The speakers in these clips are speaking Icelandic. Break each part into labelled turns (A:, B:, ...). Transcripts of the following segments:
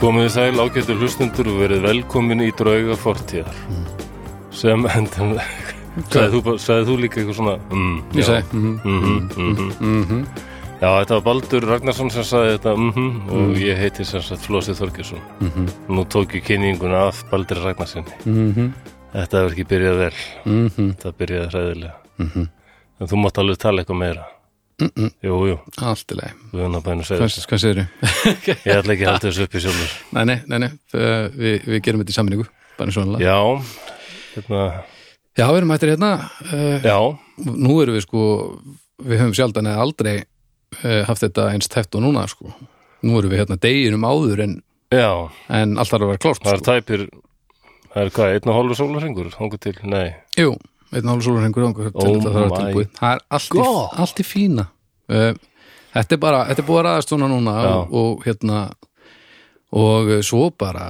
A: Komiði sæl ágættur hlustundur og verið velkomin í drauga fortíðar sem endan sagði, þú, bara- sagði þú líka eitthvað svona mm,
B: Ég
A: já,
B: sagði mhm,
A: mhm, mhm. Já, þetta var Baldur Ragnarsson sem sagði þetta mhm, og ég heiti sem sagt Flósið Þorgesson Nú tók ég kynninguna af Baldur Ragnarssoni
B: mhm,
A: Þetta hefur ekki byrjað vel,
B: mhm,
A: þetta byrjaði hræðilega
B: mhm.
A: En þú mátt alveg tala eitthvað meira Jú, jú,
B: Allt í lagi
A: við höfum að bæna að segja
B: Hvað, hvað segir þau?
A: þetta Ég ætla ekki að halda þessu upp í sjálfur
B: Nei, nei, nei, nei. Uh, við, við gerum þetta í samningu bara svona
A: Já, hérna,
B: Já, við erum mættir hérna uh,
A: já
B: Nú erum við sko við höfum sjaldan eða aldrei uh, haft þetta eins tæft og núna sko Nú erum við hérna deginum áður en,
A: Já,
B: en allt þarf að vera klárt
A: það er
B: sko.
A: tæpir Það er hvað, einn og hálfur sólarhengur Hóngu til, nei
B: Jú, einn hálf sólurhengur ángur til
A: Oh
B: þetta þarf að
A: my
B: vera tilbúið Það er allt í,
A: God.
B: allt í fína uh, Þetta er bara, þetta er búið að ræðast svona núna
A: Já.
B: og, og hérna og uh, svo bara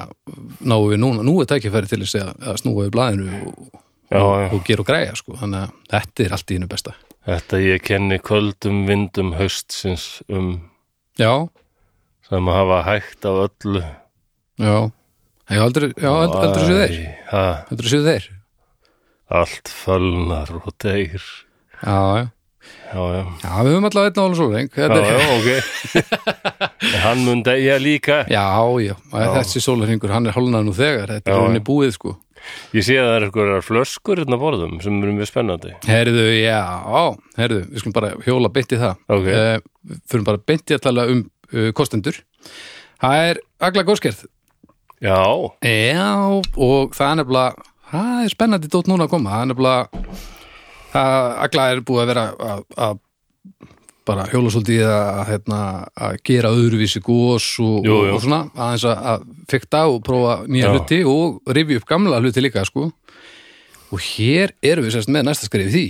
B: náum við núna, nú er tækifæri til þess að, að snúa við blaðinu og,
A: Já, já.
B: og, og gera og græja sko, þannig að þetta er allt í hennu besta
A: Þetta ég kenni kvöldum vindum haustsins um
B: Já,
A: sem að hafa hægt á öllu
B: já Já, aldrei, já, aldrei, aldrei séu þeir
A: Æ, ha,
B: Aldrei séu þeir
A: Allt fölnar og deyr
B: Já, já,
A: Já, já,
B: já við höfum allavega einn hálf sólurheng
A: já,
B: Þetta er
A: já, ok En Hann mun deyja líka
B: Já, já, þessi sólarhingur, hann er hálnað nú þegar, þetta
A: Já,
B: er
A: já.
B: henni búið sko.
A: Ég sé að það er einhverjar flöskur hérna á borðum sem eru mjög spennandi
B: Herðu, já, herðu, við skulum bara hjóla beint í það.
A: Ok.
B: Uh, fyrir bara beint í að tala um uh, kostendur. Það er agla góðskerð.
A: Já,
B: Já, og það er nefnilega, það er spennandi dót núna að koma. Það er nefnilega, það, agla er búið að vera að, að bara hjóla svolítið í að, hérna, að gera öðruvísi gós og,
A: Jú, jú.
B: og svona, aðeins að, að fykta og prófa nýja
A: Já.
B: hluti og rifi upp gamla hluti líka, sko. Og hér erum við sérst með næsta skrif í því.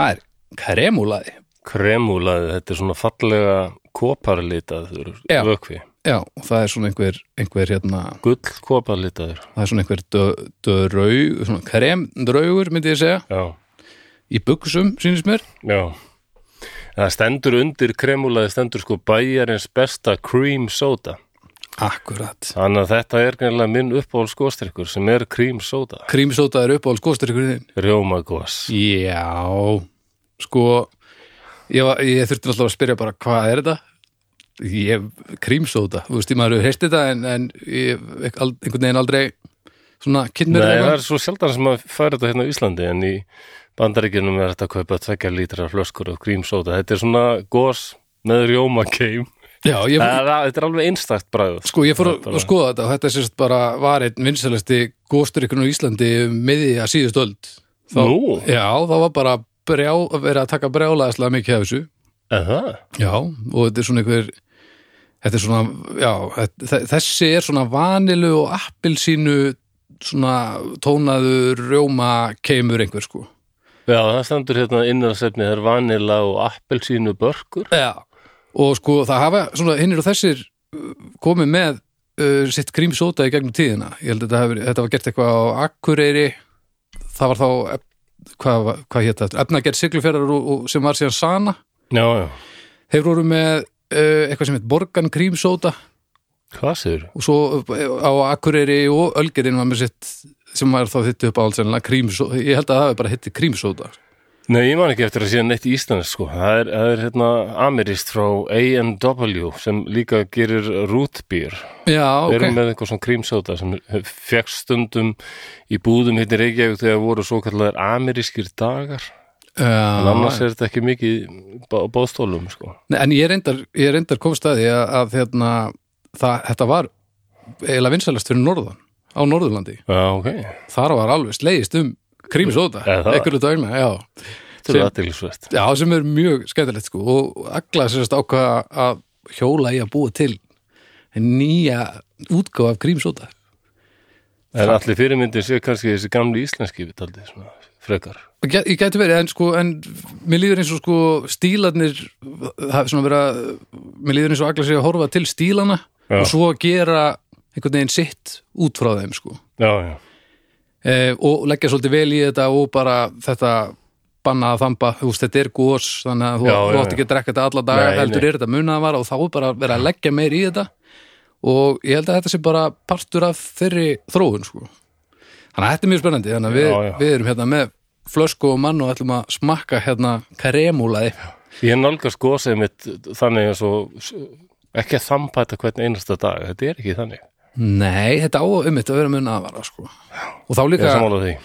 B: Það er kremulaði.
A: kremulaði, þetta er svona fallega koparlitaður
B: Já.
A: vökvi
B: Já, og það er svona einhver, einhver hérna,
A: Gull koparlitaður
B: það er svona einhver dö- döraug, svona kremdraugur, myndi ég segja,
A: Já
B: í buksum, sínist mér.
A: Já Það stendur undir kremulaði stendur sko bæjarins besta cream soda
B: Akkurat.
A: Þannig að þetta er gæmlega minn uppáhald skóstrykkur sem er cream soda
B: Krímsóta er uppáhalds góðstyrkur þinn.
A: Rjómagos
B: Já, sko, ég, var, ég þurfti náttúrulega að spyrja bara, hvað er þetta? Ég, krímsóta, þú veist, ég maður hefur heist þetta en, en ég, ek- al- einhvern veginn aldrei svona
A: Nei,
B: kynnir
A: það er svo sjaldan sem að færa þetta hérna á Íslandi en í bandaríkjunum er þetta að kaupa tvekja lítra flöskur af cream soda Þetta er svona gos með rjómakeim
B: Já, ég,
A: Það er- Þetta er alveg einstakt bræður
B: Sko, ég fór að,
A: Þetta
B: að
A: var-
B: skoða þetta og þetta sérst bara var einn vinsælasti góðstyrkun á Íslandi miði að síðust öld. Þá,
A: Nú?
B: Já, það var bara brjá, að vera að taka brjálaðislega mikið af þessu.
A: Er það?
B: Já, og þetta er svona einhver, þetta er svona, já, þetta- þe- þessi er svona vanilu og appilsínu svona tónaður rjóma keimur einhver sko.
A: Já, það stendur hérna innarsefni það er vanila og appelsínu börkur
B: Já. Og sko, það hafa svona hinnir og þessir uh, komið með uh, sitt grímsóta í gegnum tíðina. Ég held að þetta, hef, þetta var gert eitthvað á Akureyri, það var þá, ef- hvað, var- hvað hétt þetta, efnagerð sigluferðar og, og, sem var síðan sana.
A: Já, já
B: Þeir voru með uh, eitthvað sem heit Borgan grímsóta
A: Hvað segir?
B: og svo uh, á Akureyri og Ölgerinn var með sitt sem var þá þittu upp á alls ennilega grímsóta. Ég held að það hefði bara hitti grímsóta.
A: Nei, ég man ekki eftir að sé neitt íslensk sko. Það er, það er hérna amirist frá A&W sem líka gerir rootbeer.
B: Já,
A: Þeir
B: ok.
A: eru með eitthvað svona krímsóta sem fekk stundum í búðum hérna í Reykjavík þegar voru svo kallar amirískir dagar. En annars
B: Já,
A: er þetta ekki mikið í bá- á bóðstólum sko.
B: Nei, en ég reyndar, ég reyndar komst að því að, að hérna, það, þetta var eiginlega vinsælast fyrir norðan á Norðurlandi.
A: Já, ok.
B: Þar var alveg slegist um krímsóta,
A: Eða það?
B: einhverju dagna, já.
A: Þetta er aðdeglisvert.
B: Já, sem er mjög skemmtilegt sko og alla sérst ákvaða að hjóla í að búa til nýja útgáfa af krímsóta.
A: En allir fyrirmyndin séu kannski þessi gamli íslenski við taldið svona frekar.
B: Ég gæ- ég gæti verið, en sko, en mér líður eins og sko stílarnir, það er svona verið að, mér líður eins og allar sér að horfa til stílana
A: Já.
B: og svo gera einhvern veginn sitt út frá þeim sko.
A: Já, já.
B: eh, og leggja svolítið vel í þetta og bara þetta banna að þamba, þú veist, þetta er gos þannig að þú,
A: Já,
B: þú
A: já,
B: átt
A: já.
B: ekki að drekka þetta alla daga
A: Nei,
B: heldur
A: nei.
B: er þetta munaðar og þá er bara að vera að leggja meir í þetta og ég held að þetta sé bara partur af þeirri þróun sko. þannig að þetta er mjög spennandi þannig að við,
A: Já, já.
B: við erum hérna með flösku og mann og ætlum að smakka hérna kremúlaði
A: Ég nálgast gósið mitt þannig að svo ekki að þambæta hvern einasta dag, þetta er ekki þannig.
B: nei, þetta á um þetta að vera mun afara sko. og þá
A: Ég
B: líka,
A: er sammála því.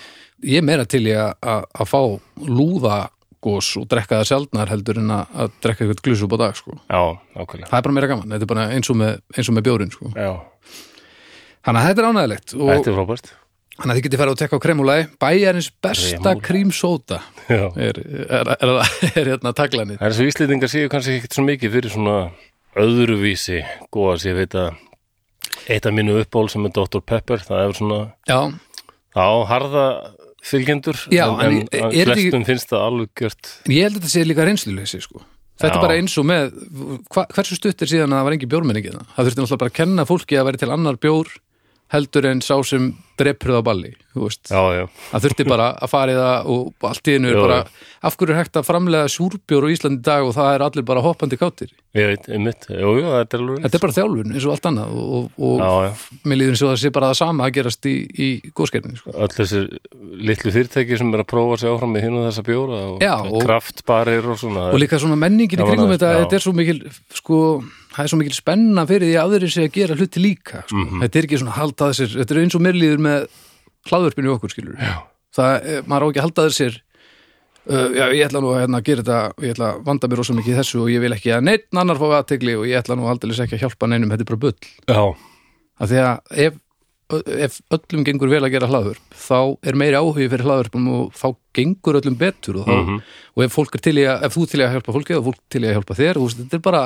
B: ég er meira til ég að- að að fá lúðagós og drekka það sjaldnar heldur en að, að drekka eitthvað glúsup á dag sko.
A: Já, ákveðlega.
B: það er bara meira gaman, þetta er bara eins og með, eins og með bjórin sko.
A: Já,
B: þannig að þetta er ánægilegt og
A: þetta er frábært.
B: þannig að þið getið farið að tekka á kremulagi bæjarins besta
A: Kremúlagi.
B: krímsóta
A: Já.
B: er, er, er, er, er hérna taglanir
A: Það er svo Íslendingar séu kannski ekkert svo mikið fyrir svona öðruvísi góðas, ég veit að eitt af mínu uppból sem er Dr. Pepper, það er svona,
B: já,
A: þá harða fylgjendur,
B: Já, en er
A: en, en
B: þetta ekki-
A: flestum finnst það alveg gjört.
B: en ég held að þetta sé líka reynsluleysi sko. þetta
A: Já.
B: er bara eins og með hva, hversu stutt er síðan að það var engin bjórmenningi það þurfti náttúrulega bara að kenna fólki að vera til annar bjór heldur en sá sem drepruð á balli, þú veist
A: Já, já,
B: það þurfti bara að fara í það og allt í einu er
A: Já,
B: bara,
A: já.
B: af hverju er hægt að framlega súrbjór á Íslandi í dag og það er allir bara hoppandi kátir
A: ég veit, einmitt, jú, jú, þetta er alveg
B: þetta er bara þjálfun eins og allt annað og, og, og
A: Já, já.
B: mér líður eins og það sé bara það sama að gerast í, í góðskernin sko.
A: öll þessir litlu fyrirtæki sem er að prófa sig áfram með hinn og þessa bjóra og,
B: Já, og-
A: kraftbarir og svona
B: og líka svona menningin í
A: Já,
B: kringum
A: var
B: þetta
A: það- já.
B: þetta er svo mikil sko, það er svo mikil spenna fyrir því að aðrir sé að gera hluti líka sko.
A: Mhm.
B: þetta er ekki svona að halda að sér þetta er eins og mér líður með hlaðvörpinu okkur skilur
A: Já.
B: það, eh, maður á ekki að halda að sér uh, já, ég ætla nú að hérna, gera þetta ég ætla að vanda mér rosa mikið í þessu og ég vil ekki að neitt annar fá aðtegli og ég ætla nú aldrei ekki að hjálpa neinum, þetta er bara bull
A: Já,
B: af því að ef, ef öllum gengur vel að gera hlaðvörp þá er meiri áhugi fyrir hlaðvörpum og þá gengur öllum betur og, þá, og ef, fólk er til í að, ef þú ert til í að hjálpa fólki og fólk til í að hjálpa þér þú veist, þetta er bara,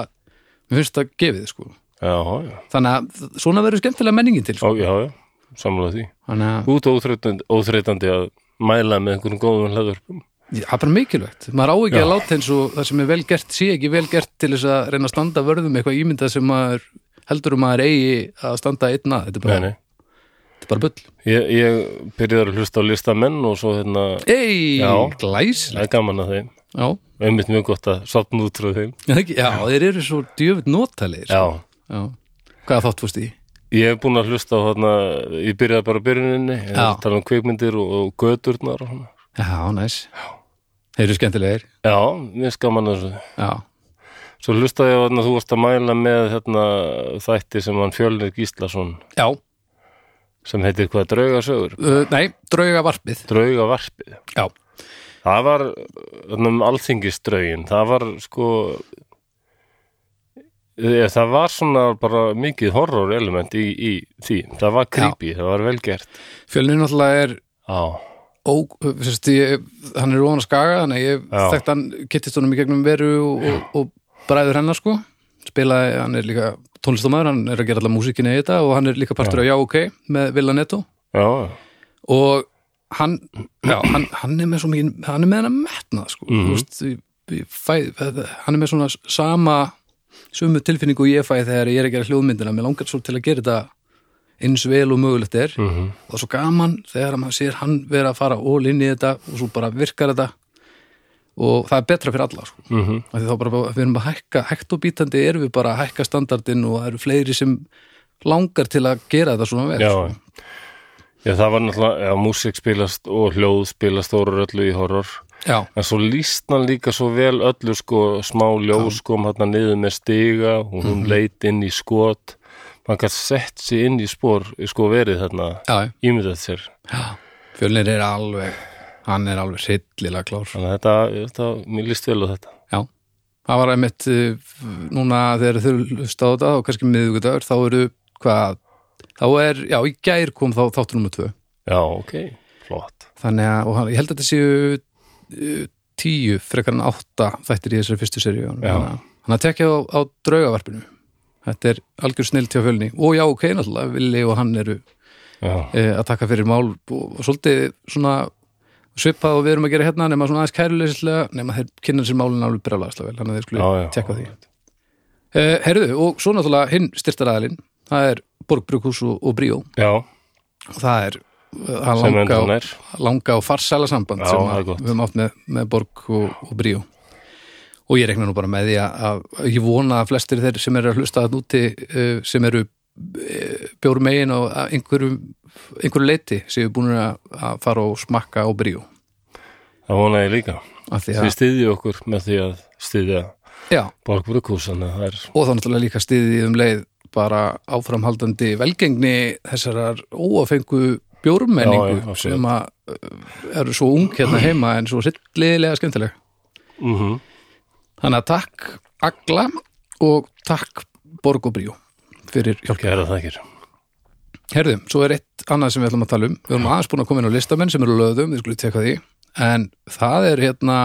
B: mér finnst það gefið sko.
A: já, já,
B: þannig að svona verður skemmtilega menningin til
A: já,
B: sko.
A: já, já samlega því
B: þannig að
A: út og óþreytandi, óþreytandi að mæla með einhverjum góðum hlæðvörpum
B: það er bara mikilvægt, maður á ekki
A: Já.
B: að láta eins og það sem er vel gert sé ekki vel gert til þess að reyna að standa vörðum eitthvað ímyndað sem maður heldur um maður eigi að standa einn að, þetta er bara,
A: Nei, nei,
B: þetta er bara bull
A: ég, ég byrjaði að hlusta á listamenn og svo hérna,
B: Ei,
A: Já.
B: glæs
A: það er gaman að þeim
B: Já,
A: einmitt mjög gott að sopna út frá þeim
B: Já, ekki- já, þeir eru svo djöfitt notalegir
A: Já,
B: Já. Hvaða þátt fórst í?
A: ég hef búin að hlusta á þarna ég byrjaði bara á byrjuninni, ég
B: Já.
A: tala um kveikmyndir og, og göturnar og svona
B: Já, næs Þeir eru skemmtilegir
A: Já, mér skaman þessu
B: Já,
A: Svo hlustaði ég á þarna, þú varst að mæla með hérna, þætti sem hann Fjölnir Gíslason
B: já
A: sem heitir hvað draugasögur,
B: uh, nei, draugavarpið
A: draugavarpið.
B: Já,
A: Það var hérna, um alþingistraugin, það var sko, eða, það var svona bara mikið horror element í, í því, það var creepy, það var vel gert.
B: fjölnir náttúrulega er
A: Já,
B: ó, sérst, ég, hann er ofan að skaga þannig að ég
A: Já.
B: þekkt hann kittist honum í gegnum veru og, og, og bræður hennar sko spilaði, hann er líka tónlistamæður hann er að gera alla músíkinni í þetta og hann er líka partur af Já OK með Villa Netto
A: já,
B: og hann, já, hann, hann er með svo mikið hann er með hann að metna sko. mm veist, ég, ég fæ, hann er með svona sama sömu tilfinningu og ég fæ þegar ég er að gera hljóðmyndina mér langar svo til að gera þetta eins vel og mögulegt er
A: Mhm,
B: -hmm. og það er svo gaman þegar maður sér hann vera að fara all inn í þetta og svo bara virkar þetta og það er betra fyrir alla sko. mm
A: mhm.
B: -hmm. þá bara við erum að hækka hægt og bítandi erum við bara að hækka standardin og það eru fleiri sem langar til að gera þetta svona vel
A: já.
B: sko.
A: Já, það var náttúrulega, já, músík spilast og hljóð spilast þóru öllu í horror.
B: já,
A: En svo líst hann líka svo vel öllu sko smá ljós kom hann niður með stiga og hún
B: Mhm.
A: leit inn í skot. Hann gætt sett sig inn í spór, sko verið þarna,
B: já, já.
A: ímyndað sér.
B: Já, Fjölnir er alveg hann er alveg hryllilega klár
A: Þannig að þetta, þetta, mér líst vel á þetta.
B: Já, það var einmitt uh, núna þegar þau hlusta á þetta og kannski miðvikudagur, þá eru hvað, þá er, já, í gær kom þá þáttur nummer tvö,
A: Já, ok, flott.
B: þannig að og hann, ég held að þetta séu uh, tíu frekar en átta þættir í þessari fyrstu seríu
A: Já.
B: hann að tekja á, á draugavarpinu þetta er algjör snill til að fjölni og já, ok, náttúrulega, Vili og hann eru
A: Já,
B: eh, að taka fyrir mál og, og svolítið svona svipað og við erum að gera hérna nema svona aðeins kærulegislega nema þeir kynna sér málinn alveg brjálæðislega vel þannig að þeir skulle
A: Já, já.
B: tekka á því eh, Herðu, og svo náttúrulega hinn styrtaræðalinn það er Borgbrukhús og, og Bríó
A: já,
B: og það er eh, það
A: sem
B: langa,
A: endur nær.
B: langa og farsæla samband
A: Já,
B: sem
A: það er
B: að
A: gott.
B: við höfum átt með, með Borg og, og Bríó og ég rekna nú bara með því að, að ég vona að flestir þeir sem eru að hlusta að núti eh, sem eru bjór megin og að einhverju, einhverju leiti sem við búin að, að fara og smakka á bríu
A: Það vona ég líka.
B: af því
A: Þið
B: að,
A: styðju okkur með því að styðja
B: já,
A: Borgbrukhús, þannig að það er
B: og þá náttúrulega líka stiðið um leið bara áframhaldandi velgengni þessarar óafengu
A: Já, já,
B: bjórmenningu
A: absolutt.
B: sem að uh, eru svo ung hérna heima en svo sillilega skemmtileg
A: mm
B: þannig að takk Agla og takk Borg og Bríó fyrir hjálpa
A: gæra þakkir.
B: Herðum, svo er eitt annað sem við ætlum að tala um. Við erum aðeins búin að koma inn á listamenn sem eru löðum, við skulum teka því. En það er hérna,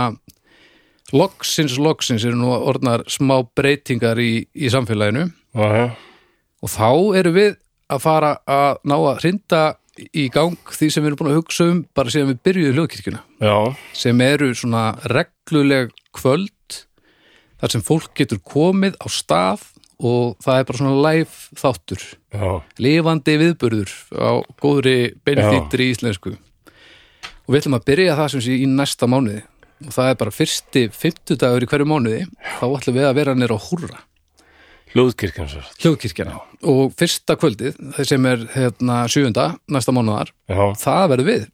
B: loksins, loksins eru nú orðnar smá breytingar í, í samfélaginu
A: Aha.
B: og þá eru við að fara að ná að hrinda í gang því sem við erum búin að hugsa um bara síðan við byrjuðum hljóðkirkjuna
A: Já,
B: sem eru svona regluleg kvöld þar sem fólk getur komið á stað og það er bara svona live þáttur
A: já,
B: lifandi viðburður á góðri beinþýttri íslensku og við ætlum að byrja það sem sé í næsta mánuði og það er bara fyrsti fimmtudagur í hverju mánuði þá ætlum við að vera nýra á húrra
A: hljóðkirkjan sér.
B: hljóðkirkjana og fyrsta kvöldið þeir sem er hérna, sjöunda næsta mánuðar
A: Já,
B: það verður við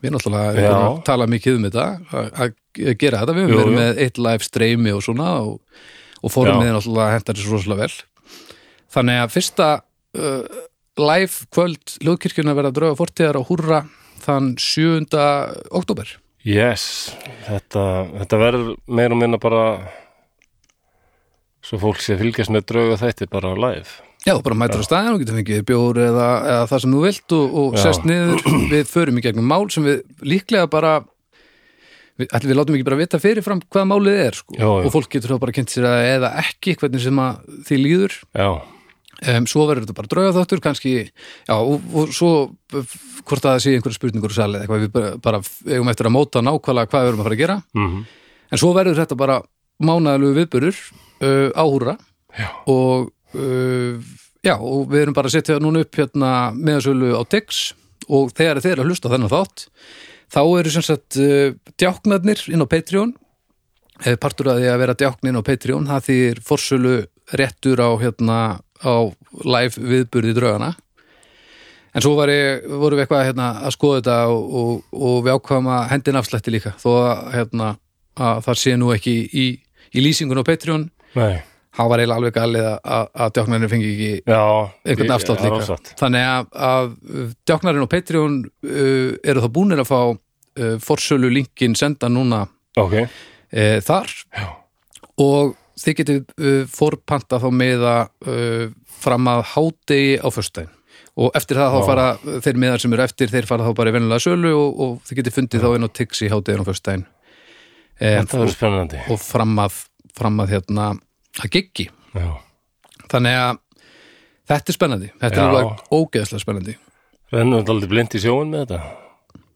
B: við erum náttúrulega við
A: Já.
B: erum að tala mikið um þetta að- að gera þetta, við
A: Jú,
B: erum verið
A: jú.
B: með eitt live streymi og svona og, og formið
A: Já.
B: er náttúrulega hentar þessu rosalega vel þannig að fyrsta uh, live kvöld Ljóðkirkjuna verða að drauga fortíðar á húrra þann 7. oktober
A: yes, þetta, þetta verður meir og minna bara svo fólk sé að fylgjast með drauga þætti bara á live.
B: Já, þú bara mætur á staðin og getur fengið bjór eða, eða það sem þú vilt og, og
A: Já.
B: sest niður, við förum í gegnum mál sem við líklega bara við, ætli við látum ekki bara vita fyrirfram hvað málið er sko.
A: Já, já.
B: og fólk getur þá bara kynnt sér að eða ekki hvernig sem að því líður
A: Já,
B: um, svo verður þetta bara drauga þáttur kannski, já, og, og svo eh, hvort að það sé einhverja spurningur og salið eitthvað við bara, bara eigum eftir að móta nákvæmlega hvað við erum að fara að gera
A: mm
B: En svo verður þetta bara mánaðalegu viðburður uh, áhúra
A: Já.
B: og uh, já, og við erum bara að setja núna upp hérna meðasölu á Dix og þegar þeir eru að hlusta á þennan þátt þá eru sem sagt uh, djáknarnir inn á Patreon eða partur að því að vera djákn inn á Patreon það þýr forsölu réttur á hérna á live viðburði draugana En svo var ég, vorum við eitthvað hérna, að skoða þetta og, og, og við ákvæðum að hendin afslætti líka þó að, hérna, að það sé nú ekki í, í lýsingun á Patreon
A: nei,
B: það var eiginlega alveg galið að- að, að djáknarinn fengi ekki
A: já.
B: einhvern
A: ég-
B: afslátt
A: það er
B: líka
A: afslátt.
B: þannig að, að djáknarinn á Patreon uh, eru þá búnir að fá uh, forsölu linkin senda núna
A: Ok,
B: uh, þar
A: já,
B: og þið getur uh, forpanta þá meða uh, fram að hádegi á föstudaginn og eftir það þá
A: Já.
B: fara uh, þeir meðar sem eru eftir þeir fara þá bara í venulega sölu og, og þið getur fundið þá inn á tix í hádegin á föstudaginn um,
A: þetta verður spennandi.
B: og fram að, fram að hérna að giggi
A: Já,
B: þannig að þetta er spennandi þetta
A: Já.
B: er alveg ógeðslega spennandi
A: rennum við aldrei blind í sjóin með þetta.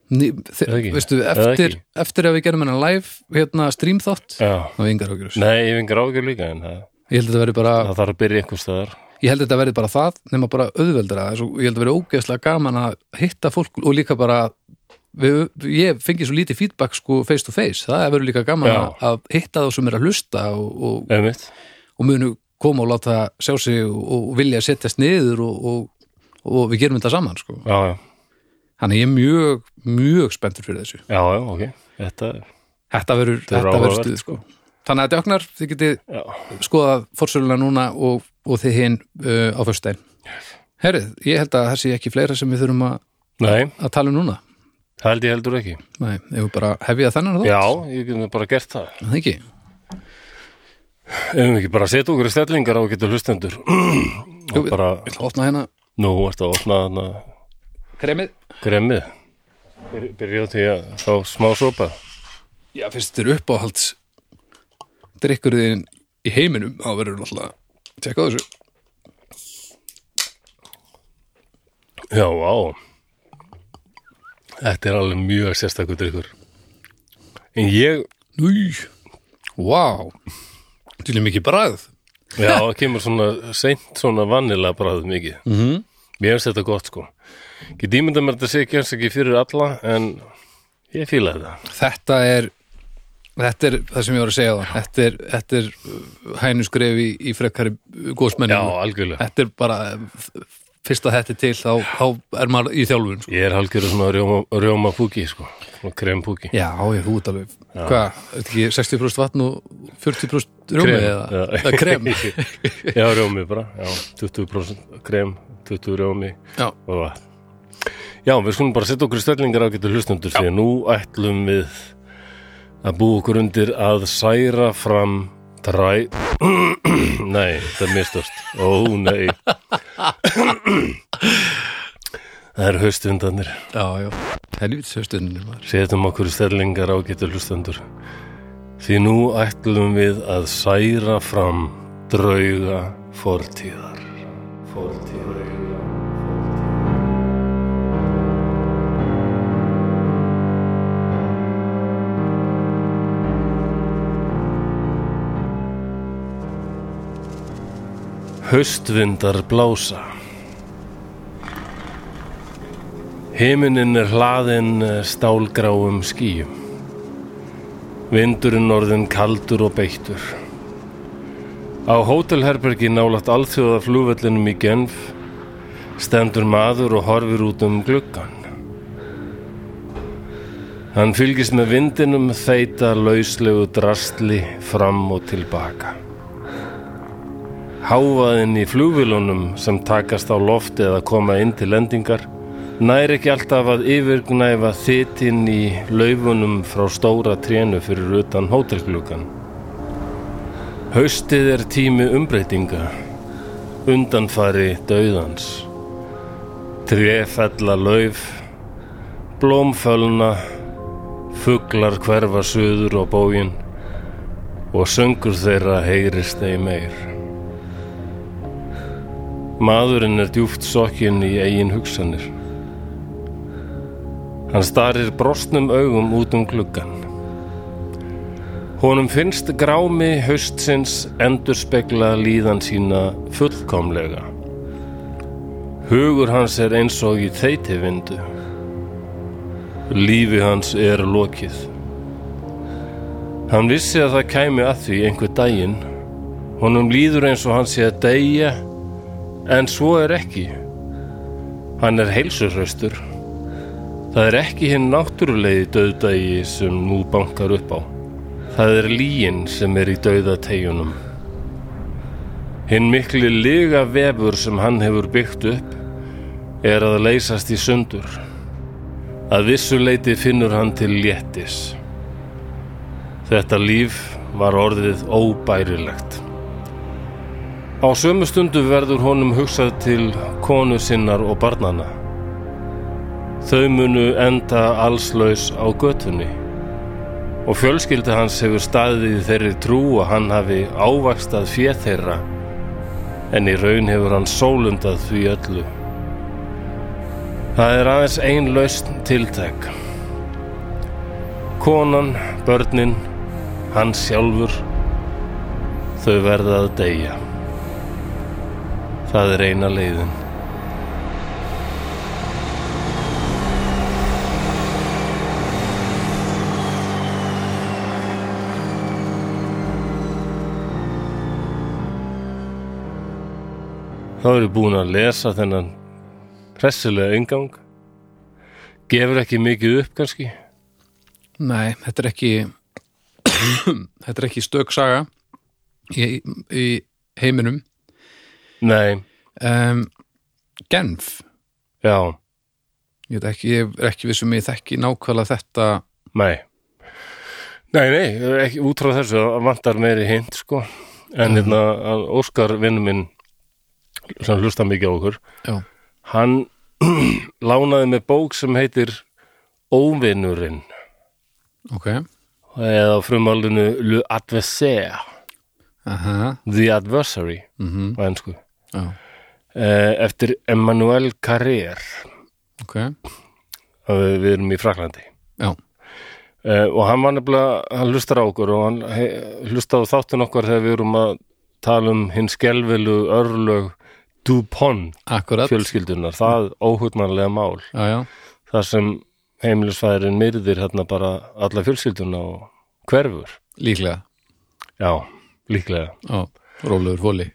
B: Ný, þið,
A: Eða ekki?
B: veistu,
A: Eða
B: eftir,
A: ekki?
B: eftir að við gerum hennar live hérna stream þátt
A: Já,
B: þá er yngar okkur
A: nei, ég vingar ágjör líka en það,
B: ég held að þetta verði bara
A: það þarf að byrja einhver staðar.
B: ég held að þetta verði bara það nema bara auðveldara Svo, ég held að verði ógeðslega gaman að hitta fólk og líka bara við, ég fengi svo lítið feedback sko face to face það verður líka gaman
A: Já.
B: að, að hitta þá sem er að hlusta og, og,
A: Eða mitt?
B: og munu koma og láta sjá sig og, og vilja setjast niður og, og, og við gerum þetta saman sko
A: Já, já,
B: þannig ég er mjög, mjög spenntur fyrir þessu
A: já, já, ok, þetta er,
B: þetta verður,
A: er
B: þetta verður
A: áhugavert,
B: stuð sko þannig að þetta oknar, þið getið
A: já.
B: skoða fórsöluna núna og, og þið hinn uh, á föstudaginn Herrið, ég held að það sé ekki fleira sem við þurfum að,
A: Nei,
B: að tala um núna
A: það held ég heldur ekki.
B: Nei, ef við bara hefja þennan þá
A: Já, ég getum bara gert það.
B: Það ekki,
A: Ef við ekki bara setja okkur í stellingar á að geta hlustendur.
B: Jú,
A: og bara,
B: ég ætla að opna hérna
A: nú ertu að opna þarna
B: kremið
A: gremmið. Byr- Byrja á því að fá smá sopa.
B: Já, fyrst þér uppáhalds drikkur þín í heiminum þá verður náttúrulega að tjekka á þessu
A: Já, á. Þetta er alveg mjög sérstakur drikkur. En ég,
B: Núj, vá Til er mikið bræð
A: já, það kemur svona seint svona vanilega bræðið mikið. Mm
B: Mhm.
A: -hmm. Mér finnst þetta gott, sko. Ég dýmynda mér að þetta sé ekki eins og ekki fyrir alla, en ég fílaði það.
B: Þetta er Þetta er það sem ég var að segja það Þetta er, þetta er uh, hænusgref í, í frekari uh,
A: Já,
B: góðsmenninu
A: algjörlega.
B: Þetta er bara f- fyrst að þetta er til þá, þá er maður í þjálfun sko.
A: Ég er halgjörður svona rjóma, rjóma púki, sko. Svona krempúki.
B: Já, ég þú út alveg Hvað, er þetta ekki 60% vatn og 40% rjómi
A: Krem,
B: eða,
A: já.
B: eða krem
A: já, rjómi bara. Já, 20% krem, 20 rjómi
B: Já,
A: og vatn. Já, við skulum bara setja okkur í stellingar á getur hlustundur því að nú ætlum við að búa okkur undir að særa fram dræ... nei, það er mistast. Ó, nei. það er haustundanir.
B: já, já Helvits höstunni maður
A: Setjum okkur í stellingar á getur hlustendur. Því nú ætlum við að særa fram drauga fortíðar. Fortíðar. Haustvindar blása. Himinin er hlaðinn eh, stálgráum skýjum. Vindurinn orðinn kaldur og beittur. Á hótelherbergi nálaft alþjóða flugvellinum í Genf stendur maður og horfir út um gluggan. Hann fylgist með vindinum þeita lauslegu drastli fram og tilbaka. Hávaðin í flugvilunum sem takast á lofti eða koma inn til lendingar nær ekki alltaf að yfirgnæfa þitinn í laufunum frá stóra trénu fyrir utan hótelgluggan. Haustið er tími umbreytinga, undanfari dauðans. Tréfella lauf, blómfölna, fuglar hverfa suður á bógin og söngur þeirra heyrist þeim meir. Maðurinn er djúft sokkinn í eigin hugsanir. Hann starir brostnum augum út um gluggan. Honum finnst grámi haustsins endurspegla líðan sína fullkomlega. Hugur hans er eins og í þeiti vindu. Lífi hans er lokið. Hann vissi að það kæmi að því einhver daginn. Honum líður eins og hann sé að deyja, en svo er ekki. Hann er heilsurhraustur. Það er ekki hinn náttúrulegi döðdægi sem nú bankar upp á. Það er líin sem er í döðategjunum. Hinn mikli liga vefur sem hann hefur byggt upp er að leysast í sundur. Að vissu leiti finnur hann til léttis. Þetta líf var orðið óbærilegt. Á sömu stundu verður honum hugsað til konu sinnar og barnana. Þau munu enda allslaus á götunni og fjölskylda hans hefur staðið í þeirri trú að hann hafi ávaxtað fjöð þeirra en í raun hefur hann sólundað því öllu. Það er aðeins ein lausn tiltæk. Konan, börnin, hann sjálfur, þau verða að deyja. Það er eina leiðin. Þá erum við búin að lesa þennan hressilega yngang. Gefur ekki mikið upp kannski.
B: Nei, þetta er ekki þetta er ekki stök saga í, í heiminum
A: Nei,
B: um, Genf
A: já,
B: Ég, veit ekki, ég er ekki vissum ég þekki nákvæmlega þetta
A: nei. Nei, nei, ekki, út frá þessu að vantar meiri hint sko. En hérna að Óskar vinnu minn sem hlusta mikið á okkur,
B: Já,
A: hann lánaði með bók sem heitir Óvinurinn
B: ok
A: eða á frumaldinu Le Adversaire,
B: Aha,
A: The Adversary
B: mm
A: á ennsku.
B: já,
A: Eftir Emmanuel Carrère
B: ok
A: að við við erum í Fraklandi
B: Já,
A: uh, og hann var nefnilega, hann hlustar á okkur og hann he, hlustaði á þáttin okkar þegar við erum að tala um hinn skelvelu örlög Dupont
B: akkurat
A: fjölskyldunar, það óhugnarlega mál
B: Já, já,
A: þar sem heimilisfæðurinn myrðir hérna bara alla fjölskylduna og hverfur
B: líklega
A: já, líklega
B: Já, rólegur fóli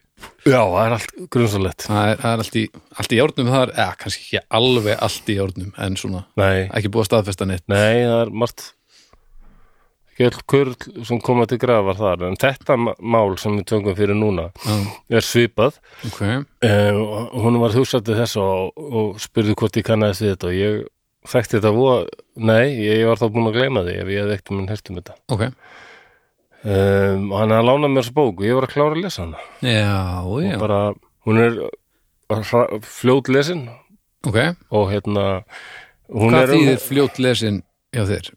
A: já, það er allt grunnsalett
B: það er, það er allt, í, allt í járnum þar eða kannski ekki alveg allt í járnum en svona,
A: nei,
B: ekki búið að staðfesta neitt
A: nei, það er margt ekki öll kurl sem koma til grafar þar en þetta ma- mál sem við tökum fyrir núna
B: Já,
A: er svipað
B: ok,
A: Eh, og hún var hugsaði þess og, og spurði hvort ég kannaðist við þetta og ég þekkti þetta voða, nei, ég var þá búin að gleyma því ef ég hefði ekkert minn hértum þetta
B: ok
A: um, og hann lánaði mér þessa bók og ég var að klára að lesa hana
B: Já, já,
A: og bara, hún er eh, hra- fljót lesin
B: ok
A: og hérna hún
B: Hvað
A: er um-
B: þýðir fljótt lesin hjá þér?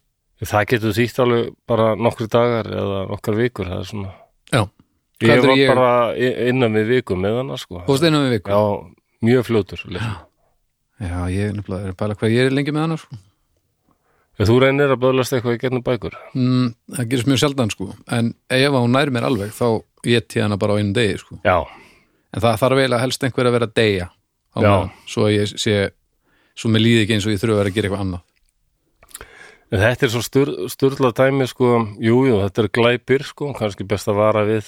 A: það getur þýtt alveg bara nokkri dagar eða nokkar vikur það er svona
B: Já, Hvað
A: ég
B: heldur
A: var
B: ég-
A: bara i- innan við viku með hana sko
B: fórst einu með viku
A: já, mjög fljótur lesin.
B: Já, ég er nefnilega er að pæla hvað ég er lengi með hana sko.
A: Ef þú reynir að böðlast eitthvað í getnum bækur
B: mm, Það gerist mjög sjaldan sko en ef hún nær mér alveg þá ég til hana bara á einu degi sko
A: já,
B: en það þarf eiginlega helst einhver að vera að deyja á
A: Já.
B: meðan, svo að ég sé svo mér líði ekki eins og ég þurfa að vera að gera eitthvað annað
A: En Þetta er svo stur, sturla dæmi sko, jú, jú, þetta eru glæpir sko, kannski best að vara við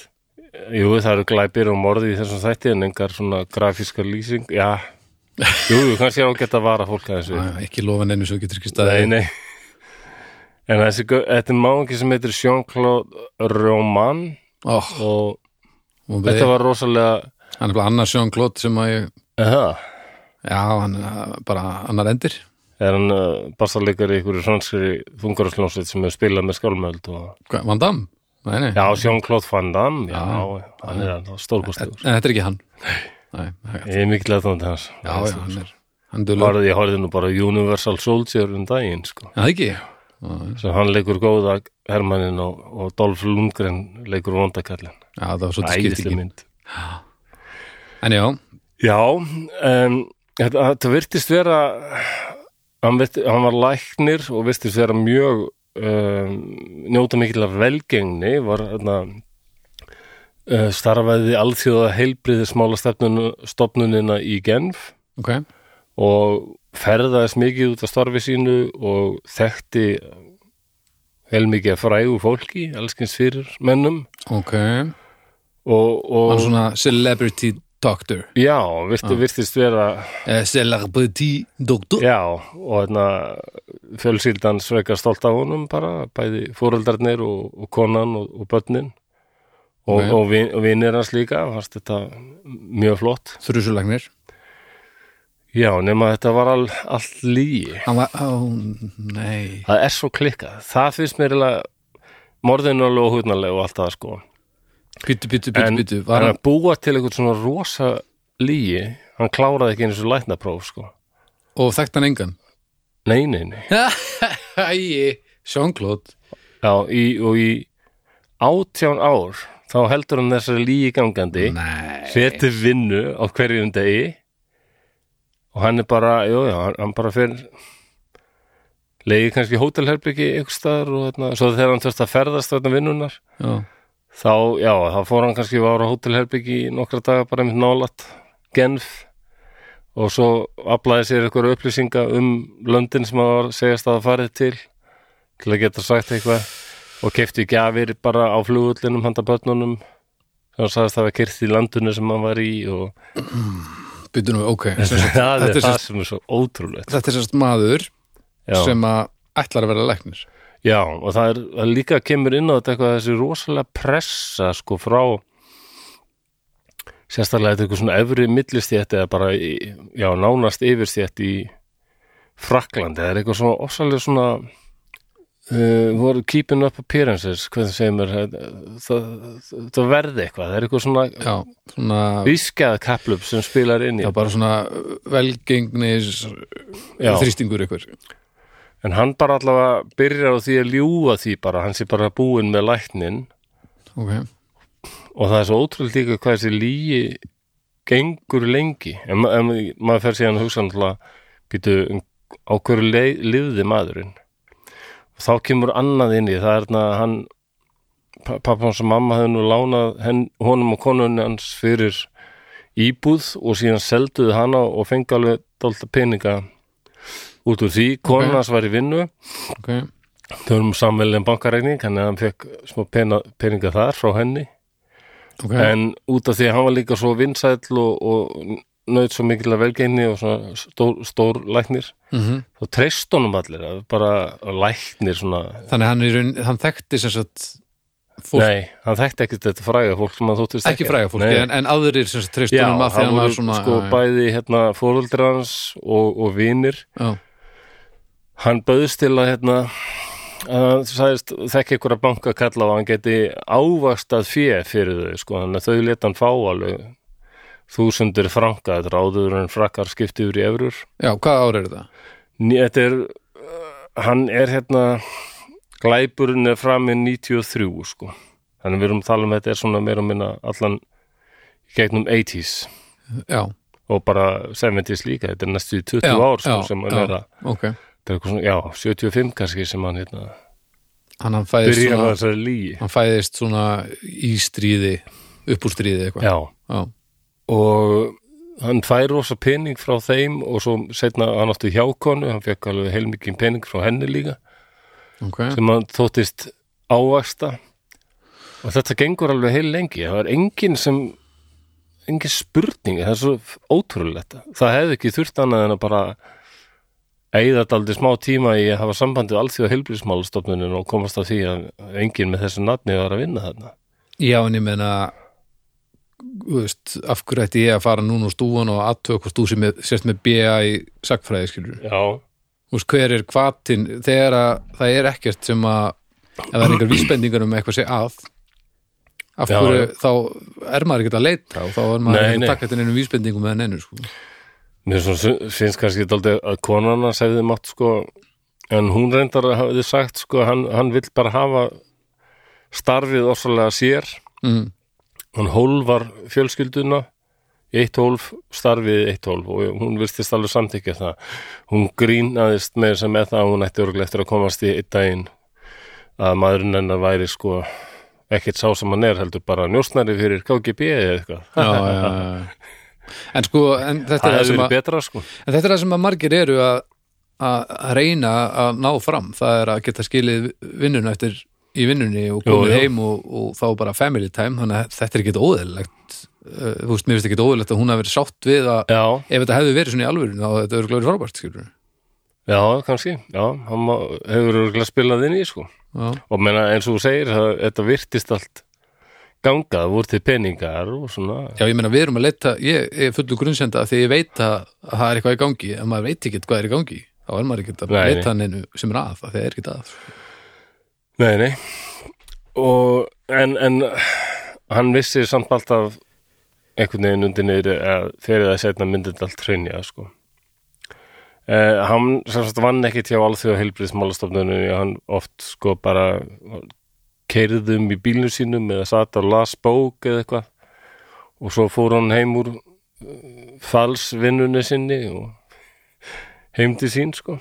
A: jú, það eru glæpir og morði í þessum þætti en engar svona grafískar lýsing já, jú, jú, kannski á geta að vara fólk
B: Æ,
A: aðeins við,
B: ekki lofa neinu svo getur ekki staðið
A: nei, nei en þessi, gau- þetta er máðingi sem heitir Jean-Claude Roman
B: Ó,
A: og
B: þetta
A: þetta var rosalega
B: Hann er bara annar Sjón Klót sem að ég
A: eða,
B: Já, hann er uh, bara annar endir
A: er hann uh, bastarleikar í ykkur franskri þungararsljónsveit sem hefur spilað með skálmöld og,
B: Hvað, Van Damme? Nei, nei,
A: já, Jean-Claude Van Damme já,
B: Já.
A: hann er hann,
B: en
A: stórkostugur
B: þetta er ekki hann Nei, nei
A: Ég er mikill aðdóndi hans.
B: já, já, hann er Hann er dulur,
A: Bara, ég horfði nú bara á Universal Soldier um daginn, sko.
B: það ekki
A: Sem hann leikur góða Hermannin og, og Dolph Lundgren leikur vondakallin.
B: Já, það var svolítið skipt
A: Æðislega
B: ekki
A: mynd.
B: En já,
A: Já, um, þetta, þetta virtist vera, hann, virt, hann var læknir og virtist vera mjög, um, njóta mikill af velgengni, var þarna, uh, starfaði alþjóða heilbriðismála stofnunina í Genf.
B: ok
A: og ferðaðist mikið út af starfi sínu og þekkti helmikið af frægu fólki, allskins fyrir mennum
B: Ok, hann
A: og,
B: er
A: og
B: svona celebrity doctor
A: já, virti, virtist vera
B: eh, Celebrity doctor
A: já, og þarna fjölsýldan sveka stolt af honum bara, bæði fóreldarnir og, og konan og, og börnin og,
B: Ok.
A: og, vin, og vinir hans líka, fannst þetta mjög flott.
B: Þrjusulagnir
A: Já, nema þetta var all, allt lígi
B: Hann var, ó, nei
A: það er svo klikkað það finnst mér eiginlega morðinu alveg óhugnarleg og allt það sko
B: Byttu, byttu, byttu,
A: en,
B: byttu
A: en
B: Var
A: að
B: hann,
A: búa til eitthvað svona rosa lígi hann kláraði ekki eins og læknapróf sko
B: og þekkt hann engan
A: nei, nei, nei
B: Æi, Sjón Klót
A: Já, í, og í átján ár þá heldur hann þessari lígi gangandi
B: Nei
A: setur vinnu á hverjum degi og hann er bara jú, já, hann- hann bara fyrir leiði kannski hótelherbyggi ykkur staðar og þarna, svo þegar hann þurft að ferðast þarna vinnunar
B: Já,
A: þá, já, þá fór hann kannski að ára hótelherbyggi í nokkra daga bara einmitt nálat Genf og svo aflaði sér eitthvað upplýsinga um löndin sem hann var að segjast að hafa farið til til að geta sagt eitthvað og kefti gjafir bara á flugullinum handa börnunum sem hann sagðist að hafa kyrst í landinu sem hann var í og
B: byttu nú, ok Sem sagt,
A: það
B: þetta
A: er
B: er
A: það sem er svo ótrúlegt
B: þetta er sérst maður
A: já,
B: sem að ætlar að vera læknir
A: já, og það er það líka kemur inn á þetta eitthvað þessi rosalega pressa sko frá sérstaklega þetta er eitthvað svona efri millistjætt eða bara, í- já, nánast yfirstjætt í Fraklandi, það er eitthvað svona ofsalega svona uh, voru keeping up appearances hvernig segir mér það, það, það, það verði eitthvað, það er eitthvað svona
B: já, svona,
A: vískjað kaplup sem spilar inn í
B: já bara svona uh, velgengnis
A: Já.
B: þrýstingur ykkur
A: en hann bara allavega byrjar á því að ljúga því bara, hann sé bara búinn með læknin
B: ok,
A: og það er svo ótrúlega líka hvað þessi lígi gengur lengi en, ma- en maður fer síðan að hugsa náttúrulega býtu um- á hverju leið, liðði maðurinn og þá kemur annað inn í það er þarna að hann pa- pappa hans og mamma hefði nú lánað henn, honum og konunni hans fyrir íbúð og síðan selduðu hana og fengi alveg dálta peninga út úr því, konun
B: Ok.
A: hans var í vinnu
B: ok
A: þau vorum samvelin bankaregning þannig að hann fekk smá pena, peninga þar frá henni
B: ok,
A: en út af því að hann var líka svo vinsæll og, og nöðt svo mikilvæg velgeini og svona stór, stór læknir
B: Mhm.
A: þá treyst honum allir að bara læknir svona
B: þannig að hann, í raun, hann þekkti sem sagt fólk,
A: nei, hann þekkti ekkert þetta fræga fólk sem hann þóttist
B: ekki fræga fólk,
A: Nei.
B: en, en aðrir sem sagt treystum
A: Já,
B: um að því
A: það
B: hann
A: voru
B: var svona
A: sko
B: já,
A: bæði hérna fóruldrar hans og, og vinir
B: já,
A: hann bauðst til að hérna að þú sagðist þekki ykkur að banka kalla og hann geti ávakstað fjö fyrir þau sko, þannig að þau leta hann fá alveg þúsundir franka þetta er áður en frakkar skipti yfir í eurur
B: já, hvað ára er það?
A: Ný- þetta er uh, hann er hérna glæpurinn er framið 93 sko, þannig við erum að tala um þetta er svona meira og minna allan í gegnum 80s
B: já,
A: og bara 70s líka, þetta er næstu í 20
B: já,
A: ár sko,
B: já,
A: sem hann
B: já,
A: er að
B: ok,
A: þetta er eitthvað svona, já, 75 kannski sem hann hérna,
B: hann, hann fæðist
A: byrja
B: svona,
A: að þessari lígi
B: hann fæðist svona í stríði upp úr stríði eitthvað já,
A: já, og hann fær rosa pening frá þeim og svo setna hann átti hjákonu hann fekk alveg heilmikinn pening frá henni líka
B: ok,
A: sem hann þóttist ávaksta og þetta gengur alveg heil lengi það var engin sem engin spurning, það er svo ótrúlegt það hefði ekki þurft annað en að bara eigða þetta aldrei smá tíma í að hafa sambandið allþjóð heilbrísmálastofnunin og komast að því að enginn með þessu nafni var að vinna þarna
B: já, en ég meina þú veist, af hverju ætti ég að fara núna úr stúan og aðtöku hvort þú sem með, sérst með BA í sagfræði skilur
A: Já,
B: Þú veist, hver er hvatin þegar að það er ekkert sem að ef það er einhver vísbendingar um eitthvað sé að af
A: Já,
B: hverju
A: já.
B: þá er maður ekkert að leita og þá er maður
A: Nei,
B: ekkert
A: nei.
B: að taka þetta neinum vísbendingum með neinu sko.
A: Mér svo syn- finnst kannski dálítið að konana segði mátt sko en hún reyndar að hafiði sagt sko hann, hann vill bara hafa starfið orsalega sér
B: mm,
A: hann hólvar fjölskylduna í eitt hólf, starfið í eitt hólf og hún virtist alveg samþykja það hún grínaðist með þess að með það að hún ætti örgulega eftir að komast í einn daginn að maðurinn hennar væri sko ekkert sá sem hann er heldur bara njósnari fyrir KGB eða eitthvað
B: já, já, já. en sko en þetta, er það
A: það hefur
B: sem
A: verið
B: að,
A: betra sko
B: en þetta er það sem að margir eru að, að að reyna að ná fram það er að geta skilið vinnuna eftir í vinnunni og
A: Jú,
B: komið
A: jú.
B: heim og, og þá bara family time þannig að þetta er ekkert óðurlegt þú veist, mér finnst ekkert óðurlegt að hún hafi verið sátt við að
A: Já,
B: ef þetta hefði verið svona í alvöru þá hefði þetta verið glæður frábært skilur
A: Já, kannski, já, hann má- hefur örugglega spilað inn í, sko.
B: já,
A: Og meina, eins og þú segir, það, þetta virtist allt gangað, það voru til peningar og svona.
B: já ég meina við erum að leita ég, ég er fullu grunnsenda af því ég veit að að það er eitthvað í gangi en maður veit ekkert hvað er í gangi þá er maður ekkert að
A: Nei, nei.
B: leita hann einu sem er að af því það er ekkert að
A: Nei, nei. Og, en, en hann vissi samt alltaf einhvern veginn undir niður að fyrir það setna myndi þetta allt hreinja, sko. Uh, hann sem sagt vann ekkit hjá alþjóð heilbriðsmálastofnunni, hann oft sko bara keirðum í bílnum sínum eða sat og las bók eða eitthvað og svo fór hann heim úr uh, falsvinnunni sinni og heim til sín sko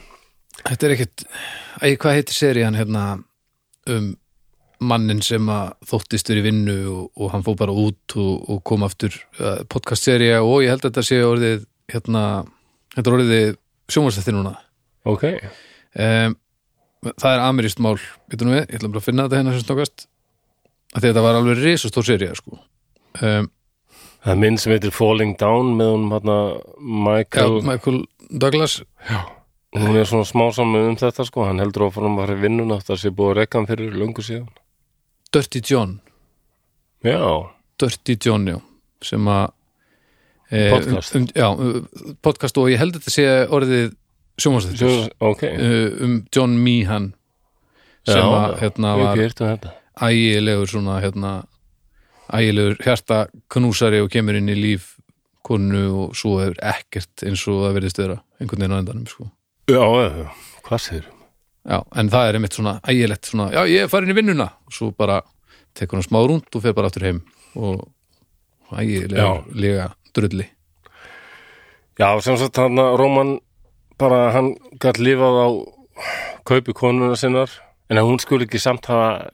B: þetta er ekkert, æ, hvað heitir serían hérna um mannin sem að þóttist verið vinnu og, og hann fór bara út og, og kom aftur uh, podcastserja og ég held að þetta sé orðið hérna, þetta er orðið sjónvarsætti núna
A: ok,
B: um, það er amirist mál getur nú við, ég ætla bara að finna þetta hérna sem snokast að þetta var alveg risastór serið sko. um,
A: það er minn sem heitir Falling Down með hún hérna
B: já,
A: Michael,
B: Michael Douglas
A: hún er svona smá saman um þetta sko, hann heldur áfram að fara í vinnuna það sé búið að rekka hann fyrir löngu síðan
B: Dirty John
A: já,
B: Dirty John, já sem að eh,
A: Podcast.
B: um, um, já, um, podcast og ég held að þetta sé orðið
A: svo,
B: sjónvarsættis
A: ok já,
B: uh, um John Meehan sem að hérna
A: ég
B: var
A: ekki hirtum þetta
B: ægilegur svona hérna ægilegur hjarta knúsari og kemur inn í líf konu og svo er ekkert eins og það verðist vera einhvern veginn á endanum sko.
A: já, já, já. hvað sér
B: já, en það er einmitt svona ægilegt svona, já ég er farin í vinnuna og svo bara tekur hann smá rúnd og fer bara aftur heim og ægilega lega drulli
A: Já, sem sagt hann að Róman bara hann gætt lifað á kaupi konuna sinnar en að hún skuli ekki samt hafa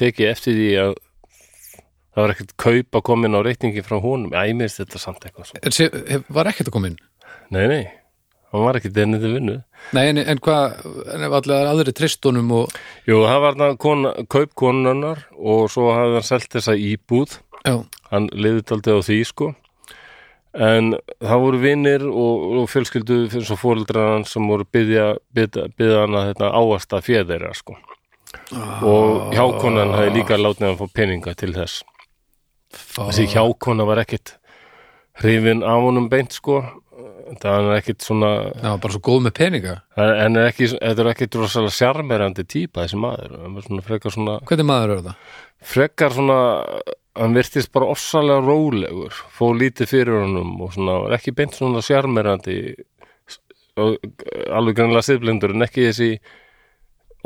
A: tekið eftir því að það var ekkert kaup að koma inn á reikningi frá honum Æ, mér finnst þetta samt eitthvað svo
B: er, sé, hef, var ekkert að koma inn
A: Nei, nei, hann hann var ekki denni til vinnu
B: Nei, en, en hvað, en ef allir aðri tristunum og,
A: Jú, það var hann kona, kaup konunnar og svo hafði hann selt þessa íbúð
B: já,
A: hann liði taldið á því sko en það voru vinnir og, og fjölskyldu eins og fóreldrar hans sem voru byggja, byggja, byggja hann að þetta áasta fjöðeira sko og hjákonan hefði líka látið hann fá peninga til þess
B: fá,
A: þessi hjákona var ekkit hrifin af honum beint sko það hann er ekkit svona
B: já, bara svo góð með peninga
A: en er ekki, þetta er ekkit rosalega sjarmerandi típa þessi maður hann var svona frekar svona
B: Hvernig maður er það?
A: frekar svona hann virtist bara ofsalega rólegur fóð lítið fyrir honum og svona var ekki beint svona sjarmerandi og alveg grannlega siðblindur en ekki þessi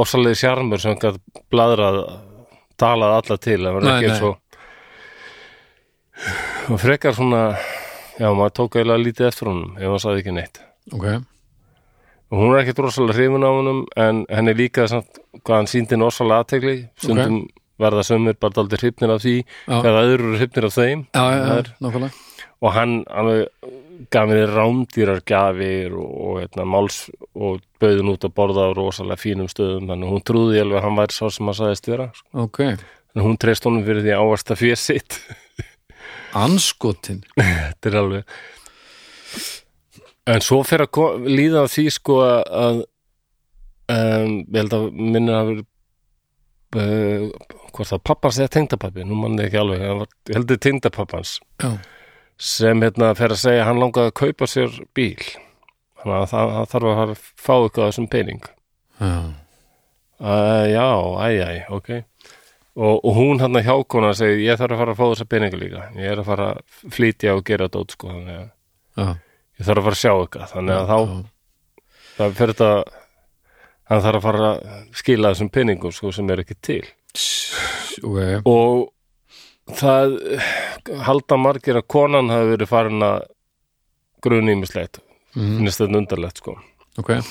A: ofsalegi sjarmur sem hann gætt bladrað talað alla til það var
B: Nei,
A: ekki
B: nei.
A: eins og og frekar svona já, maður tók eiginlega lítið eftir honum ef hann sagði ekki neitt
B: Ok,
A: og hún er ekkit rosalega hrifin á honum en henni líka samt hvað hann síndi henni rosalega aðtegli stundum verða sömur bara daldi hrifnir af því
B: Já.
A: hvað aður eru hrifnir af þeim
B: já, já,
A: Það
B: já,
A: er-
B: nákvæmlega
A: og hann alveg gaf henni rándýrar gafir og, og hérna, máls og bauðin út að borða á rosalega fínum stöðum þannig að hún trúði alveg að hann væri sá sem hann sagðist vera sko.
B: Ok,
A: en hún treyst honum fyrir því að ávasta fyrir sitt
B: anskotin
A: þetta er alveg en svo fer að ko- líða að því sko að um, ég held að minna að uh, hvort það pappans eða tengdapappi, nú mann ekki alveg hann var, ég held að tengdapappans
B: Já,
A: sem hérna fer að segja að hann langaði að kaupa sér bíl þannig að það, það þarf að fara að fá eitthvað af þessum pening
B: já,
A: uh, já, æj, æj, ok og, og hún hann að hjákona segir ég þarf að fara að fá þessa peninga líka ég er að fara að flytja og gera dót sko þannig að
B: já
A: ég þarf að fara að sjá eitthvað þannig að þá,
B: já.
A: það fyrir þetta hann þarf að fara að skila þessum penningum sko, sem er ekki til
B: Ok,
A: og það eh, halda margir að konan hafi verið farin að grunýmislegt
B: Mhm.
A: finnst þetta undarlegt sko
B: ok
A: um,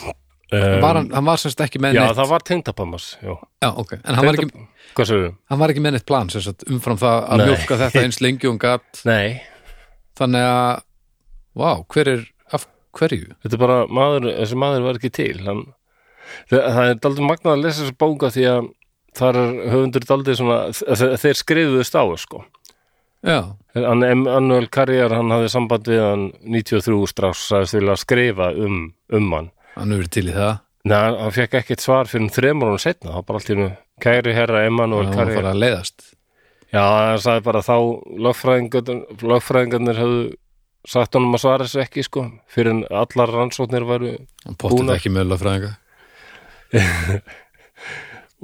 B: var hann, hann var semst ekki með
A: já,
B: neitt
A: það var tengdapammas já.
B: Já, ok, en hann var ekki,
A: Tengda- hvað segir
B: hann var ekki með neitt plan semst umfram það að
A: Nei.
B: mjólka þetta eins lengi og hún gat
A: nei,
B: Þannig að, vá, hver er, af hverju?
A: þetta er bara maður, þessi maður var ekki til hann, það, það er daldið magnað að lesa þessu bóka því að þar er höfundur daldið svona þe- þeir skrifuðust á sko
B: Já,
A: Hann Emmanuel Carrier, hann hafði samband við hann 93 strax, sagðist vilja skrifa um, um hann.
B: hann hefur verið til í það
A: Nei, hann, hann fekk ekkert svar fyrir þremur hún setna, það var bara allt í hennu kæri herra Emmanuel
B: Hann var að
A: Carrier.
B: fara að leiðast
A: Já, hann sagði bara þá lögfræðingarnir, lögfræðingarnir höfðu sagt honum að svara þessu ekki, sko, fyrir en allar rannsóknir væru
B: Hann pottið
A: Búnar.
B: ekki með lögfræðinga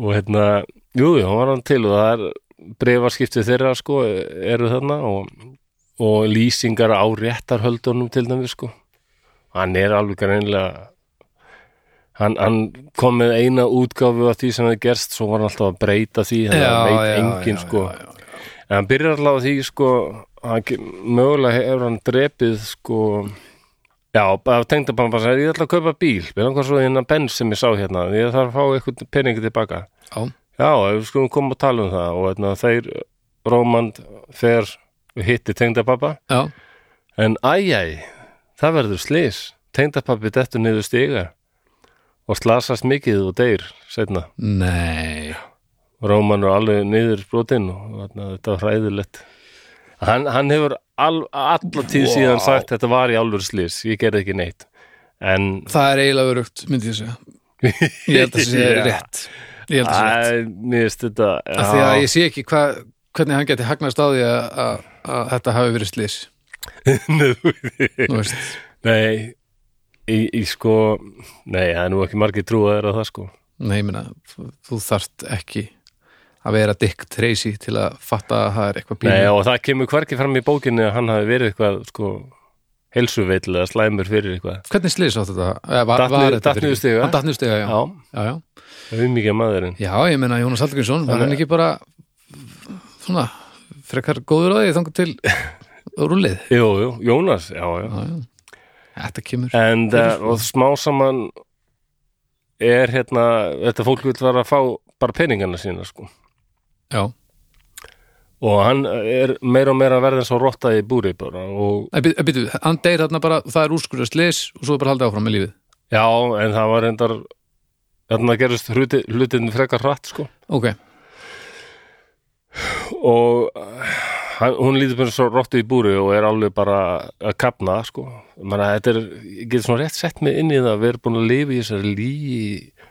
A: og hérna, jú, jú, hann var hann til og það er brefarskiptið þeirra, sko, eru þarna og, og lýsingar á réttarhöldunum til dæmis, sko. Hann er alveg greinlega, hann, hann kom með eina útgáfu af því sem hefði gerst, svo var hann alltaf að breyta því, þannig að veit enginn, sko.
B: já, já.
A: En hann byrjar alltaf á því, sko, hann, ke- mögulega hefur hann drepið, sko, já, af tengdabann bara sagði, ég ætla að kaupa bíl, við hann hvað svo hérna bens sem ég sá hérna, ég þarf að fá eitthvað peningi tilbaka.
B: Já,
A: Já, ef við skulum koma að tala um það og hérna, þeir Rómand fer og hitti tengdapappa
B: já,
A: en æjæ, það verður slís tengdapappi dettur niður stiga og slasast mikið og deyr setna,
B: nei
A: Róman er alveg niður brotinn og hérna, þetta var hræðilegt hann, hann hefur al, alla tíð síðan sagt þetta var í alveg slís, ég gerði ekki neitt en
B: Það er eiginlega örugt, myndi ég segja Ég held að það sé
A: Já.
B: rétt Ég held að það sé rétt
A: Æ, mér veist þetta
B: Af Því að
A: já.
B: ég sé ekki hva, hvernig hann geti hagnast á því að, að, að þetta hafi verið slys
A: Nei, þú veit.
B: Nú veist
A: Nei, í, í sko Nei, það er nú ekki margir trúaðir að það sko
B: Nei, ég meina, þú, þú þarft ekki að vera Dick Tracy til að fatta að það er eitthvað
A: Nei,
B: pínu
A: og það kemur hvergi fram í bókinni að hann hafi verið eitthvað sko heilsuveill eða slæmur fyrir eitthvað
B: Hvernig slys átt þetta? Eh, Var,
A: Datt
B: var
A: niður-
B: þetta
A: datt
B: fyrir-
A: niður stiga?
B: Hann datt niður stiga, já.
A: Já,
B: já, já
A: það er mikið maðurinn
B: Já, ég meina Jónas Hallgrímsson var hann ekki bara svona frekar góður á því þangar til rúlið
A: Jú, jú, Jónas, já, já
B: Já, já. Þetta kemur
A: En uh, og smá saman er hérna þetta fólk vil vera að fá bara peningana sína sko
B: Já,
A: og hann er meira og meira að verða eins og rotta í búri bara og
B: Nei, bý- býtu, hann deyr þarna bara, það er úrskurðast leis og svo er bara haldið áfram með lífið
A: já, en það var reyndar þarna gerist hluti, hlutin frekar hratt sko
B: ok,
A: og eh, hann, hún lítur bara svo rotta í búri og er alveg bara að kapna sko Man, þetta er, ég get svona rétt sett mig inn í það við erum búin að lifa í þessari lígi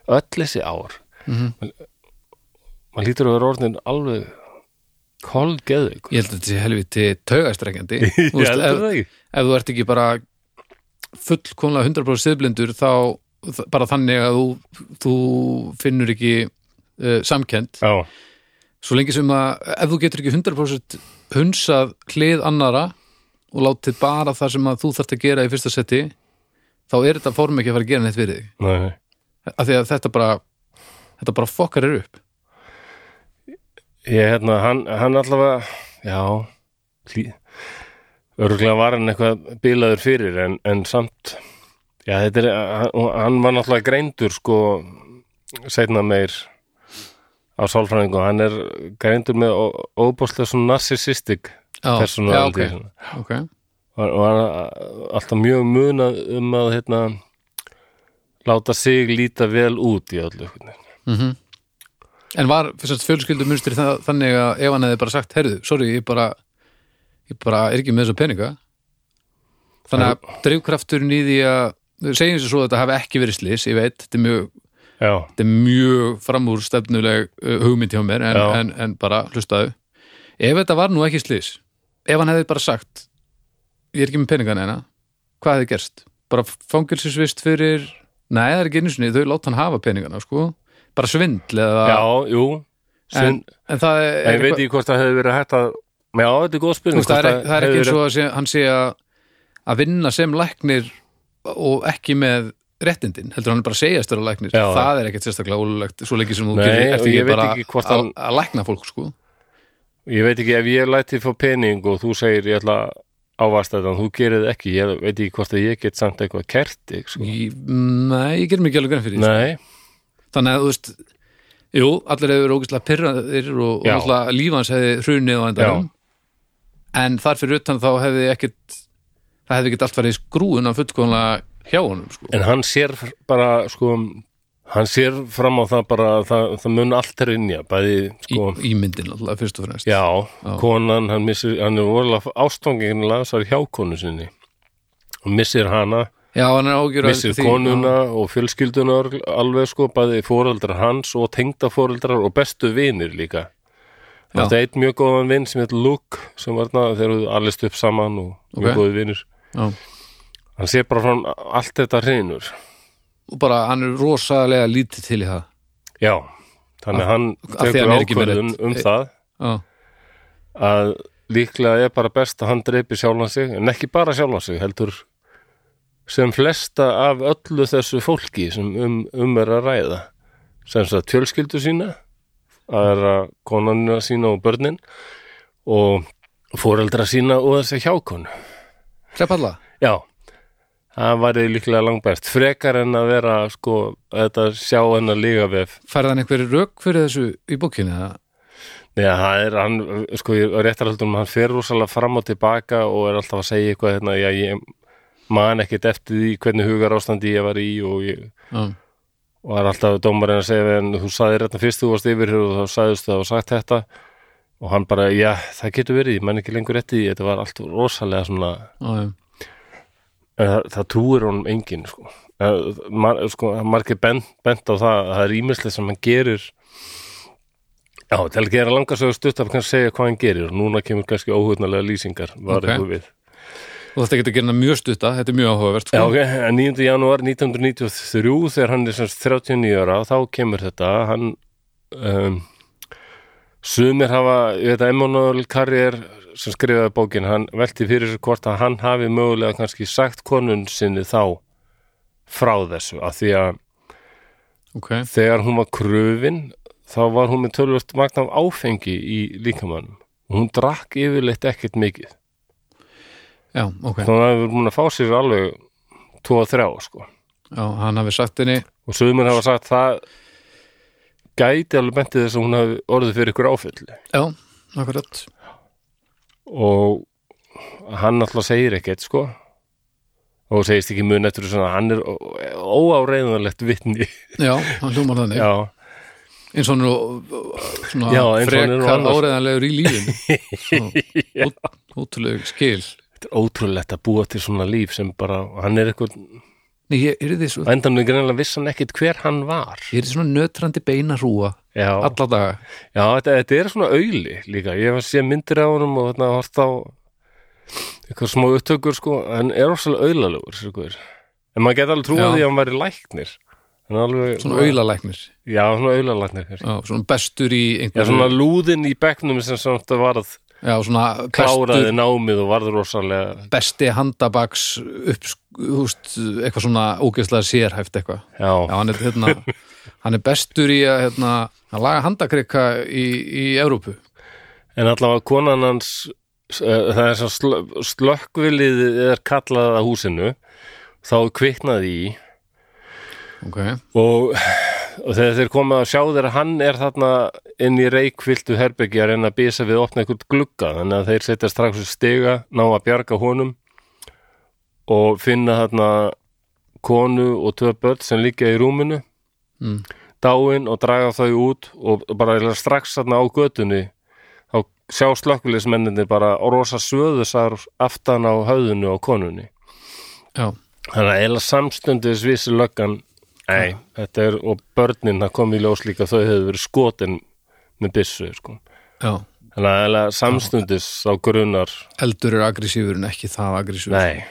A: öll þessi ár
B: Mhm.
A: Man- maður lítur að vera orðin alveg kolgeðug
B: ég held að þetta sé helviti taugastrekjandi Þú
A: ég
B: veist,
A: heldur
B: ef,
A: það ekki
B: ef þú ert ekki bara fullkomlega 100% siðblindur þá þ- bara þannig að þú, þú finnur ekki uh, samkend
A: já,
B: svo lengi sem að ef þú getur ekki 100% hunsað hlið annara og látið bara það sem að þú þarft að gera í fyrsta seti þá er þetta form ekki að fara að gera neitt fyrir þig
A: nei, nei
B: af því að þetta bara þetta bara fokkar er upp
A: Ég, hérna, hann, hann allavega, já, hlý, örgulega var hann eitthvað bilaður fyrir, en, en samt, já, þetta er, hann, hann var náttúrulega greindur, sko, seinna meir á sálfræðingu, hann er greindur með ó- óbóðslega svona narcissistic
B: Já, já,
A: personality,
B: ok,
A: svona.
B: ok
A: og, og hann alltaf mjög munað um að, hérna, láta sig líta vel út í öllu, einhvern veginn.
B: En var fjölskyldumunstri þannig að ef hann hefði bara sagt, herðu, sorry, ég bara, ég bara er ekki með þessu peninga þannig að drifkrafturinn í því að segjum sér svo að þetta hafi ekki verið slis ég veit, þetta er mjög,
A: Já,
B: þetta er mjög framúr stefnuleg uh, hugmynd hjá mér en,
A: Já.
B: en, en bara hlustaðu ef þetta var nú ekki slis ef hann hefði bara sagt ég er ekki með peninga neina, hvað hefði gerst? Bara fangilsisvist fyrir nei, það er ekki einu sinni, þau láta hann hafa peningana sko, bara svindl eða
A: já, jú,
B: en, en það er,
A: Ég veit ekki hvort það hefði verið hægt að Já, þetta er góð
B: þú
A: spurning
B: veist, það, er,
A: hvort
B: ekki- það er
A: hefði
B: ekki eins
A: verið-
B: og að sé, hann sé að að vinna sem læknir og ekki með réttindin, heldur hann er bara að segjast vera læknir,
A: Já, já.
B: það er ekkert sérstaklega ólulegt svo lengi sem þú
A: Nei,
B: gerir,
A: og
B: ert
A: ég
B: ekki
A: veit
B: bara
A: ekki hvort
B: að,
A: hann-
B: að lækna fólk sko
A: Ég veit ekki ef ég læti fá pening og þú segir ég ætla að ávasta þetta en þú gerir það ekki, ég veit ekki hvort að ég get samt eitthvað kert ekki, sko.
B: ég, nei, ég gerum ekki alveg grein fyrir því.
A: Nei,
B: þannig að þú veist jú, allir hefur ógislega pyrraðir og, og
A: Já.
B: náttúrulega líf hans hefði hrunið á endanum en þar fyrir utan þá hefði ekkert það hefði ekkert allt farið í skrúin að fullkomlega hjá honum sko
A: en hann sér bara sko, hann sér fram á það bara að það, það mun allt er innja bæði,
B: í,
A: sko,
B: í myndin alltaf fyrst og fremst
A: já, konan hann, missir, hann er vorulega ástangin lasar hjá konu sinni og missir hana
B: Já, hann er ágjur
A: missir konuna og fjölskylduna örgl- alveg sko, bæði fóreldrar hans og tengdaforeldrar og bestu vinir líka
B: Já.
A: þetta er einn mjög góðan vin sem heit Luke sem var þarna þegar þú allist upp saman og mjög
B: Ok.
A: góði vinir
B: Já.
A: hann sé bara frá allt þetta hreinur
B: Og bara, hann er rosalega lítið til í það
A: já, þannig að hann
B: Ah, af því hann
A: tekur
B: er ekki með
A: ákvörðun
B: rétt-
A: um
B: e-
A: það
B: Já,
A: að líklega er bara best að hann dreipi sjálfan sig, en ekki bara sjálfan sig heldur sem flesta af öllu þessu fólki sem um, um er að ræða sem sagt fjölskyldu sína að er að konanina sína og börnin og fóreldra sína og þessi hjákonu
B: hreppalla
A: já, það væri líklega langbæst frekar en að vera sko þetta sjá hennar lígavef
B: Færði hann einhverju rauk fyrir þessu í bókinni það?
A: Nei, það er hann, sko, ég réttarhaldum, hann fer rosalega fram og tilbaka og er alltaf að segja eitthvað hérna, já, ég man ekkert eftir því hvernig hugar ástandi ég var í og, ég,
B: Já,
A: og er alltaf dómarinn að segja, en þú sagði réttan fyrst þú varst yfir hér og þá sagðist það og sagt þetta og hann bara, já, það getur verið, ég menn ekki lengur eftir því, þetta var allt rosalega svona,
B: já, já.
A: en það, Eh, það trúir honum enginn, sko. Það- Mar, sko, margir bent, bent á það, það er ímislega sem hann gerir Já, til að gera langarsögur stutt af kannski segja hvað hann gerir núna kemur kannski óhugnalega lýsingar var
B: Ok.
A: eitthvað við.
B: Og þetta getur að gera hann mjög stutta, þetta er mjög áhugavert sko.
A: Já, ok, en 9. janúar 1993 þegar hann er semst 39 ára þá kemur þetta hann um, sumir hafa, ég veit að Emanuel Carrier sem skrifaði bókin, hann velti fyrir sér hvort að hann hafi mögulega kannski sagt konun sinni þá frá þessu, af því að
B: ok,
A: þegar hún var kröfin þá var hún með tölvöld magn af áfengi í líkamannum og hún drakk yfirleitt ekkert mikið
B: já, ok
A: þannig að við erum búin að fá sér alveg 2-3 sko
B: Já, hann hafi sagt henni
A: og sögumir hafa sagt það gæti alveg bentið þess að hún hafi orðið fyrir ykkur áfylli
B: Já, akkurat
A: og hann alltaf segir ekkert sko og segist ekki mun eftir svona, hann er óáreiðanlegt vitni
B: já, hann hljómar þannig
A: já,
B: eins og hann er ó- ó- svona
A: Já, eins og hann er nú
B: frekar
A: annars.
B: áreðanlegur í lífin ótrúleg skil
A: þetta er ótrúlegt að búa til svona líf sem bara, hann er eitthvað
B: Nei, ég er þið svo,
A: endanlega greinlega vissi hann ekkert hver hann var
B: ég er svona nötrandi beina rúa
A: já,
B: alla daga
A: já þetta, þetta er svona auðli líka, ég hef sé myndir á honum og þarna hort á eitthvað smá upptökur sko, hann er rosalega auðlalegur sér guður. en maður geti alveg trúið
B: Já.
A: því að hann væri læknir Hann er alveg,
B: svona auðalæknir,
A: já, svona auðlalæknir kannski.
B: svona bestur í
A: já,
B: einhverju,
A: svona lúðin í bekknum sem samt að varð
B: já, svona bestur,
A: kláraði námið og varð rosalega
B: besti handabaks upp, húst, eitthvað svona ógeðslega sérhæft eitthvað
A: já,
B: já, hann er, hérna, hann er bestur í að hérna, hann laga handakrika í, í Evrópu
A: En allavega konan hans eh, það er svo sl- slökkvilið er kallað að húsinu þá kviknaði í
B: ok,
A: og, og þegar þeir komið að sjá þeir að hann er þarna inn í reikviltu herbyggi að reyna að býsa við að opna einhvern glugga þannig að þeir setja strax úr stiga ná að bjarga honum og finna þarna konu og tvö börn sem líka í rúminu
B: Mm.
A: dáin og draga þau út og bara eiginlega strax þarna á götunni þá sjá slökkulismenninni bara rosa svöðusar aftan á höfðinu á konunni
B: já,
A: Þannig að eila samstundis vissi löggan Nei, þetta er, og börnin það kom í ljós líka, þau hefur verið skotin með byssu, sko
B: já
A: Þannig að eila samstundis á grunar,
B: eldur er agressífur en ekki það agressífur
A: nei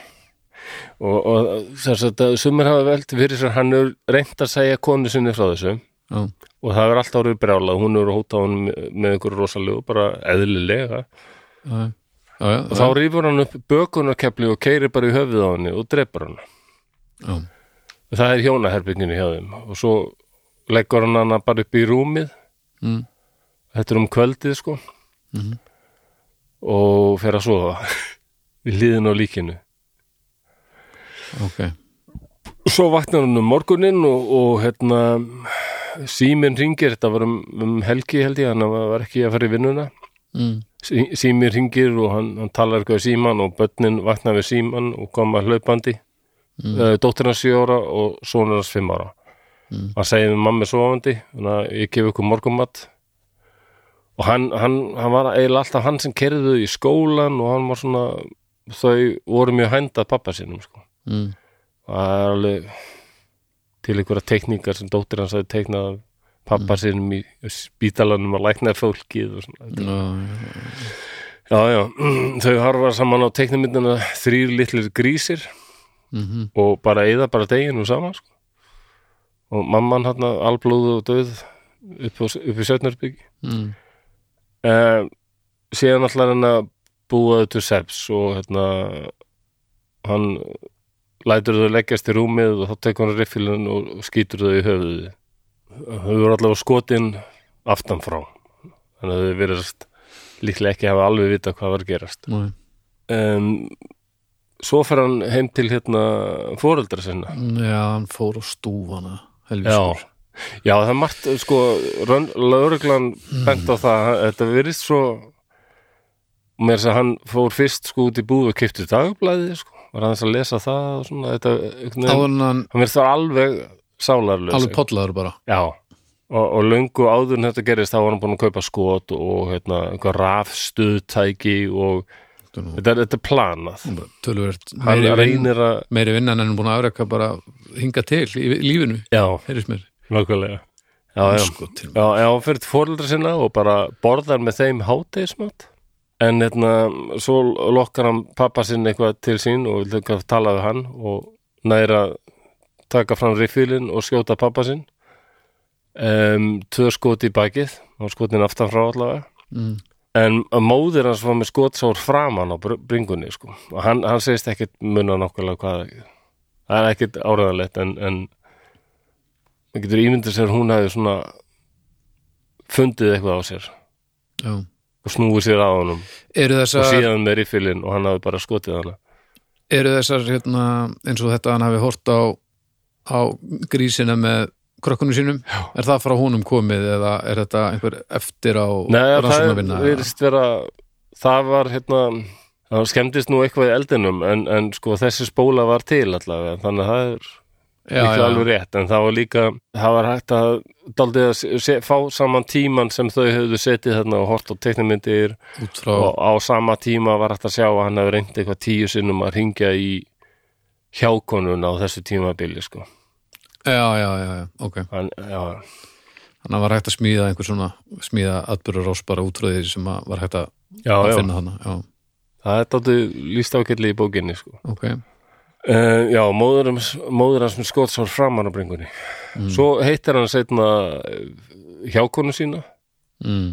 A: Og, og sem sagt að sumir hafa velt fyrir sér, hann er reynt að segja konu sinni frá þessu
B: já,
A: og það er alltaf orðið brjálað, hún er að hóta hún með einhverju rosalegu, bara eðlilega
B: já, já, já,
A: og þá rýfur hann upp bökunarkepli og keirir bara í höfuð á henni og drepar hann
B: já,
A: það er hjónaherbygginu hjá þeim og svo leggur hann hana bara upp í rúmið
B: Mm.
A: þetta er um kvöldið sko og fer að sofa við hliðin á líkinu
B: ok
A: svo vaknar hann um morguninn og, og hérna síminn ringir, þetta var um, um helgi held ég, hann var ekki að fara í vinnuna
B: mm.
A: sí, síminn ringir og hann, hann talar eitthvað í símann og börnin vaknar við símann og koma hlaupandi mm. dóttir hans 7 ára og sonur hans 5 ára hann segir við mammi sofandi þannig að ég gef ykkur morgumat og hann, hann, hann var eiginlega alltaf hann sem kerðu í skólan og hann var svona þau voru mjög hændað pappa sínum sko.
B: Mm.
A: það er alveg til einhverja teikningar sem dóttir hans hafði teiknað af pappa sínum í spítalanum að lækna fólkið og svona
B: já, já,
A: Já, já, þau harfa saman á teiknumyndina þrýr litlir grísir
B: mhm,
A: og bara eða bara deginu saman sko. og mamman hann alblóðu og döð upp, á, upp í Sötnarbyggi
B: mm.
A: uh, síðan allar hann að búa þau til seps og hérna hann lætur þau leggjast í rúmið og þá tekur hann riffilinn og og skýtur þau í höfuði þau eru allavega skotin aftanfrá þannig að þau verðast líklega ekki hafa alveg vita hvað var að gerast
B: Nei.
A: um, svo fer hann heim til hérna fóreldra sinna
B: já, hann fór á stúfana
A: já,
B: helviskur
A: já það er margt sko, lauruglan
B: Mm.
A: bent á það þetta virðist svo mér þess að segja hann fór fyrst sko út í búð og kipti dagblæði sko, var aðeins að lesa það og svona, þetta,
B: þá
A: einhvern veginn-
B: var hann
A: hann virðist það alveg sálarlaus
B: alveg pollaður bara
A: já Og, og löngu áður en þetta gerist þá var hann búin að kaupa skot og hérna, eitthvað rafstuðtæki og
B: Þetta er nú-
A: þetta er, þetta er planað
B: tölvöld
A: hann
B: meiri, vin,
A: reynir að
B: meiri vinnan en hann er búin að afreka bara hinga til í lífinu
A: já,
B: heyrðis mér
A: Nákvæmlega Já, já,
B: sko, til
A: já, já hann fyrir fóreldra sinna og bara borðar með þeim hátegismat en hérna, svo lokkar hann pappa sinn eitthvað til sín og vil eitthvað tala við hann og næra taka fram riffilinn og skjóta pappa sinn um, tvö skot í bakið og skotin aftan frá allavega
B: mm.
A: en móðir hans var með skotsár framan á br- bringunni sko. og hann, hann segist ekkit munna nákvæmlega hvað það er ekkit áraðanlegt en, en það getur ímyndið sér að hún hafi svona fundið eitthvað á sér
B: já.
A: og snúið sér á honum
B: eru
A: og
B: þessar,
A: síðan með riffilinn og hann hafi bara skotið hana
B: eru þessar hérna, eins og þetta hann hafi hort á, á grísina með krökkunum sínum, já. er það frá honum komið eða er þetta einhver eftir á
A: Nei, það
B: rannsóknarvinna
A: er- virðist vera það var hérna það skemmdist nú eitthvað í eldinum en, en sko þessi spóla var til allavega þannig að það er líklega alveg rétt en það var líka, það var hægt að daldið að se- se, fá saman tíman sem þau höfðu setið þarna og hort á teknimyndir
B: út frá
A: og á sama tíma var hægt að sjá að hann hefði reynd eitthvað tíu sinnum að ringja í hjákonun á þessu tímabili sko
B: já, já, já, já, ok
A: hann, já,
B: þannig að var hægt að smíða einhver svona smíða atbyrðarás bara út frá því sem að var hægt að,
A: já,
B: að
A: já,
B: finna þarna já,
A: það er daldið líst ákjalli í bókinni sko
B: ok,
A: Uh, já, móður, hans- móður hans með skotsár framar á bringunni. Svo heitir hann setna hjákonu sína
B: mm.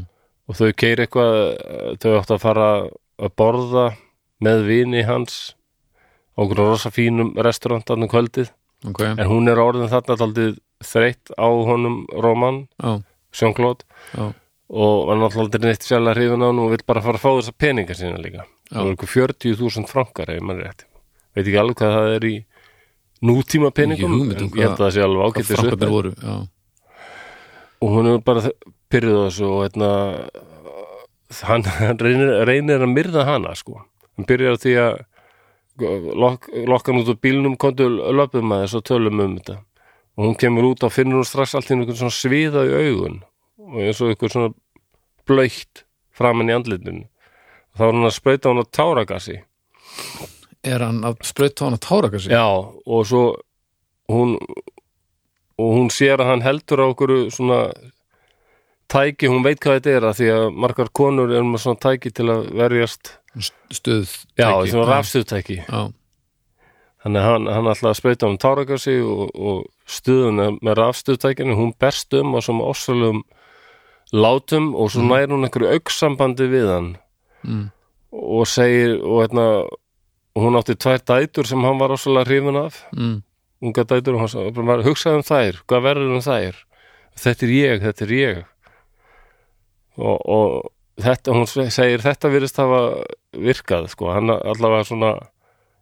A: og þau keir eitthvað, eh, þau áttu að fara að borða með vini hans á okkur rosa fínum restaurantarnum kvöldið
B: ok já,
A: en hún er orðin þarna taldið þreytt á honum Róman, Sjónklót
B: já,
A: og hann alltaf aldrei neitt sjálf að hrifin á hann og vill bara fara að fá þessa peninga sína líka. Það voru eitthvað 40.000 frankar ef maður er rétt. Veit ekki alveg hvað það er í nútíma peningum.
B: Ekki hugmynd um
A: en ég held að það sé alveg
B: hvað
A: ágættis upp.
B: frankarnir voru já,
A: Og hún er bara pyrrið á þessu og hérna, hann, hann reynir, reynir að myrða hana sko. Hann byrjar á því að lok, lokka hann út úr bílnum, kontu löpum að þessu og tölum um þetta. Og hún kemur út og finnur hún strax allt í einu einhvern svona sviða í augun og eins og einhvern svona blöytt framan í andlitinu. Þá er hún að sprauta hún á táragasi.
B: er hann að sprauta hann að tára kannski
A: Já, og svo hún og hún sér að hann heldur á okkur svona tæki, hún veit hvað þetta er að því að margar konur eru með svona tæki til að verjast
B: stuð
A: já,
B: tæki.
A: svona rafstuðtæki
B: já,
A: þannig að hann, hann alltaf að spreita um táragasi og, og stuðuna með rafstuðtækinu hún berst um á svona ossralum látum og svo nær hún einhverju auksambandi við hann
B: mm.
A: og segir og hérna, hún átti tvær dætur sem hann var ossralega hrifin af
B: Mm.
A: unga dætur og hann var hugsaði um þær hvað verður um þær þetta er ég, þetta er ég og, og þetta, hún se- segir þetta virðist hafa virkað sko, hann allavega svona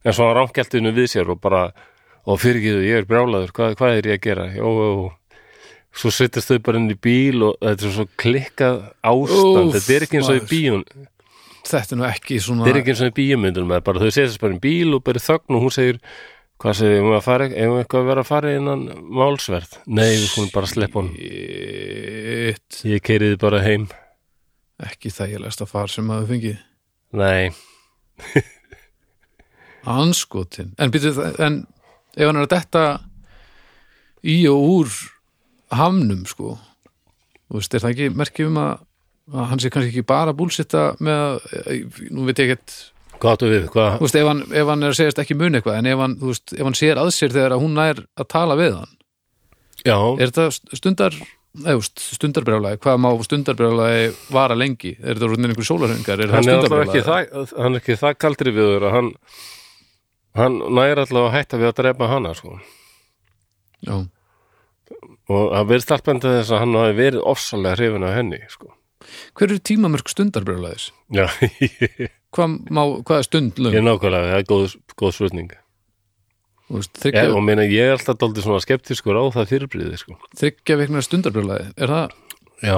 A: en svo hann rámkjælti hennu við sér og bara og fyrirgiðu, ég er brjálaður, hvað, hvað er ég að gera jó, jó, jó svo sittast þau bara inn í bíl og þetta er svo klikkað ástand
B: Úff,
A: þetta er ekki eins og í
B: maður.
A: bíun
B: þetta er nú ekki
A: þetta
B: svona
A: er ekki eins og í bíumyndunum eða bara þau setjast bara í bíl og bara í þögn og hún segir hvað segir, eigum við að fara eigum við eitthvað að vera að fara innan málsverð nei, við skulum bara sleppa hún
B: Shit.
A: ég keiriði bara heim
B: ekki þægilegasta far sem maður fengið
A: nei,
B: anskotin en, býtu, en ef hann er að detta í og úr hamnum sko þú veist, er það ekki merkjum um að, að hann sé kannski ekki bara að búlsitta með að, nú veit ég ekkert
A: hvað áttu við
B: þú
A: hvað?
B: veist, ef hann, ef hann er að segjast ekki mun eitthvað en ef hann, þú veist, ef hann sér að sér þegar að hún nær að tala við hann
A: já,
B: er þetta st- stundar eða, stundarbrjálæði, hvað má stundarbrjálæði vara lengi, er þetta orðin einhver sólarhengar, er það
A: hann er alltaf
B: stundarbrjálæði
A: ekki það hann er ekki það kaldri við þurra hann, hann næri alltaf að hætta við að drepa hana sko.
B: já,
A: og það verið starfbenda þess að hann hafi verið ofsalega hrifin af henni sko.
B: hver eru tímamörk stundarbrjálæðis
A: já, ég
B: hvað, má, hvað er stund löng
A: er nákvæmlega það er góð, góð spurning
B: Þú veist,
A: ég,
B: þriggja,
A: og meina ég er alltaf daldið svona skeptiskur á það fyrirbriði sko.
B: þriggja vikna stundarbrjólaði er það
A: Já,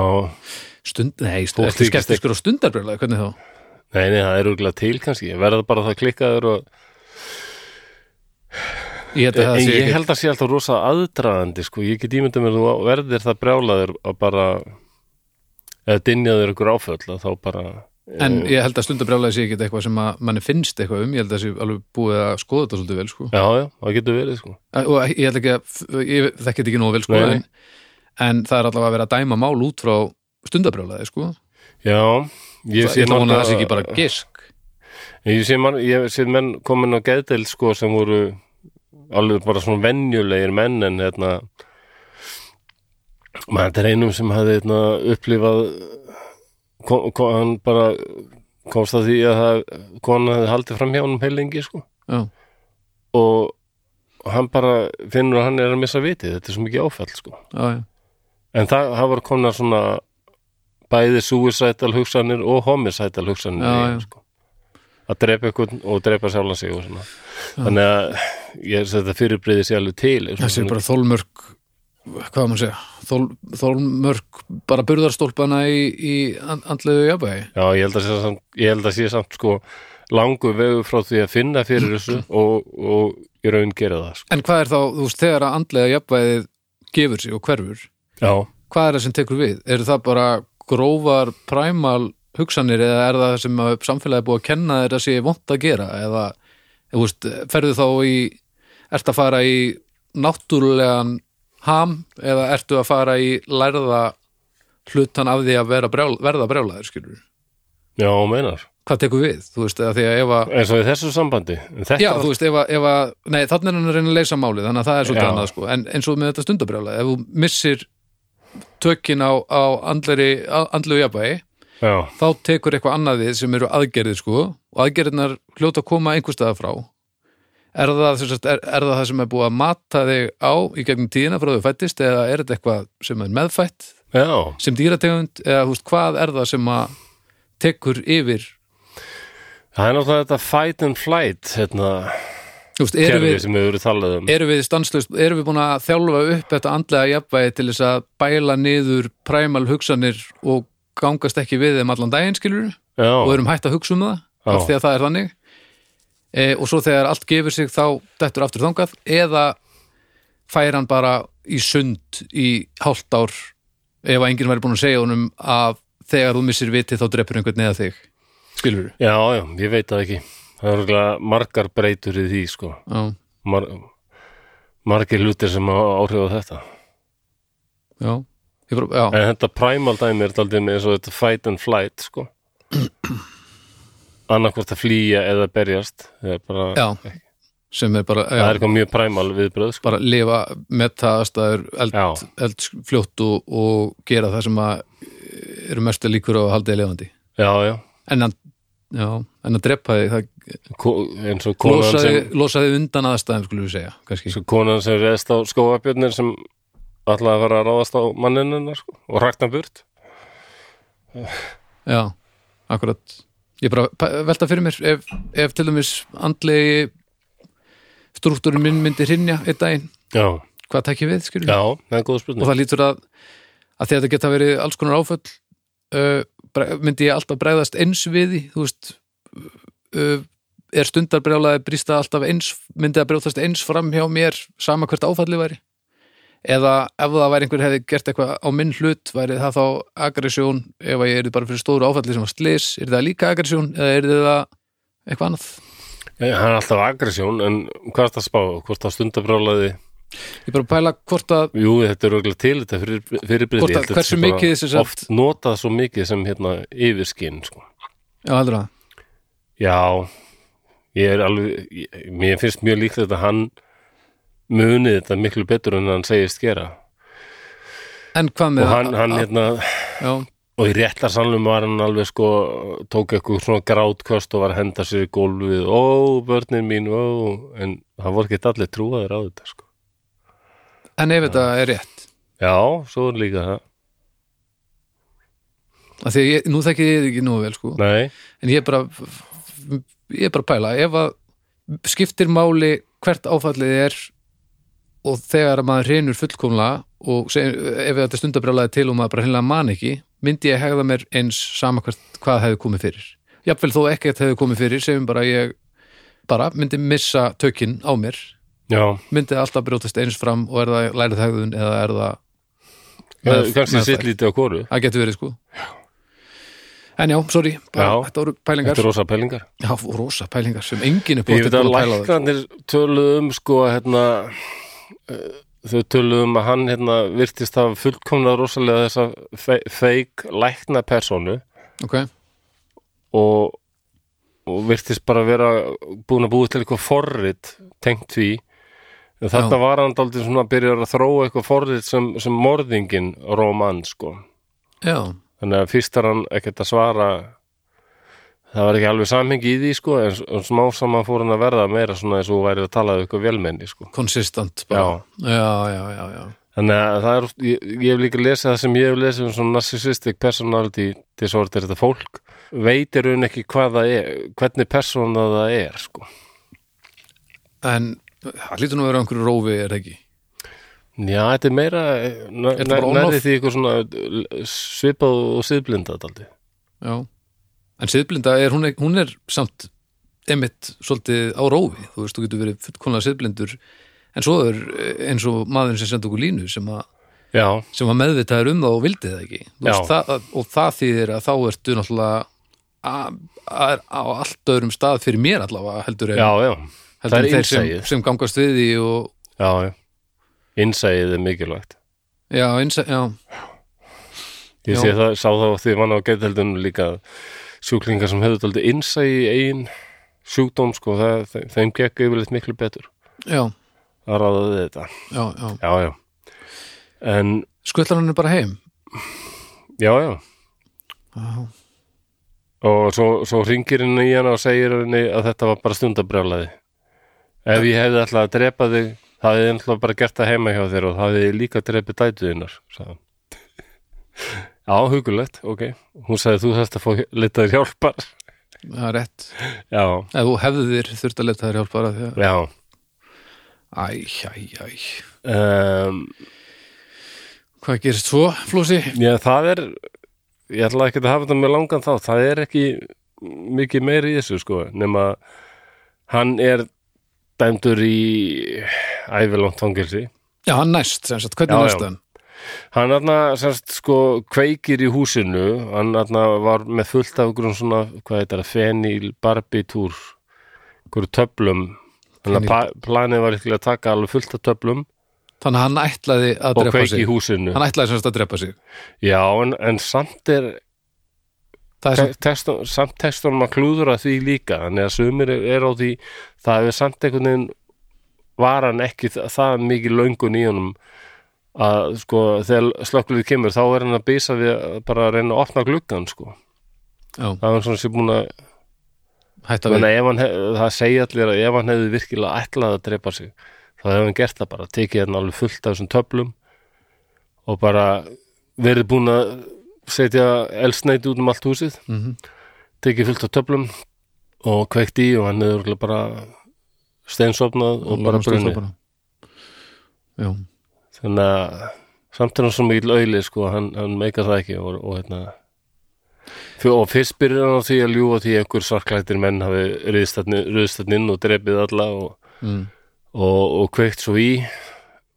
B: stund, nei,
A: Fólk
B: stund, ertu
A: þykist
B: skeptiskur á stundarbrjólaði hvernig þá,
A: nei, nei, það er örgulega til kannski, verða bara það klikkaður og,
B: ég held að
A: en
B: það sé
A: ég
B: ekki
A: held að sé alltaf rosa aðdraðandi, sko, ég get ímyndað mér að þú verðir það brjálaður að bara eða dynjaður ykkur áföll að þá bara,
B: en ég held að stundarbrjólaði sé ekki eitthvað sem að manni finnst eitthvað um, ég held að það sé alveg búið að skoða þetta svolítið vel sko,
A: já, já, það getur verið sko,
B: Eh, og ég held ekki að ég þekki þetta ekki nóg vel sko
A: Nei, nei.
B: en, en það er allavega að vera að dæma mál út frá stundarbrjólaði sko,
A: já
B: ég,
A: ég
B: það, ég ætla hún að það sé ekki bara gisk
A: ég sé, man, ég sé menn komin á geðdel sko sem voru alveg bara svona venjulegir menn en hérna maður er einum sem hafði hérna, upplifað kom, kom, hann bara komst að því að það, konan hafði haldið fram hjá hann heilengi sko
B: já,
A: og hann bara finnur að hann er að missa vitið, þetta er svo mikið áfæll sko
B: já, já,
A: en það, það var konar svona bæði suicidal hugsanir og homicidal hugsanir
B: Já,
A: í
B: já.
A: þeim, sko. að drepa ykkur og drepa sjálfan sig og svona þannig að ég er þetta fyrirbriði sér alveg til sko.
B: það sé bara þólmörk hvað á maður að segja, þól, þólmörk bara burðarstólpana í, í and- andlegu jafnvægi
A: Já, ég held að sé samt, ég held að sé samt sko langu vegu frá því að finna fyrir þessu og, og í raun gera það sko.
B: En hvað er þá, þú veist, þegar að andlega jafnvægið gefur sig og hverfur,
A: Já,
B: hvað er það sem tekur við? Eru það bara grófar præmal hugsanir eða er það sem að samfélagi er búið að kenna þér að sé vont að gera eða, þú veist, ferðu þá í ertu að fara í náttúrulegan ham eða ertu að fara í lærða hlutan af því að vera brjál, verða brjálaður skilur,
A: já, meinar
B: hvað tekur við? Þú veist, að því að ef að
A: eins og í þessu sambandi En þetta,
B: Já, þú veist, ef að, ef að, nei, þannig er hann að reyna að leysa málið, þannig að það er svolítið
A: Já.
B: annað, sko, en eins og með þetta stundabrjála, ef þú missir tökin á, á andleri, andlu jafnvægi,
A: já,
B: þá tekur eitthvað annað við sem eru aðgerðir sko og aðgerðirnar hljóta að koma einhver staðar frá er það, sem sagt, er, er það það sem er búið að mata þig á í gegnum tíðina frá þau fættist eða er þetta eitthvað sem er meðfætt
A: já,
B: sem dýrategund eða húst, hvað er það sem að tekur yfir
A: það er náttúrulega þetta fight and flight hérna,
B: húst, erum,
A: kerfi
B: við,
A: sem við verið talað um
B: erum við stanslust erum við búin að þjálfa upp þetta andlega jafnvægi til þess að bæla niður præmal hugsanir og gangast ekki við þeim allan daginn skilur og
A: Já,
B: erum hægt að hugsa um það
A: Já.
B: af því að það er þannig e, og svo þegar allt gefur sig þá dettur aftur þangað eða fær hann bara í sund í hálft ár ef að enginn væri búin að segja honum að þegar þú missir vitið þá drepur einhvern neða þig skilur við
A: já, já, ég veit það ekki það er örugglega margar breytur í því sko
B: já,
A: Mar margir hlutir sem hafa áhrif á þetta
B: já, Ég bara, já.
A: En þetta primal dæmi er daldið með eins og þetta fight and flight sko annarkvort að flýja eða berjast það er bara,
B: já. sem er bara,
A: það er
B: já,
A: eitthvað mjög primal viðbröð sko.
B: bara lifa metta aðstæður eld,
A: Já,
B: eldfljótt og, og gera það sem að eh, eru mestu líkur á að halda í lefandi
A: já, já
B: en að, já, en að drepa þig það
A: Ko eins og konan
B: losaði,
A: sem,
B: losaði undan aðstæðum skulum við segja, kannski
A: sem konan sem reðst á skóabjörnir sem ætlaði að fara að ráðast á manninuna sko, og rakna burt
B: já, akkurat ég bara pa- velta fyrir mér ef, ef til dæmis andlegi struktúrin minn myndi hrinja einn daginn,
A: Já,
B: hvað takk ég við skilur
A: já, það er góð
B: og
A: spurning
B: það lítur að, að því að þetta geta verið alls konar áföll uh, bre- myndi ég alltaf bregðast eins við því þú veist uh, er stundarbrjálaði brýsta alltaf eins myndi það brjóðast eins fram hjá mér sama hvert áfalli væri eða ef það væri einhver hefði gert eitthvað á minn hlut væri það þá aggressjón ef að ég er bara fyrir stóru áfalli sem var slis er það líka aggressjón eða er það eitthvað annað
A: Ég, Hann er alltaf aggressjón, en hvað er það að spá? Hvort það stundabrálaði?
B: ég bara pæla hvort að
A: Jú, þetta er örgulega til þetta fyrir, fyrirbrið
B: Hvort að- hversu mikið þessi sagt-
A: Oft notað svo mikið sem hérna yfirskinn sko.
B: já heldur það
A: Já, ég er alveg, ég, mér finnst mjög líklegt að hann munið þetta miklu betur en hann segist gera.
B: en hvað með
A: Og hann, hann
B: að-
A: hérna,
B: já,
A: og í réttarsalnum var hann alveg sko, tók eitthvað svona grátköst og var að henda sér í gólfið, ó, börnin mín, ó, en hann voru ekki allir trúaður á þetta sko.
B: en ef þetta er rétt
A: Já, svo er líka það.
B: að því að ég, nú þekki ég þig ekki nú vel sko
A: Nei,
B: en ég er bara ég er bara að pæla ef að skiptir máli hvert áfallið er og þegar að maður reynur fullkomlega og seg, ef þetta stundabrjálaði til og maður bara hreinlega man ekki myndi ég hegða mér eins sama hvert, hvað hefði komið fyrir jafnvel þó ekkert hefði komið fyrir segjum bara að ég bara myndi missa tökin á mér
A: já,
B: myndi alltaf brjótast eins fram og er það lærið hegðun eða er það Með-
A: kannski
B: meðferð.
A: sitt lítið á kóru.
B: það getur verið sko en já, sorry, bara,
A: Já.
B: þetta voru pælingar
A: Þetta er rosa pelingar.
B: Já, og rosa pælingar sem enginn er
A: Ég
B: búið
A: veit að læknarnir töluðu um sko hérna eh, þau töluðu um að hann hérna virtist hafa fullkomna rosalega þessa fe- feik lækna personu
B: Ok,
A: og, og virtist bara vera búin að búið til eitthvað forrit tengt því en þetta var hann daldið svona að byrja að þróa eitthvað forrit sem, sem morðingin róman sko
B: já,
A: þannig að fyrst er hann ekkert að svara það var ekki alveg samhengi í því sko en, s- en smá saman fór hann að verða meira svona eins og þú væri að tala um eitthvað velmenni sko
B: konsistant
A: Já,
B: bara. Já, já, já, já
A: þannig að það er, ég, ég hef líka lesið það sem ég hef lesið um svona narcissistic personality disorder þetta fólk veitir hún ekki hvað það er, hvernig persóna það er sko.
B: En það lítur nú að vera á einhverju rófi er það ekki
A: Já, þetta er meira eh, nær-
B: þetta
A: nær-
B: bara on-off?
A: nærri því eitthvað svona eh, svipað og siðblinda daldi.
B: Já. En siðblinda er, hún er, hún er samt emitt svolítið á rófi, þú veist, þú getur verið fullkonlega siðblindur en svo er eh, eins og maðurinn sem sendi okkur línu sem að,
A: Já,
B: sem að meðvitaður um það og vildi það ekki Þú veist,
A: Já.
B: það, að- og það þýðir að þá ertu náttúrulega að, að er á allt öðrum stað fyrir mér allavega heldur en,
A: já, já. Það
B: heldur
A: er
B: en þeir sem,
A: innsæið.
B: sem gangast við því og,
A: Já, já. Innsæið er mikilvægt.
B: já, innsæ, já,
A: Ég
B: Já.
A: sé það, sá það á því mann á geðheldunum líka að sjúklingar sem hefur daldi innsæið í eigin sjúkdóm, sko, það, þe- þeim gekk yfirleitt miklu betur
B: já,
A: að ráða við þetta.
B: já, já.
A: Já, já. En,
B: Skutlar hann er bara heim
A: já, já.
B: Já,
A: Og svo, svo ringir henni í hana og segir henni að þetta var bara stundabrjálaði. Ef ég hefði alltaf að drepa þig, það hefði alltaf bara gert það heima hjá þér og það hefði ég líka drepið dætuðinnar, sagði hann. Já, hugulegt, ok. Hún sagði þú þarft að fá litaður hjálpar.
B: það er rétt
A: Já,
B: Ef þú hefðir þurft að leta þær hjálp bara því að
A: já.
B: Æ, æ, æ
A: Um,
B: Hvað gerist svo, Flósi?
A: já, það er, ég ætla ekki að hafa þetta með langan þá, það er ekki mikið meiri í þessu, sko, nema hann er dæmdur í ævilónt fangilsi.
B: Já, hann næst, sem sagt, hvernig
A: Já,
B: næst
A: já.
B: hann?
A: Hann aðna, sérst, sko, kveikir í húsinu, hann aðna var með fullt af einhverjum svona, hvað heitir það, feníl, barbitúr, einhverju töflum, þannig að pa- planið var ykkur að taka alveg fullt af töflum
B: Þannig að hann ætlaði að
A: og
B: drepa
A: kveiki í
B: sig
A: húsinu.
B: Hann ætlaði sem sagt að drepa sig
A: Já, en, en samt er,
B: Það er sem,
A: te- tekst, samt textunum að klúðra því líka, þannig að sumir er á því, það hefur samt einhvern veginn, var hann ekki þa- það mikið löngun í honum að sko þegar slökkulið kemur þá er hann að býsa við að bara að reyna að opna gluggan sko
B: já,
A: það var svona sem búin að
B: hætta við
A: menna, ef hann, hef- það segja allir að ef hann hefði virkilega ætlað að drepa sig þá hefði hann gert það bara, tekið hann alveg fullt af þessum töflum og bara verið búin að setja elsneiti út um allt húsið
B: Mhm.
A: tekið fullt af töflum og kveikt í og hann hefði örugglega bara steinsopnað og bara
B: Látum stúta
A: brunni
B: bara. Já,
A: þannig að samt er hann svo mikil auðli sko, hann, hann meika það ekki og, og hérna fyr- og fyrst byrjar hann á því að ljúga því að einhver sarklættir menn hafi rauðstatn inn og drepið alla og,
B: mm.
A: og, og kveikt svo í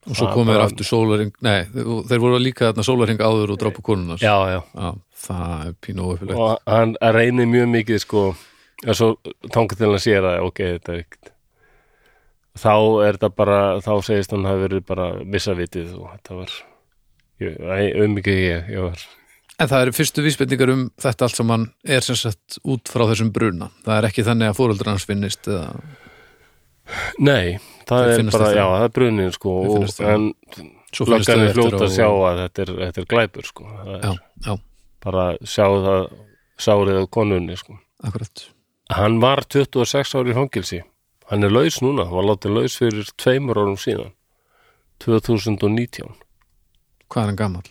B: og svo
A: Það
B: komið þér
A: bara-
B: aftur sólaring Nei, og þeir voru líka þarna sólaring áður og drápa konuna
A: já, já,
B: það er pínu óöfilegt
A: og hann reynir mjög mikið sko, að svo þangar til hann sér að ok, þetta er ekkert þá er þetta bara, þá segist hann hafi verið bara missavitið og þetta var ég, æ, um mikið ég, ég var
B: En það eru fyrstu vísbendingar um þetta allt sem hann er sem sagt út frá þessum bruna Það er ekki þannig að fóröldrar hans finnist eða...
A: Nei, það
B: Þeir
A: er
B: finnast
A: bara,
B: eftir
A: já,
B: það.
A: það er brunin sko,
B: Þeir
A: og,
B: finnast það.
A: en
B: Svo finnast
A: löggan
B: þau
A: er
B: eftir
A: fljóta
B: á-
A: að sjá að þetta er, þetta er glæpur sko, Það er
B: Já, já,
A: bara að sjá það sárið á konunni sko.
B: akkurat
A: Hann var 26 ári í fangilsi hann er laus núna, var látið laus fyrir tveimur árum síðan 2019
B: Hvað er hann gamall?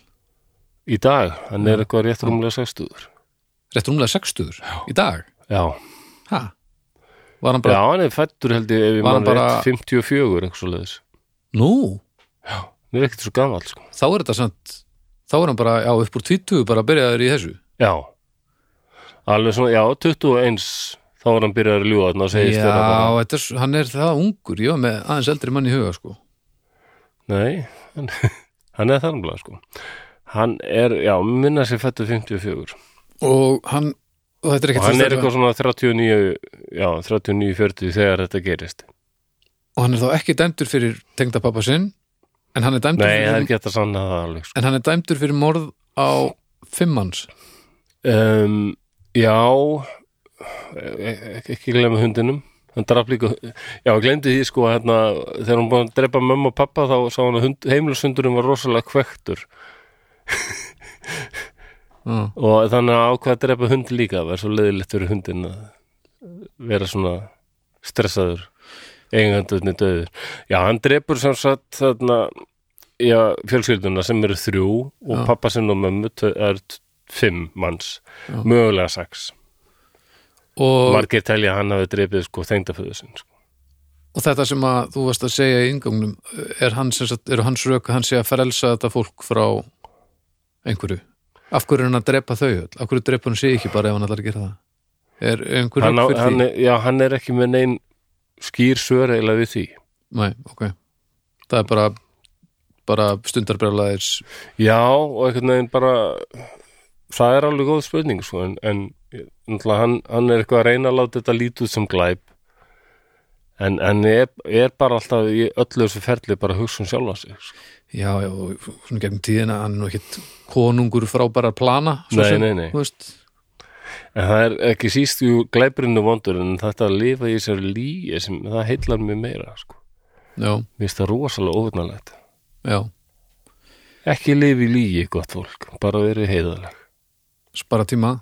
A: í dag, hann er eitthvað rétt rúmlega 60
B: Rétt rúmlega sextuður í dag
A: Já,
B: ha? Var hann
A: já,
B: bara,
A: hann er fættur held ég ef ég
B: Var hann
A: mann rétt
B: bara-
A: 54 eitthvað svo leiðis,
B: nú,
A: hann er ekkert svo gamall sko.
B: þá er þetta samt Þá er hann bara, já, upp úr 20 bara byrjaður í þessu
A: Já Alveg svona, já, 21 þá var hann byrjaður að ljúga þannig að segist
B: Já,
A: þér að bara,
B: þetta er, s- hann er það ungur, já, með aðeins eldri mann í huga sko.
A: nei hann, hann er þarmlega sko hann er, já, minna sér fættu 54
B: Og hann, og þetta er
A: og
B: ekkert
A: hann
B: fyrst
A: er
B: að-
A: eitthvað svona 39 já, 39-40 þegar þetta gerist
B: og hann er þá ekki dæmdur fyrir tengdapappa sinn En hann er dæmdur
A: nei,
B: fyrir
A: það er ekki hægt að sanna það alveg sko.
B: En hann er dæmdur fyrir morð á fimm hans
A: um, já e- e- ekki glemma hundinum hann draf líka, já, hann glemdi því sko hérna, þegar hann búin að drepa mömmu og pappa þá sá hann að hund, heimilshundurinn var rosalega kvektur
B: Já,
A: og þannig að ákvað að drepa hund líka það var svo leiðilegt fyrir hundin að vera svona stressaður eigingandurni döður já, hann drepur sem sagt þarna, já, fjölskylduna sem eru þrjú og
B: Já.
A: pappa sinn og mömmu tve- er t- fimm manns
B: Já.
A: mögulega sex
B: Og
A: margir telja að hann hafi drepið sko þengdaföðu sinn sko.
B: og þetta sem að þú varst að segja í ingangnum er hans, er hans rök að hann sé að frelsa þetta fólk frá einhverju af hverju er hann að drepa þau öll af hverju drepa hann sig ekki bara ef hann allar að gera það er einhver
A: hann,
B: rök
A: á,
B: fyrir
A: hann,
B: því
A: er- já, hann er ekki með neinn skýr svör eiginlega við því
B: Nei, ok. það er bara bara stundarbrjálæðis
A: já og einhvern veginn bara það er alveg góð spurning sko, en, en náttúrulega hann, hann er eitthvað að reyna að láta þetta lítið sem glæp en, en er, er bara alltaf í öllu þessu ferli bara að hugsa um sjálfa sig sko.
B: já, já, og svona gegn tíðina hann er nú ekkit konungur frábærar plana svo
A: Nei,
B: sem,
A: nei, nei.
B: þú veist.
A: En það er ekki síst jú glæbrinu vondur en þetta að lifa í þessari líi sem það heillar mig meira sko.
B: já,
A: Mér finnst það rosalega óvinnalegt.
B: já
A: Ekki lifi í líi gott fólk, bara verið heiðaleg.
B: spara tíma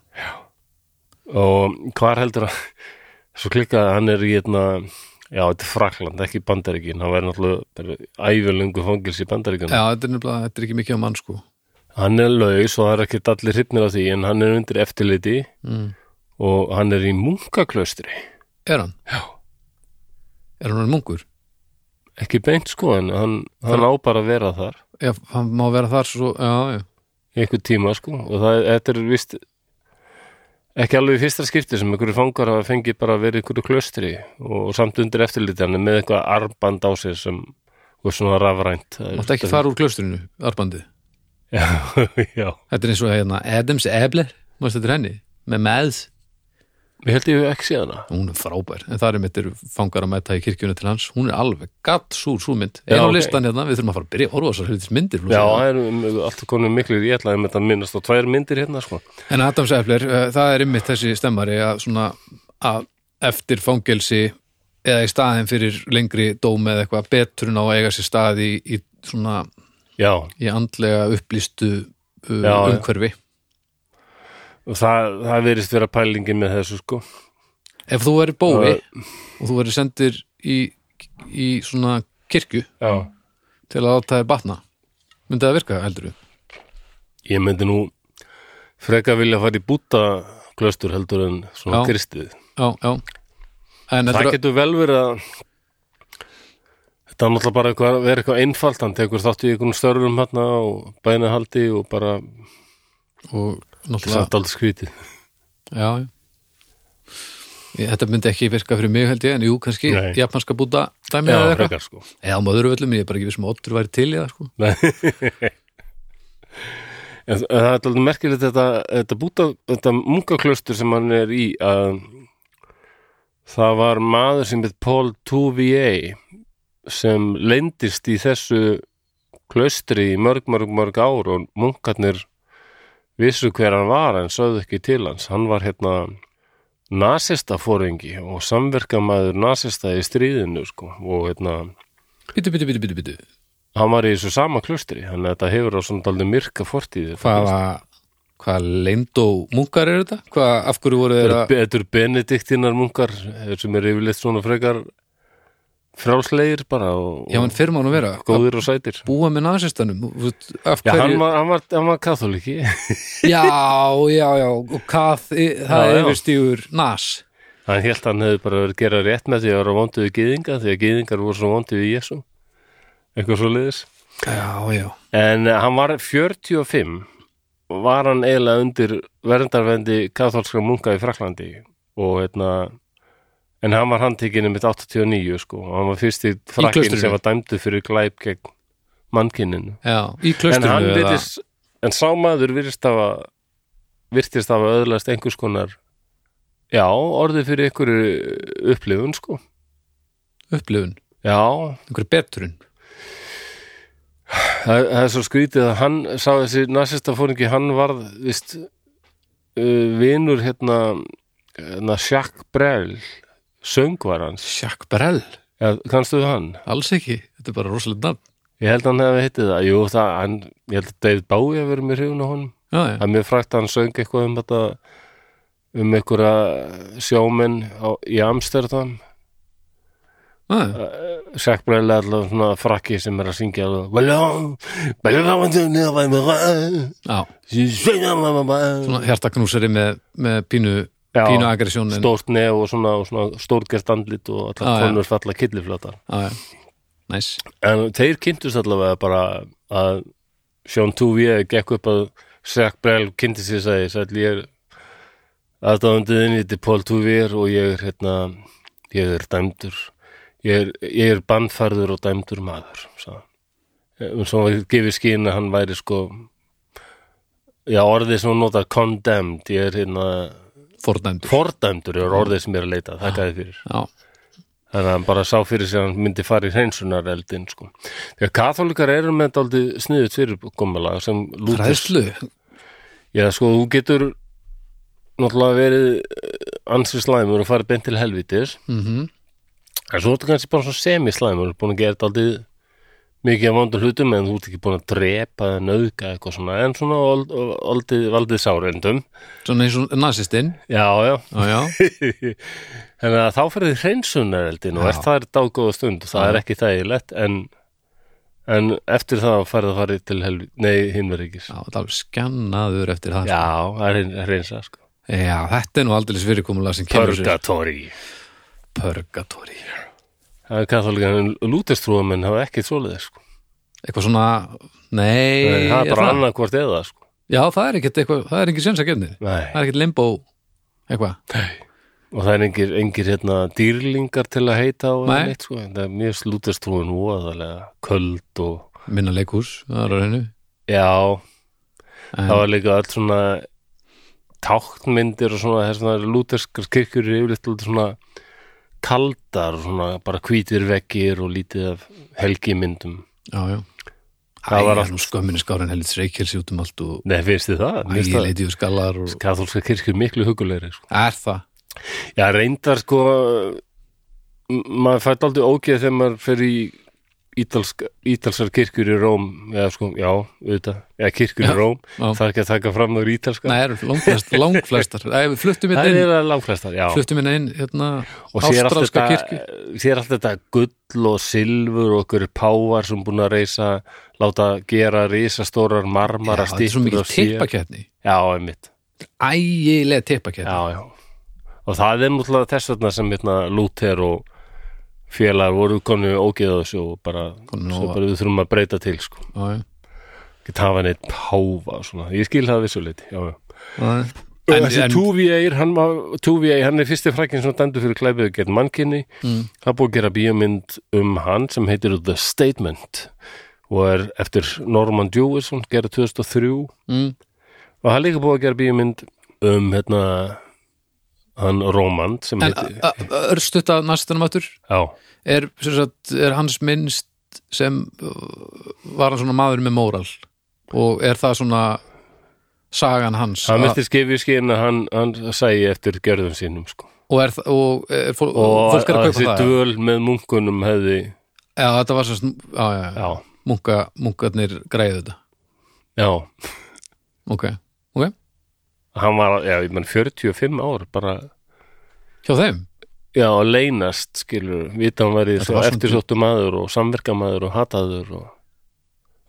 A: Og hvar heldur að svo klikkaði hann er í einna já, þetta er Frakland, ekki Bandaríkin hann verður náttúrulega æfjölungu fangils í Bandaríkinu.
B: já, þetta er nefnilega, þetta er ekki mikið á mann sko
A: Hann er laus og það er ekki allir hrypnir af því en hann er undir eftirliti
B: mm.
A: og hann er í munkaklaustri.
B: er hann?
A: Já.
B: er hann mungur?
A: Ekki beint sko en hann, hann á bara að vera þar.
B: já, hann má vera þar svo, já, já
A: í einhvern tíma sko og það, þetta er vist ekki alveg í fyrsta skipti sem einhverju fangar hafa fengið bara að vera í einhverju klöstri og samt undir eftirliti hann er með eitthvað armband á sér sem og svona rafrænt Það er-
B: Máttu ekki fara úr klaustrinu, arbandið
A: já, já,
B: Þetta er eins og hérna Adams Ebler Mást þetta er henni, með meðs
A: ég held ég hef ekki séð hana
B: Hún er frábær, en það er mitt eru fangar að mæta í kirkjuna til hans Hún er alveg gatt súr sú mynd
A: Já,
B: Einu
A: ok.
B: okay. listan hérna, við þurfum að fara að byrja að horfa á þessar hlutis myndir
A: já,
B: flósa.
A: það um, er alltaf konum miklu ég ætlaði með þetta minnast og tvær myndir hérna sko
B: En Adams Ebler, uh, það er ymmit þessi stemmari að svona að eftir fangelsi eða í staðin fyrir lengri dóm eða eitthvað betur en á að eiga sér stað í, í svona
A: já,
B: í andlega upplýstu uh,
A: Já, já.
B: umhverfi
A: og það, það verist vera pælingin með þessu sko
B: Ef þú verður bói
A: Það-
B: og þú verður sendir í, í svona kirkju
A: já,
B: til að láta þér batna myndi það virka, heldur við?
A: ég myndi nú freka vilja fara í búta klöstur heldur en svona
B: Já.
A: kristið
B: Já, já En
A: Það
B: heldur
A: getur vel verið að þetta er náttúrulega bara eitthvað, verið eitthvað einfalt hann tekur þátt í einhvern störfum hérna og bænahaldi og bara
B: að og náttúrulega
A: samt aldrei skrítið
B: já, já. Ég, Þetta myndi ekki virka fyrir mig, held ég en jú, kannski,
A: Nei.
B: japanska búta dæmi
A: Já,
B: eða eitthvað
A: frekar sko
B: eða á möðurvöllum, ég er bara ekki vissum að Oddur væri til í það, sko.
A: Nei. En það er alltaf merkilegt þetta, þetta búta, þetta munkaklaustur sem hann er í að það var maður sem heit Paul Touvier sem lendist í þessu klaustri í mörg, mörg, mörg ár og munkarnir vissu hver hann var en sögðu ekki til hans. Hann var hérna nasista fóringi og samverkamaður nasista í stríðinu sko og hérna
B: Bítu, bítu, bítu, bítu, bítu
A: hann var í þessu sama klustri þannig að þetta hefur á svona daldið myrka fortíð
B: Hvaða, hvaða leyndó munkar er þetta? Hvað, af hverju voru þeir að
A: Þetta eru benediktinar munkar eh, sem eru yfirleitt svona frekar frálslegir bara og,
B: Já, en fyrir má nú vera
A: og góðir og sætir
B: að búa með nasistanum Þú veist, af
A: Já, hann
B: hverju
A: var, hann var, hann var katholiki
B: Já, já, já, og hvað þi- það
A: Já, já.
B: yfirstígur nas
A: hann hélt hann hefði bara verið að gera rétt með því að vera vondið við gyðinga því að gyðingar voru svona vondið við Jésu eitthvað svo liðis
B: Já, já
A: En eh, hann var 45 og var hann eiginlega undir verndarvendi katholskra munka í Fraklandi og hérna en hann var handtekinn um 89 sko og hann var fyrst í frakkin
B: klaustrinu?
A: sem var dæmdu fyrir glæp gegn mannkinninu
B: Já, í
A: en hann
B: klaustrinu eða
A: virtist en sá maður virtist af að virtist af að öðlast einhvers konar já, orðið fyrir einhverju upplifun sko
B: upplifun,
A: já,
B: einhver betrun
A: Það, það er svo skrítið að hann sá þessi nasista fóringi, hann varð vist, uh, vinur hérna, hérna Jacques Brel söngvar hans,
B: Jacques Brel,
A: ja, kannstu við hann?
B: alls ekki, þetta er bara rosalega nafn
A: Ég held að hann hefði hittið það, jú það hann, ég held að David Bowie hefur verið mér hrifun á honum
B: Já, já,
A: það er mjög frægt að hann söng eitthvað um þetta um einhverja sjómenn á, í Amsterdam
B: já, já,
A: Jack Brel er alltaf svona frakki sem er að syngja alveg Ballon, ballon, ballon, ballon
B: já.
A: ballon, ballon
B: svona hjartaknúsari með, með pínu
A: Já,
B: pínu agressjónin
A: stórt nef og svona, og svona stórgert andlit og
B: Já,
A: allar
B: já.
A: konur falla killiflatar
B: næs
A: en þeir kynntust allavega bara að Sean 2V gekk upp að Zach Brell kynnti sér sagði, sæll ég er aðdáðundiðin, ég heiti Paul 2V og ég er hérna ég er dæmdur ég er, ég er bannfærður og dæmdur maður sagði hann. Eh, svo hann gefið skýn að hann væri sko já orðið sem hún notar condemned, ég er hérna
B: fordæmdur
A: fordæmdur er orðið sem ég er að leita, þakka þið fyrir
B: já,
A: þannig að hann bara sá fyrir sér að hann myndi fara í hreinsunar eldin sko. því að katholikar eru með dálítið sniðut fyrirkomulega sem lútur
B: hræðslu
A: já sko þú getur náttúrulega verið eh, ansi slæmur og farið beint til helvitis
B: mm
A: en svo ertu kannski bara svona semislæmur þú ert búin að gera dálítið mikið af vondur hlutum en þú ert ekki búin að drepa eða nauðga eitthvað svona en svona old, old, valdið sárendum
B: svona eins og nazistinn
A: já já
B: já, já,
A: Þannig að þá fyrir þið hreinsunareldin og
B: Já.
A: ert það er dágóða stund og það er ekki þægilegt en, en eftir það færið að farið til helvi nei, hinverikis Já,
B: já það er alveg skannaður eftir það
A: það er hrein- hreinsa sko
B: já, þetta er nú aldrei fyrirkomulega sem kemur sér
A: Purgatory
B: purgatóri
A: Það er katholika, en lúterstrúum en hafa ekki svoleiðir sko
B: eitthvað svona, nei
A: Nei, Það er bara annað hvort eða sko
B: já, það er ekkert eitthvað, það er engin sens að gefni það
A: Nei,
B: er ekkert limbo eitthvað,
A: og það er engir, engir hérna dýrlingar til að heita og
B: Nei.
A: neitt sko, en það er mjög lúterstrúin óaðalega, köld og
B: minna leikhús það er á reynu
A: Já,
B: En-
A: það var líka öll svona táknmyndir og svona þess að lúterskar kirkjur eru yfirleitt lítið svona kaldar og svona bara hvítir veggir og lítið af helgimyndum
B: já, já
A: Það
B: Það
A: var
B: var
A: allt-
B: nú skömminni skárin helits reykjelsi út um allt og
A: Nei, finnst þið það? Mér finnst það
B: ægileiti og skallar og...
A: katholska kirkjur miklu hugulegri sko.
B: Er það?
A: Já, reyndar sko m- maður fætt aldrei ógeð þegar maður fer í ítalsk, ítalskar kirkjur í Róm eða sko, já, auðvitað, eða kirkjur í Róm
B: já.
A: það er ekki að taka fram þúr ítalska
B: Nei, er langflest, langflestar Æ, við fluttum hérna inn,
A: Það
B: inn,
A: er að langflestar, já
B: fluttum inn, inn hérna,
A: og sér allt,
B: ástralska
A: þetta,
B: kirkju
A: sér allt þetta gull og silfur og okkur pávar sem búin að reisa láta gera risastórar marmara
B: Já, Þetta er svo mikið
A: og sér-
B: tippakettni
A: já, einmitt
B: Ægilega tippakettni
A: já, já. og það er mútlaða þess vegna sem hérna, Luther og félagar voru konu ógeð á þessu og bara,
B: Komin
A: svo
B: á-
A: bara við þurfum að breyta til sko.
B: Já, já.
A: ekki tafa neitt páfa og svona. ég skil það vissuleiti já, já.
B: Já,
A: En,
B: En-
A: þessi
B: en-
A: Tuvier, hann var Tuvier, hann er fyrsti frækinn sem dæmdu fyrir klæfið gegn mannkinni, mm. það er búið að gera bíómynd um hann sem heitir The Statement og er eftir Norman Jewison, gera 2003
B: mm,
A: og hann er líka búið að gera bíómynd um hérna hann Roman sem
B: En
A: heitir,
B: örstutt að næstunum aftur
A: já,
B: er, sem sagt, er hans minnst sem uh, var hann svona maður með móral og er það svona sagan hans
A: hann
B: að,
A: mistir skifið skinn að hann, hann sægi eftir gerðum sínum sko.
B: og, er, þa- og, er, fólk,
A: og
B: fólk er að kaupa
A: þessi
B: það
A: dvöl með munkunum hefði,
B: Já, þetta var svo já, já, já.
A: já,
B: Munka, munkarnir græðu þetta
A: já
B: Ok, ok,
A: hann var, já, ég menn 45 ár bara
B: hjá þeim
A: Já, að leynast, skilur, vita hann verið
B: Þetta
A: svo
B: var svona-
A: eftirsóttu maður og samverkamaður og hataður og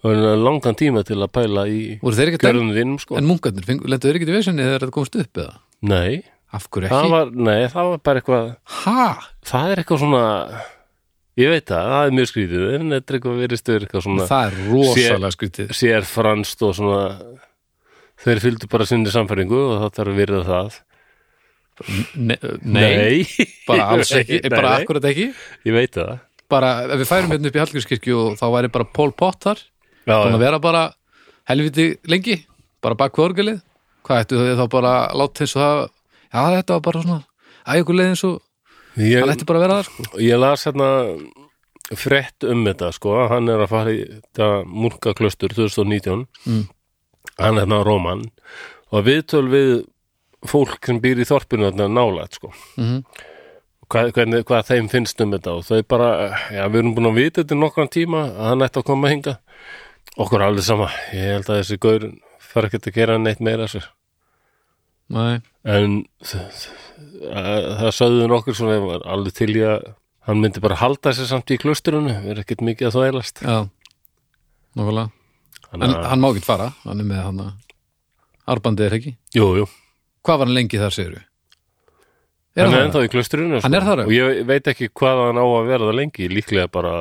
A: það var langan tíma til að pæla í
B: Voru þeir ekki að
A: gjörðum þínum, sko.
B: En munkarnir, fengu- lentu þeir ekki í vesinni þegar þetta komst upp eða?
A: Nei,
B: Af hverju
A: það
B: ekki?
A: var, nei, það var bara eitthvað,
B: Ha?
A: það er eitthvað svona, ég veit það, það er mjög skrítið, en þetta er eitthvað verið stöður eitthvað svona,
B: Það er rosalega skrítið
A: sér franst og svona, þeir fylgdu bara sinni samfæringu og það þarf að virða það.
B: Nei, nei, bara alls ekki,
A: Nei,
B: bara
A: nei,
B: akkurat ekki
A: Ég veit það.
B: Bara, ef við færum hérna upp í Hallgrímskirkju og þá væri bara Pól Pottar
A: Já,
B: búin að
A: já.
B: vera bara helviti lengi bara bak við orgelið hvað ættu þau þá bara að láta eins og það já þetta var bara svona að ykkur leið eins og
A: Ég,
B: hann ætti bara að vera það sko
A: Ég las hérna frett um þetta sko, hann er að fara í þetta munkaklaustur 2019
B: Mm.
A: hann er hérna Róman og viðtöl við fólk sem býr í þorpinu þarna nálætt sko
B: mm
A: hvað, hvernig, hvað þeim finnst um þetta og þau bara, já við erum búin að vita þetta í nokkran tíma að hann ætti að koma að hinga okkur er alveg sama, ég held að þessi gaur fara ekkert að gera neitt meira sér
B: Nei,
A: en þ- þ- að- það sögðu nokkur svona ég var alveg til í að hann myndi bara halda sér samt í klusturinu er ekkert mikið að þvælast
B: já Nókulega, en
A: Þannig að-
B: hann má ekki fara hann er með hann að arbandið er ekki
A: Jú, jú,
B: Hvað var hann lengi þar segir við? Er
A: hann
B: það?
A: er ennþá í klusturinu
B: Hann er þar enn?
A: og ég veit ekki hvað hann á að vera það lengi líklega bara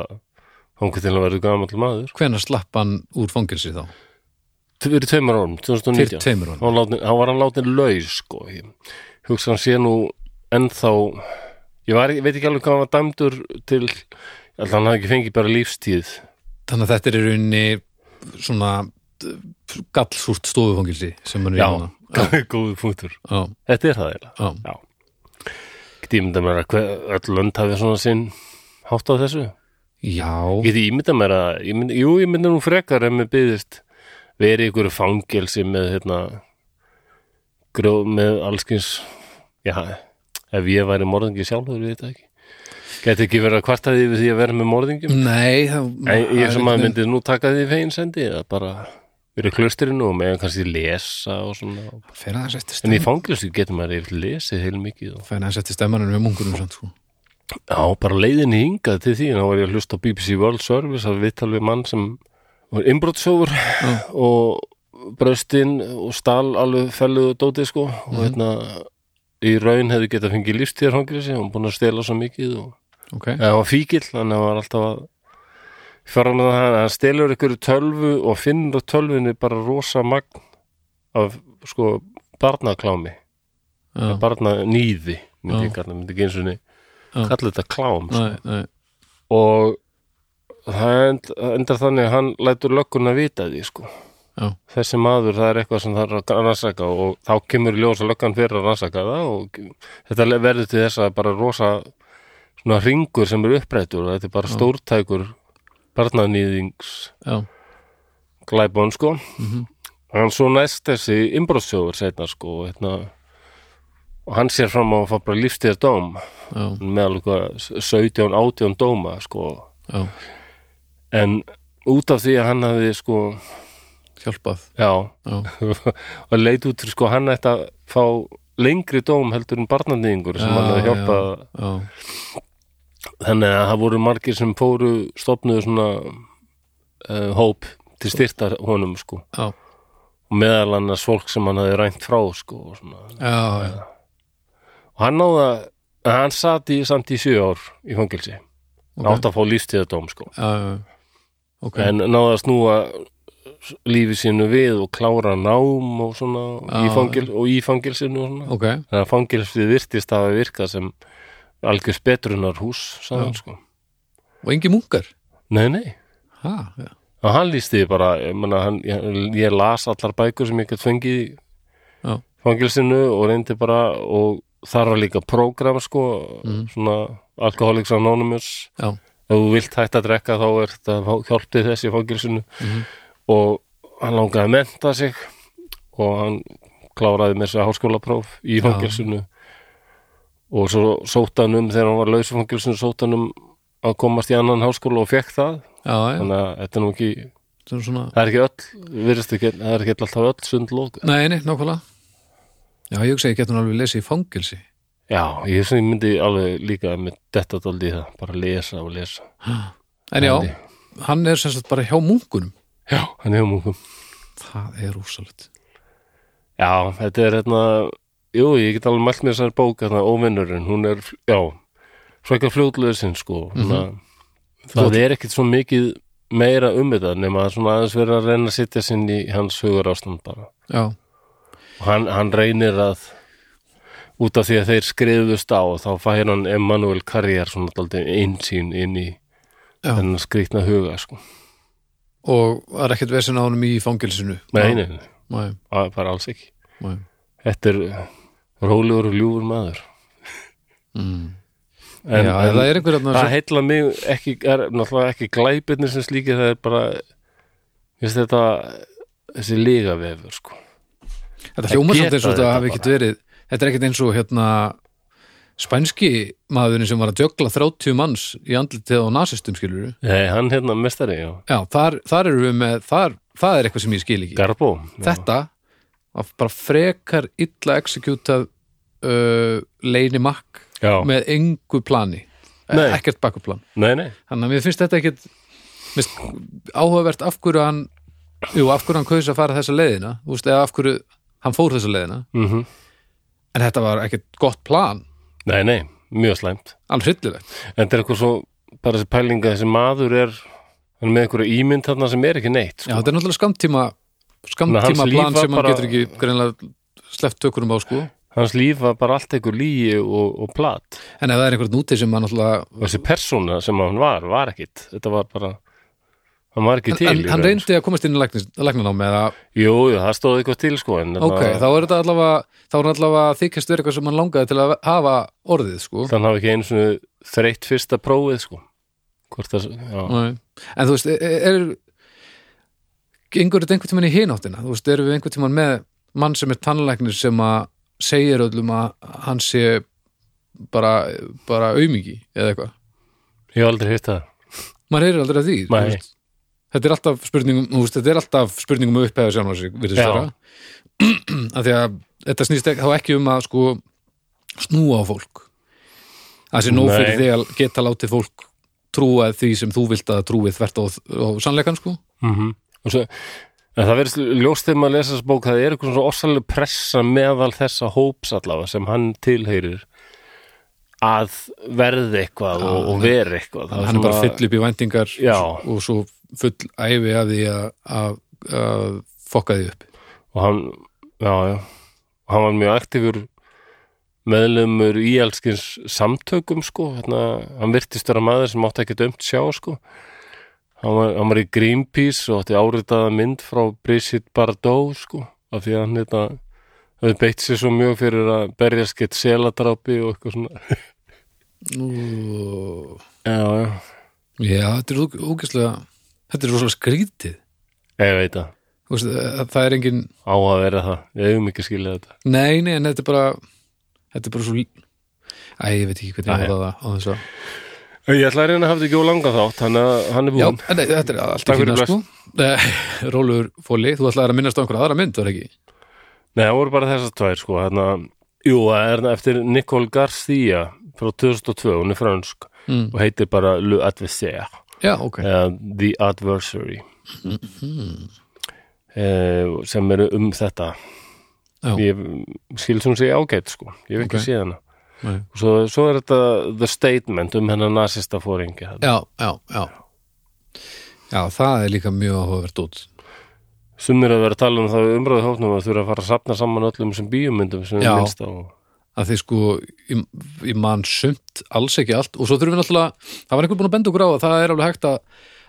A: hann til að verða gamall maður
B: Hvenær slapp hann úr fangilsi þá?
A: fyrir tveimur árum, 2019
B: Fyrir tveimur árum.
A: hann, látin, hann var hann látin laus sko. ég hugsa hann sé nú ennþá ég var, ég veit ekki alveg hvað hann var dæmdur til alltaf hann hafði ekki fengið bara lífstíð
B: Þannig að þetta er í rauninni svona uh, gallsúrt stofufangilsi sem hann er í
A: já,
B: núna.
A: góðu punktur
B: Já,
A: þetta er það eiginlega
B: já.
A: já, geti ímynda mér að hver, öll lönd hafi svona sinn hátt á þessu
B: Já,
A: Geti ímynda mér að, ég mynd, jú, ég mynda nú frekar ef mér byggðist verið ykkur fangelsi með, hérna, grjóð með allskins, já, ef ég væri morðingi sjálfur, ég veit það ekki. Geti ekki verið að kvartaði yfir því að vera með morðingjum.
B: nei þá,
A: Ég, ég sem að
B: einhvern
A: myndi nú taka því fegin sendi, að bara verið klusturinn og meðan kannski lesa og svona.
B: veginn fer aðeins eftir
A: En í
B: stemmanum
A: fangelsi getur maður yfir lesið heil mikið og
B: fer aðeins eftir stemmanum við munkunum samt sko.
A: Já, bara leiðinni hingað til því þá var ég að hlusta á BBC World Service að viðtal við mann sem var innbrottsjófur og braustinn og stal alveg felluð og dótið sko og
B: Mhm.
A: hérna í raun hefði getað fengið lífstíðar hangriðsi og búin að stela svo mikið og
B: Ok,
A: eða hann var fíkil, hann var alltaf að fara með það, hann stelur ykkur tölvu og finnur á tölvunni bara rosa magn af sko barnaklámi
B: já,
A: barnanýði myndi ég
B: Já.
A: kalla, myndi ekki eins og niður
B: Já.
A: kalla þetta klám sko
B: nei, nei,
A: og það end, það endar þannig að hann lætur lögguna vita því sko
B: Já.
A: þessi maður það er eitthvað sem það er að rannsaka og þá kemur í ljós að löggan fyrir að rannsaka það og þetta le- verður til þess að bara rosa svona ringur sem er upprættur og þetta er bara stórtækur barnanýðings
B: já,
A: glæbón sko
B: Mhm.
A: hann svo næst þessi innbróðsjóður setna sko hérna, og hann sér fram á að fá bara lífstíðar dóm
B: já,
A: með alveg hvað 17-18 dóma sko
B: já,
A: en út af því að hann hafði sko,
B: hjálpað,
A: já
B: já,
A: og leit út fyrir sko hann ætti að fá lengri dóm heldur en barnanýðingur sem
B: Já,
A: hann hafði hjálpað
B: já,
A: þannig að það voru margir sem fóru stopnuðu svona uh, hóp til styrta honum sko
B: já,
A: og meðal annars fólk sem hann hafði rænt frá sko og svona
B: já, já,
A: og hann náða, hann sat í samt í sjö ár í fangilsi okay.
B: Ok.
A: átt að fá lífstíðadóm sko
B: já, já, ok,
A: en náða að snúa lífi sínu við og klára nám og svona í
B: Já.
A: fangil, og í fangilsinu og svona
B: ok,
A: þannig að fangilsið virtist hafa virkað sem algjör betrunar hús
B: Já.
A: sagðan, sko.
B: og engi munkar,
A: nei, nei,
B: ha, já,
A: og hann líst því bara ég, mena, hann, ég, ég las allar bækur sem ég gætt fengið í
B: Já.
A: fangilsinu og reyndi bara og þar var líka prógram sko,
B: Mhm.
A: svona Alcoholics Anonymous
B: já,
A: ef þú vilt hægt að drekka þá er þetta hjálptið þessi í fangilsinu
B: Mhm.
A: og hann langaði að menta sig og hann kláraði með þessi háskólapróf í fangilsinu og svo sótt hann um þegar hann var laus í fangilsinu sótt hann um að komast í annan háskóla og fekk það
B: já, já,
A: þannig að þetta er nú ekki
B: þetta er svona,
A: það er ekki öll, virðist ekki, það er ekki alltaf öll sund lóka
B: nei, nei, nákvæmlega, já, ég hugsa að ég getur alveg lesið í fangilsi,
A: já, ég, sem ég myndi alveg líka með detta daldi í það, bara lesa og lesa
B: en já, hann er sem sagt bara hjá munkunum,
A: já, hann hefur munkum
B: það er rússalegt,
A: Já, þetta er hérna Jú, ég get alveg mælt með þessar bók hérna, óvinnurinn, hún er, já frækka fljótlöðsinn, sko mm það er ekkit svo mikið meira um þetta, nema að svona aðeins verið að reyna að sitja sinn í hans hugur ástand bara
B: já,
A: og hann, hann reynir að út af því að þeir skrifust á þá fær hann Emmanuel Carrier svona daldið einsýn inn í
B: Já.
A: þennan skrýtna huga, sko
B: og það er ekkert vesinn á honum í fangilsinu,
A: Nei, nei, nei,
B: nei,
A: það er bara alls ekki
B: nei,
A: Þetta er rólegur og ljúfur maður
B: mm. já,
A: en, en,
B: það er einhver þarna
A: það
B: sem-
A: heilla mig ekki, er náttúrulega ekki glæbirnir sem slíkið, það er bara ég veist þetta þessi lígavefur sko
B: Þetta hljóma samt
A: geta
B: eins og þetta
A: þetta
B: hafi
A: bara.
B: ekkert verið Þetta er ekkert eins og hérna spænski maðurinn sem var að djögla 30 manns í andlitið á nasistum skilur
A: Nei, hann hérna mestari, já,
B: Já, þar, þar eru við með þar, það er eitthvað sem ég skil ekki
A: Garbo já.
B: Þetta að bara frekar illa executað uh, leini makk
A: já.
B: með engu plani E,
A: Nei.
B: ekkert bakkuplan
A: Nei, nei,
B: Þannig að mér finnst þetta ekkert mér finnst áhugavert af hverju hann jú, af hverju hann kaus að fara þessa leiðina þú veist, eða af hverju hann fór þessa leiðina
A: mhm
B: en þetta var ekkert gott plan
A: Nei, nei, mjög slæmt
B: alveg hryllilegt
A: En þetta er eitthvað svo, bara þessi pælinga þessi maður er, hann er með einhverja ímynd þarna sem er ekki
B: Já,
A: neitt sko.
B: þetta er náttúrulega skamtíma
A: Þannig
B: skamtíma
A: að hans
B: plan
A: líf var
B: sem hann
A: bara-
B: getur ekki greinlega sleppt tökurum á sko
A: Hans líf var bara allt einhver lígi og, og plat
B: en ef það er einhvern úti sem hann náttúrulega
A: og þessi persóna sem hann var, var ekkit þetta var bara, hann var ekki til
B: en,
A: í
B: hann
A: raun,
B: reyndi að komast inn í læknanámi eða,
A: sko. Jú, jú, það stóð eitthvað til sko en
B: ok, þá er þetta allavega þá er hann allavega að þykjast verið eitthvað sem hann langaði til að hafa orðið sko
A: þannig hafi ekki einu svona þreytt fyrsta prófið sko Hvort það, já,
B: Nei. en þú veist, e- er, er yngur þetta einhvern tímann í hináttina þú veist, erum við einhvern tímann með mann sem er tannlæknir sem að segir öllum að hann sé bara, bara aumingi eða eitthvað,
A: ég hef aldrei hitt það
B: maður heyrir aldrei af því þú
A: Nei.
B: veist. þetta er alltaf spurningum þú veist, þetta er alltaf spurningum um upphæða sjálf sig, virðist
A: Já.
B: vera af því að þetta snýst ekki, þá ekki um að sko snúa á fólk það sé nóg
A: Nei.
B: fyrir því að geta látið fólk trúa því sem þú vilt að trúið þvert á, á sannleikan sko
A: mm og svo En það verðist ljóst þegar maður lesa þessu bók það er eitthvað svona orsalega pressa meðal þessa hóps allavega sem hann tilheyrir að verði eitthvað og, og veri eitthvað Það
B: hann er bara
A: svona-
B: fyll upp í væntingar
A: Já.
B: og svo full æfi að því að- að að fokka því upp
A: og hann, já, já og hann var mjög aktífur meðlumur í elskins samtökum sko, hérna, hann virtist vera maður sem átti ekki dömt sjá sko hann var, hann var í Greenpeace og átti áritaða mynd frá Brigitte Bardot sko, af því að hann hérna hefði beitt sér svo mjög fyrir að berjast gett seladrápi og eitthvað svona
B: Nú,
A: já, já,
B: já, þetta er óg- ógeðslega þetta er rosalega skrítið
A: ég veit það,
B: Þú veist, að það er engin,
A: á að vera það ég hefum ekki skilja þetta
B: nei, nei, en þetta er bara þetta er bara svo lí- æ, ég veit ekki hvernig
A: Æ,
B: ég var það á þess að
A: ég ætla að reyna að hafa þetta ekki ólanga þátt hann, hann er
B: já,
A: búinn
B: en nei, þetta er allt
A: Takk
B: ekki
A: fyrir
B: hérna sko Rólur Fóli, þú ætlaðir að minnast á einhverja aðra mynd, var ekki?
A: Nei, það voru bara þessar tvær sko hérna, Jú, það er hérna eftir Nicole Garcia frá 2002, hún er fransk
B: Mm.
A: og heitir bara Le Adversaire
B: Já, ok,
A: eða The Adversary eh, sem eru um þetta
B: Já.
A: Ég skils hún segja ágætt sko, ég hef ekki
B: Ok.
A: séð hana
B: Nei.
A: og svo, svo er þetta The Statement um hennar nasista fóringi
B: já, já, já Já, það er líka mjög áhugavert út
A: Sumir að vera að tala um það við umræðu hófnum að þurfa að fara að safna saman öllum sem bíómyndum sem
B: Já.
A: er minnst á
B: að því sko ég, ég man sumt alls ekki allt og svo þurfum við náttúrulega, það var einhver búin að benda okkur á að það er alveg hægt að,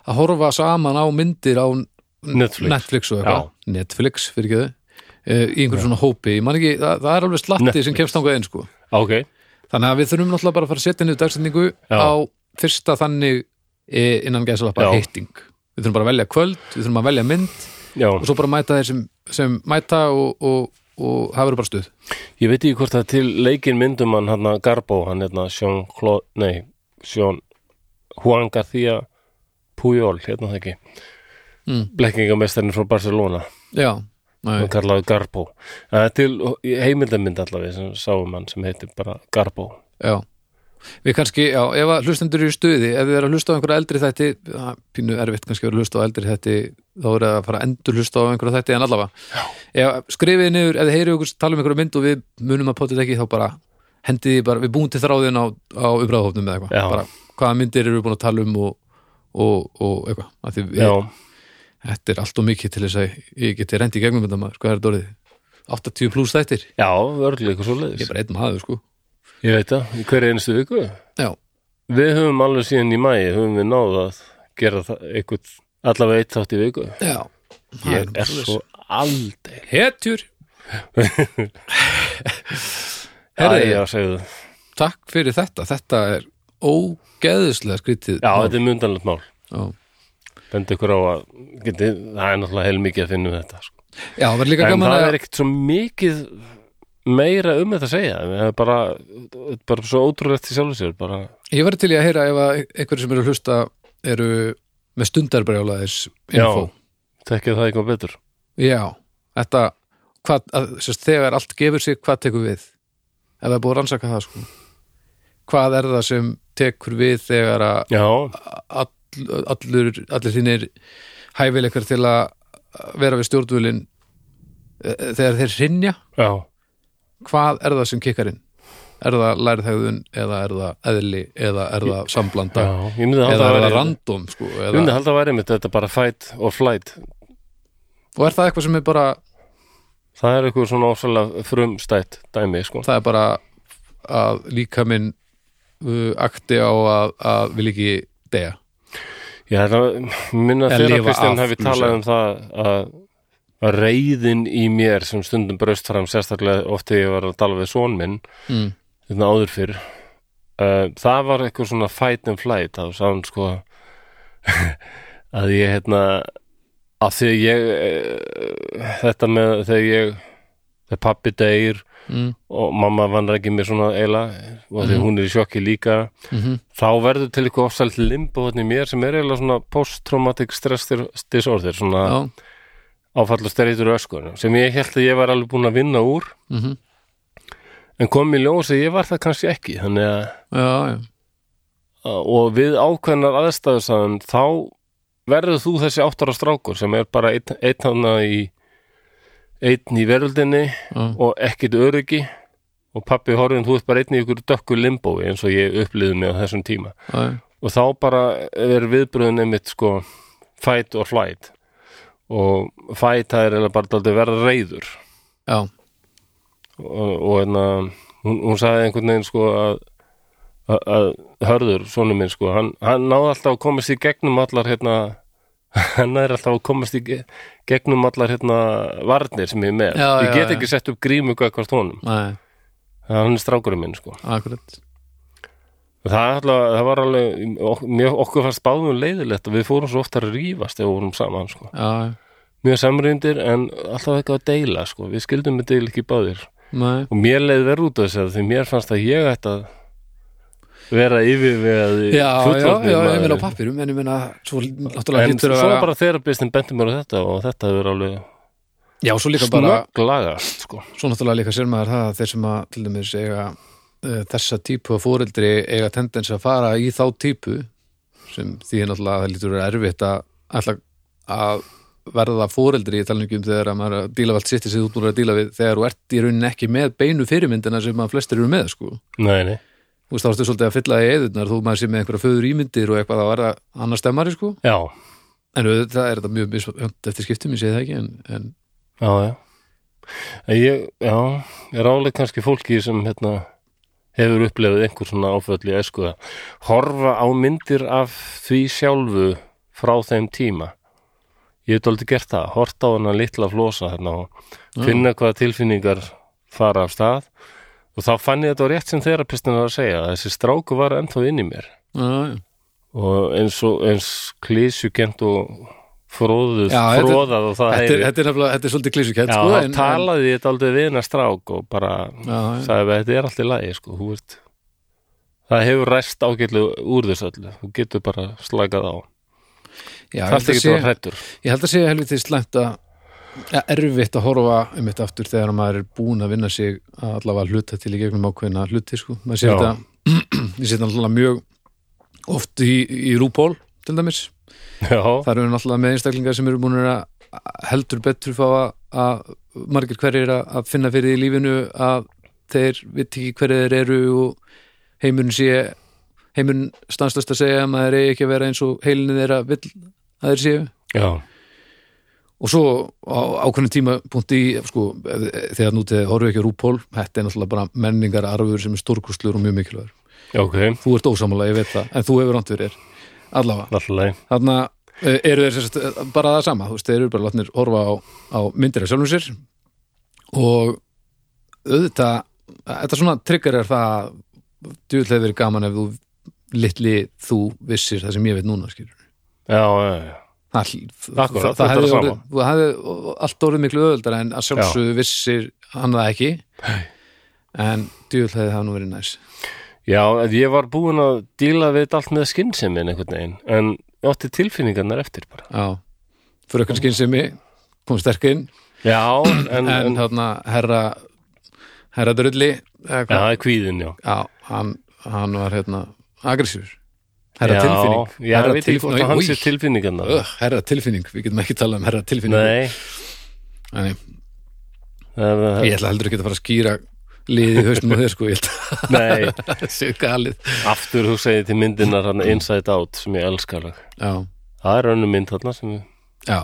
B: að horfa saman á myndir á n-
A: Netflix.
B: Netflix og eitthvað Netflix fyrir ekki þau í einhverjum svona hópi, ég man ekki, það, það er alveg slatti sem
A: Netflix.
B: kemst þangað einn sko
A: Ok,
B: þannig að við þurfum náttúrulega bara að fara að setja niður dagsetningu
A: Já.
B: á fyrsta þannig eh, innan gæðsalappa
A: Já.
B: hitting við þurfum bara að velja kvöld, við þurfum að velja mynd
A: já
B: og svo bara mæta þeir sem, sem mæta og, og, og hafa verið bara stuð
A: Ég veit ekki hvort það er til leikinn myndum hann hann Garbo, hann hérna Sjón Kló, nei, Sjón Juan García Puyol, hérna það ekki
B: Mm.
A: blekkingamestarinn frá Barcelona
B: Já, nei,
A: hann kallaði Garbo en það er til heimildamynd allavega sem sáum hann sem heitir bara Garbo
B: Já, við kannski, já, ef að hlustendur eru í stuði, ef þið eru að hlusta á einhverja eldri þætti, það er pínu erfitt kannski að vera að hlusta á eldri þætti, þá eru að fara að endur hlusta á einhverja þætti en allavega. Já. Skrifið niður, ef þið heyrið okkur tala um einhverja mynd og við munum að potið ekki, þá bara hendið þið bara, við búum til þráðin á, á umræðhófnum eða
A: Já.
B: eitthvað, bara hvaða myndir eru við búin að tala um og, og, og eitthvað, af því
A: Já,
B: við, þetta er allt og mikið til þess að ég geti rendi í gegnum þetta maður, hvað er þetta orðið? 80 pluss þættir,
A: já, örgulega eitthvað svo
B: ég er
A: leiðis
B: bara einn maður sko.
A: Ég veit það, í hverju einstu viku
B: Já,
A: Við höfum alveg síðan í maí höfum við náð að gera það eitthvað allavega eitt þátt í viku
B: já. Það
A: Ég
B: nú
A: er
B: svoleiðis.
A: svo aldrei
B: Hetjur
A: Herri,
B: Herri,
A: já, segðu
B: takk fyrir þetta Þetta er ógeðislega skrítið
A: Já, þetta er mundanlegt mál
B: Já.
A: benda ykkur á að geti, það er náttúrulega heilmikið að finna um þetta sko.
B: Já, það var líka
A: en
B: gaman
A: það
B: að
A: er ekkert svo mikið meira um þetta að segja það er bara, þetta er bara svo ótrúlegt í sjálfu sér bara,
B: Ég var til í að heyra ef að einhverju sem eru að hlusta eru með stundarbrjálaðis
A: já,
B: info
A: tekja það eitthvað betur
B: Já, þetta hvað, að, sérst, þegar allt gefur sig, hvað tekur við ef það er búið að rannsaka það sko. hvað er það sem tekur við þegar að
A: já,
B: all, allur, allir þínir hæfileikar til að vera við stjórnvölin eh, þegar þeir hrynja
A: já,
B: hvað er það sem kikkar inn er það lærðhegðun eða er það eðli eða er það samblanda
A: Já, ég myndi að halda
B: eða
A: að
B: er það
A: væri-
B: random sko,
A: ég myndi
B: eða,
A: að halda að væri mitt þetta bara fight or flight
B: og er það eitthvað sem er bara
A: það er eitthvað svona ósvalega frumstætt dæmi sko
B: það er bara að líka minn uh, akti á að, að vil ekki deyja
A: Ég held að minna
B: Eða
A: þegar
B: lifa
A: Kristján
B: af,
A: hafi
B: myndi
A: talað
B: segja.
A: um það að, að reyðin í mér sem stundum braust fram sérstaklega oft þegar ég var að tala við son minn
B: mm.
A: þetta áður fyrr uh, það var eitthvað svona fight and flight þá sá hann sko að ég hérna að þegar ég eh, þetta með þegar ég þegar pappi deyr
B: Mm. Mhm.
A: og mamma vann ekki mér svona eila og þegar hún er í sjokki líka
B: Mm
A: þá verður til eitthvað ofsælt limbo þannig mér sem er eiginlega svona post-traumatic stress dis- disorder svona
B: já,
A: áfallast er eitthvað öskur sem ég held að ég var alveg búin að vinna úr
B: Mhm.
A: en kom í ljós að ég var það kannski ekki þannig að
B: já, já,
A: og við ákveðnar aðstæðusaðan þá verður þú þessi áttara strákur sem er bara einn einn hana í einn í veröldinni
B: já.
A: og ekkit öryggi og pappi horfinn þú ert bara einn í ykkur dökku limbói eins og ég upplýði mig á þessum tíma
B: já, já.
A: og þá bara er viðbröðin einmitt sko fight or flight og fight það er eiginlega bara daldið verða reyður
B: já.
A: og, og hérna hún, hún sagði einhvern veginn sko að að, að hörður, sonur minn sko hann, hann náði alltaf að komast í gegnum allar hérna hann er alltaf að komast í ge- gegnum allar hérna varnir sem ég er með
B: Já,
A: ég
B: já,
A: get
B: já.
A: ekki sett upp grímu hvort honum,
B: Nei,
A: hann er strákurinn minn sko
B: akkurat
A: Það, er alltaf, það var alveg, ok- mjög, okkur fannst báðum leiðilegt og við fórum svo oft að rífast þegar við vorum saman, sko.
B: já, já.
A: Mjög samrýndir en alltaf eitthvað að deila, sko. Við skildum með deil ekki báðir.
B: Nei.
A: Og mér leið verð út af þess að því mér fannst að ég ætti að vera yfir við að
B: já, já, já, ég meina á pappirum en ég meina svo náttúrulega
A: En
B: hlýtur
A: svo
B: að vera
A: bara þeirra byrstinn benti mér á þetta og þetta hefur alveg
B: já, svo líka bara
A: snögglagast, sko.
B: Svo náttúrulega líka sér maður það að þeir sem að til dæmis eiga uh, þessa típu af fóreldri eiga tendens að fara í þá típu sem því er náttúrulega að það lítur að vera erfitt að, ætla að verða fóreldri í talningum um þegar að maður er að díla við allt sitt sem þú búin að díla við þegar þú ert í rauninni ekki með beinu fyrirmyndina sem að flestir eru með sko.
A: Nei, nei.
B: Þú veist þá ertu svolítið að fylla í eðurnar þú maður sé með einhverja föður ímyndir og eitthvað að verða annar stemmari sko.
A: Já,
B: En auðvitað er þetta mjög misjöfnt eftir skiptum, ég segi það ekki en, en
A: já, já. En Ég, já, ég ráleik kannski fólki sem, hérna, hefur upplefið einhver svona áföll í æsku að horfa á myndir af því sjálfu frá þeim tíma ég hef aldrei gert það, hort á hana litla flosa þarna og finna hvaða tilfinningar fara af stað og þá fann ég þetta á rétt sem þerapistin var að segja að þessi stráku var ennþá inn í mér
B: já, já.
A: og eins og eins klísjukent og fróðuð,
B: Já, þetta-
A: fróðað og það
B: Þetta, er,
A: heyri
B: þetta, er, nefnilega- þetta er svolítið klísukett
A: Já,
B: sko,
A: þá
B: en- en-
A: talaði ég þetta aldrei við hennar strák og bara
B: Já, já.
A: sagði að þetta er alltaf lægi sko, þú veist það hefur ræst ágætlega úr þess öllu þú getur bara slagað á
B: Já, ég,
A: það
B: held
A: er
B: að
A: ekki
B: sé,
A: bara hrættur
B: ég held að sé helviti slæmt að ja, erfitt að horfa um þetta aftur þegar maður er búin að vinna sig að allavega hluta til í gegnum ákveðina hluti sko. maður sé
A: Já.
B: þetta ég sé þetta allavega mjög oft í, í rúból til dæmis
A: já,
B: það eru náttúrulega með einstaklingar sem eru búin að heldur betur fá að, að margir hverjir að, að finna fyrir því í lífinu að þeir veit ekki hverjir þeir eru og heimurinn sé heimurinn stanslöst að segja að maður eigi ekki að vera eins og heilinni þeirra vill að þeir séu
A: já,
B: og svo á ákveðnum tímapunkti í, sko, ef- ef- þegar nú til horfið ekki á rúppól, þetta er náttúrulega bara menningar arfur sem er stórkustlur og mjög mikilvægur
A: já, ok
B: þú ert ósamála, ég veit það, en þú hefur rámt fyrir þér allavega
A: alltaf lægi,
B: þarna eh, eru þeir sérst, bara það sama þú veist, þeir eru bara látnir horfa á, á myndir af sjálfum sér og auðvitað þetta svona trigger er það að djúvill hefur verið gaman ef þú litli þú vissir það sem ég veit núna skilur
A: já, já, já
B: Það,
A: Akkurat,
B: það,
A: þetta
B: það
A: er
B: hefði
A: sama.
B: orðið, þú hefði allt orðið miklu öðuldar en að sjálfsögðu vissir hann það ekki en djúvill hefði það nú verið næs
A: já, en ég var búin að díla við þetta allt með skinnsemin einhvern veginn en ég átti tilfinningarnar eftir bara
B: já, fyrir okkur skynsemi kom sterk inn
A: já, en,
B: en
A: en
B: þarna herra herra drulli eða
A: já,
B: hvað?
A: það er kvíðin, já
B: já, hann, hann var hérna agressífur herra tilfinning
A: já, ég
B: herra,
A: veit ekki
B: tilfinning,
A: hvort að hans
B: Új,
A: er tilfinningarnar
B: Ugh, herra tilfinning, við getum ekki talað um herra tilfinning
A: nei,
B: Nei,
A: það er
B: ég ætla heldur ekki að fara að skýra liðið í hausnum á þér sko, ég held
A: Nei,
B: að séu galið
A: aftur þú segir til myndinar hann Inside Out sem ég elskar
B: já,
A: það er önnum mynd þarna sem,
B: já,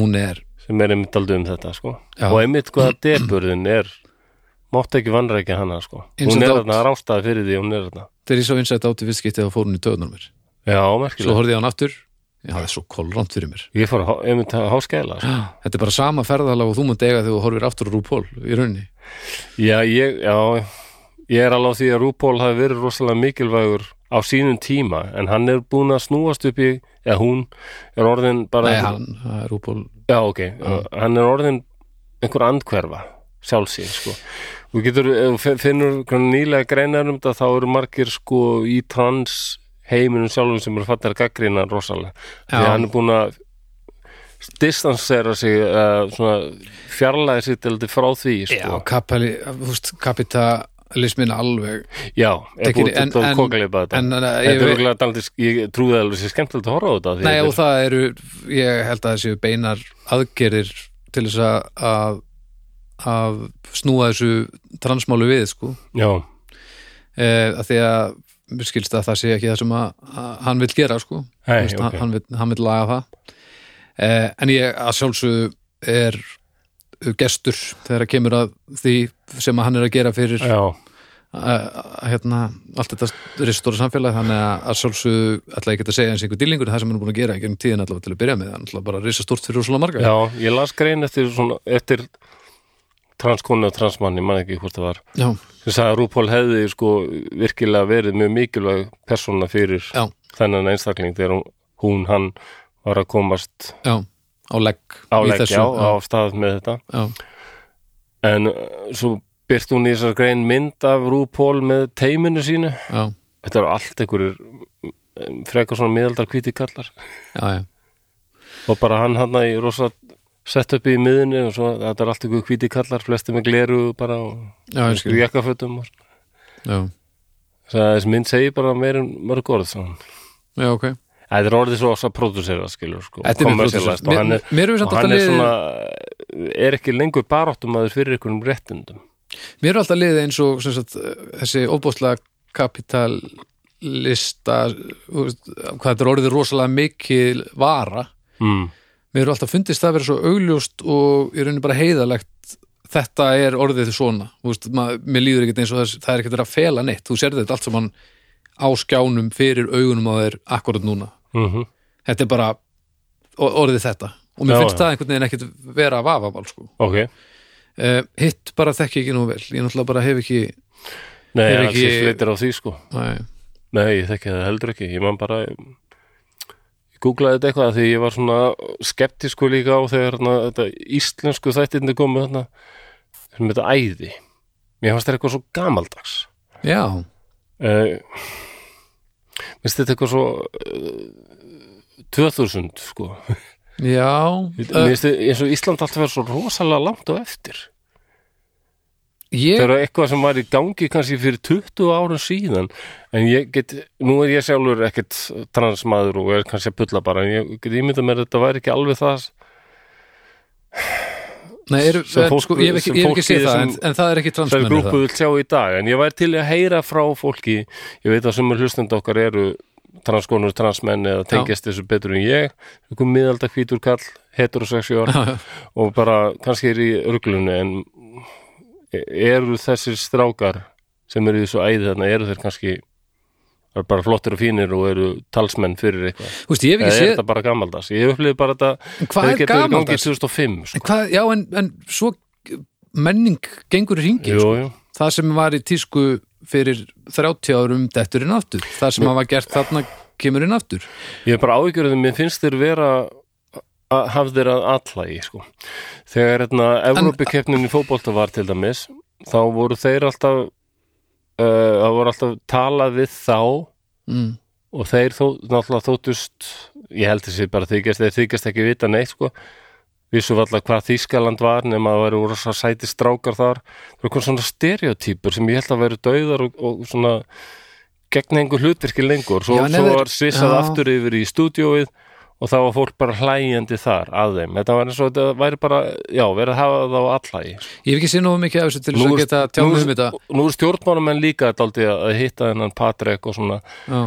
B: hún er
A: sem er einmitt aldrei um þetta sko.
B: Já.
A: og einmitt hvaða deburðin er mátt ekki vanrækja hana sko. hún
B: Inside
A: er
B: Out.
A: þarna rástaði fyrir því hún er þarna
B: þegar ég sá innsætt átti viðskiptið þá fór hún í töðunar mér
A: Já,
B: svo
A: merkilega
B: horfði ég á hann aftur já, það er svo kolrant fyrir mér
A: Ég fór að há- einmitt að háskæla sko.
B: þetta er bara sama ferðalag og þú munt eiga þegar þú horfir aftur á Rúpól í rauninni
A: Já, ég, já, ég er alveg á því að RuPaul hafi verið rosalega mikilvægur á sínum tíma en hann er búin að snúast upp í eða hún er orðin bara
B: Nei, hann, Rúpól
A: já, ok, Uh, hann er orðin einhver andhverfa sjálfsíð sko. þú getur, ef þú finnur hvernig nýlega greinar um þetta þá eru margir sko í trans heiminum sjálfum sem eru fattar gaggrina rosalega
B: Já.
A: því að hann er búin að distansera sig uh, svona fjarlæði sig til frá því sko.
B: já, kapali, húst, kapitalismin alveg
A: Já, er
B: Tekin-
A: búið
B: en-
A: að
B: en-
A: kókleipa þetta
B: en, en,
A: Þetta er
B: ég-
A: örgulega daldið, ég trúði alveg sér skemmtilegt að horfa á þetta því
B: Nei,
A: þetta
B: og það eru, ég held að það séu beinar aðgerðir til þess að, að, að snúa þessu transmálu við, sko.
A: er- Já,
B: E, að því að, mér skilst að það sé ekki það sem að, að hann vil gera, sko.
A: Nei,
B: Vist,
A: ok.
B: hann, hann, vil, hann vil laga það. E, en ég að sjálfsögðu er gestur þegar að kemur að því sem að hann er að gera fyrir
A: já,
B: að, að hérna, allt þetta ristóra samfélag þannig að, að sjálfsögðu ætla ekki að segja eins einhver dýlingur það sem hann er búin að gera í gegnum tíðin allavega til að byrja með hann ætla bara að risa stórt fyrir úrslega marga
A: já, ég las grein eftir, svona, eftir transkonu og transmann, ég man ekki hvort það var
B: já,
A: sem sagði að Rúpól hefði sko virkilega verið mjög mikilvæg persóna fyrir
B: já,
A: þennan einstakling þegar hún, hún, hann var að komast
B: já, á legg í
A: áleggja
B: þessu,
A: á, á stað með þetta
B: já,
A: en uh, svo byrt hún í þessar grein mynd af Rúpól með teiminu sínu
B: já, já,
A: þetta eru allt einhverjir um, frekar svona miðaldar hvíti kallar
B: já, já.
A: og bara hann hann í rosa sett upp í miðunni og svo þetta er allt einhverjir hvíti kallar flesti með gleru bara og
B: Já, ég skil,
A: jakkafötum og svona.
B: já,
A: Þannig að þessi mynd segir bara meir en mörg orð svona.
B: já, ok
A: Þetta er orðið svo rosa pródusera skilur sko,
B: Þetta er mjög
A: commercialized,
B: producer.
A: og hann
B: Mér-
A: er,
B: mér hefur
A: og
B: samt alltaf
A: hann er
B: liðið-
A: svona er ekki lengur baráttumæður fyrir einhverjum réttindum
B: mér er alltaf liðið eins og sem sagt, þessi ofbóðslega kapitalista þú veist, hvað þetta er orðið rosalega mikil vara
A: mm.
B: mér eru alltaf fundist það að vera svo augljóst og í rauninni bara heiðalegt þetta er orðið svona Þú veist, mað, mér líður ekkert eins og það, það er ekkert verið að fela neitt þú sér þetta allt saman á skjánum fyrir augunum á þeir akkurat núna
A: Mm
B: þetta er bara o- orðið þetta og mér
A: Já,
B: finnst
A: já.
B: það einhvern veginn ekkert vera að vafa sko.
A: ok
B: uh, hitt bara þekki ég ekki nú vel ég náttúrulega bara hef ekki
A: Nei,
B: Er
A: hann
B: ekki-
A: ekki... flytir á því sko
B: næ,
A: Nei, ég þekki það heldur ekki. Ég man bara, ég googlaði þetta eitthvað af því ég var svona skeptisku líka á þegar hana, þetta íslensku þættirni komu þarna sem þetta æði. Mér fannst þetta eitthvað svo gamaldags.
B: já,
A: Uh, minnst þetta eitthvað svo uh, 2000 sko.
B: já
A: Mér
B: uh,
A: finnst þetta eins og Ísland alltaf verið svo rosalega langt á eftir.
B: ég,
A: Það er eitthvað sem var í gangi kannski fyrir 20 árum síðan en ég get, nú er ég sjálfur ekkit transmaður og er kannski að pulla bara en ég get ímynda mér að þetta væri ekki alveg það
B: nei, er,
A: sem
B: en,
A: fólk-
B: sko, ég hef ekki,
A: sem
B: ég hef
A: fólk
B: ekki séð
A: í
B: það en,
A: þessum-
B: en það er ekki
A: það er
B: transmenn
A: grúpu vil sjá í dag en ég væri til í að heyra frá fólki ég veit að sumur hlustandi okkar eru transkonur, transmenn eða tengjast þessu betur en ég, einhver miðalda hvítur kall heterosexuál
B: Já, já.
A: og bara kannski er í örglunni en eru þessir strákar sem eru í þessu æði þarna, eru þeir kannski eru bara flottir og fínir og eru talsmenn fyrir eitthvað
B: Þú veist, ég hef
A: eða
B: ekki
A: er
B: séð
A: þetta bara gamaldags ég hef upplifið bara þetta
B: En hvað
A: hefði
B: er
A: getað verið í gangi
B: gamaldags?
A: 2005 sko.
B: En hvað, já, en, en svo menning gengur í ringi
A: jú, jú.
B: það sem var í tísku fyrir 30 árum detturinn aftur það sem hafa gert þarna kemur inn aftur
A: ég er bara áhyggjörðum, mér finnst þér vera að hafði þér að allagi sko. þegar hérna Evrópikeppnin í fótbolta var til dæmis þá voru þeir alltaf uh, það voru alltaf talað við þá
B: mm.
A: og þeir þó, náttúrulega þóttust ég held þessi bara þykjast þeir þykjast ekki vita neitt sko vissu alltaf hvað Þýskaland var nema að væri úr þess að sæti strákar þar það eru eitthvað svona stereotypur sem ég held að væri dauðar og, og svona gegn einhver hlutverki lengur svo,
B: Já, en ef
A: svo
B: þeir-
A: var svissað
B: Já.
A: aftur yfir í stúdíóið og þá var fólk bara hlægjandi þar að þeim, þetta var eins og þetta væri bara já, verið að hafa það á allægi
B: Ég hef ekki séð nógu mikið af þessu til þess að geta tjáð mig um þetta
A: nú er stjórnmálumenn líka daldi að hitta hennan Patrik og svona
B: Já.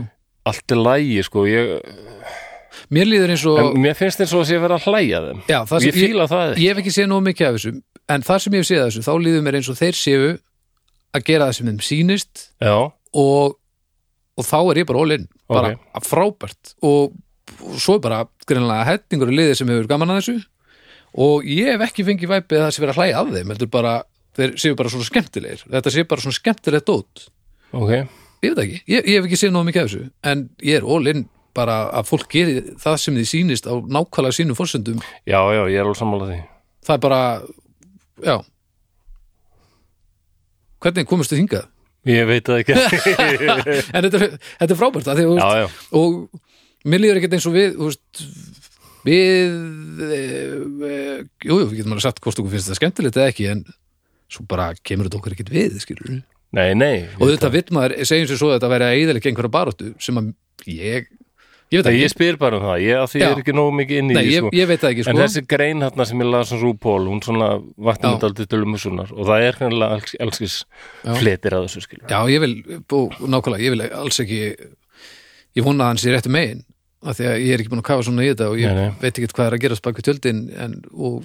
A: allt er lægi sko ég,
B: Mér líður eins og
A: en mér finnst eins og að sé verið að hlæja þeim
B: Já, það
A: ég
B: sem ég,
A: fíla það
B: ég hef ekki séð nógu mikið af þessu en það sem ég hef séð af þessu, þá líður mér eins og þeir séu að gera það sem þeim sýnist
A: já,
B: og, og þá er ég bara ólinn bara frábært og, og svo er bara greinlega hettingur í liði sem hefur gaman að þessu og ég hef ekki fengið væpið að það sé verið að hlæja að þeim heldur bara, þeir séu bara svona skemmtilegir þetta séu bara svona skemmtilegt dót
A: ok
B: ég veit það ekki, ég, ég hef ekki séð nóg mikið af þessu en ég er ólinn bara að fólk gerir það sem þið sýnist á nákvæmlega sínum fórsendum
A: já, já, ég er alveg sammála því
B: það er bara, já hvernig komist þið hingað?
A: ég veit það ekki,
B: en þetta, er- þetta er frábært að því, þú
A: já,
B: veist,
A: já
B: og mér líður ekkert eins og við þú veist, við e, e, jú, jú, við getum alveg sagt hvort okkur finnst þetta skemmtilegt eða ekki en svo bara kemur þetta okkur ekkert við skilur við
A: nei, nei,
B: og þetta vill maður, segjum sér svo að þetta væri að eðalega einhverja baróttu sem að ég ég veit
A: Nei,
B: það
A: ég
B: ekki,
A: spyr bara um það, ég, að því
B: Já.
A: ég er ekki nógu mikið inn í
B: nei,
A: því,
B: ég,
A: sko.
B: ég veit það ekki
A: En
B: sko.
A: þessi grein hérna sem ég laði svona Rúból, hún svona vakti
B: Já.
A: með daldið dölumusunar og það er hérna alls, allskis
B: Já.
A: fletir að þessu skilur.
B: já, ég vil, og nákvæmlega ég vil alls ekki ég vona að hann sé réttu megin af því að ég er ekki búin að kafa svona í þetta og ég
A: Nei, nei.
B: veit ekki hvað er að gerast baki tjöldin en, og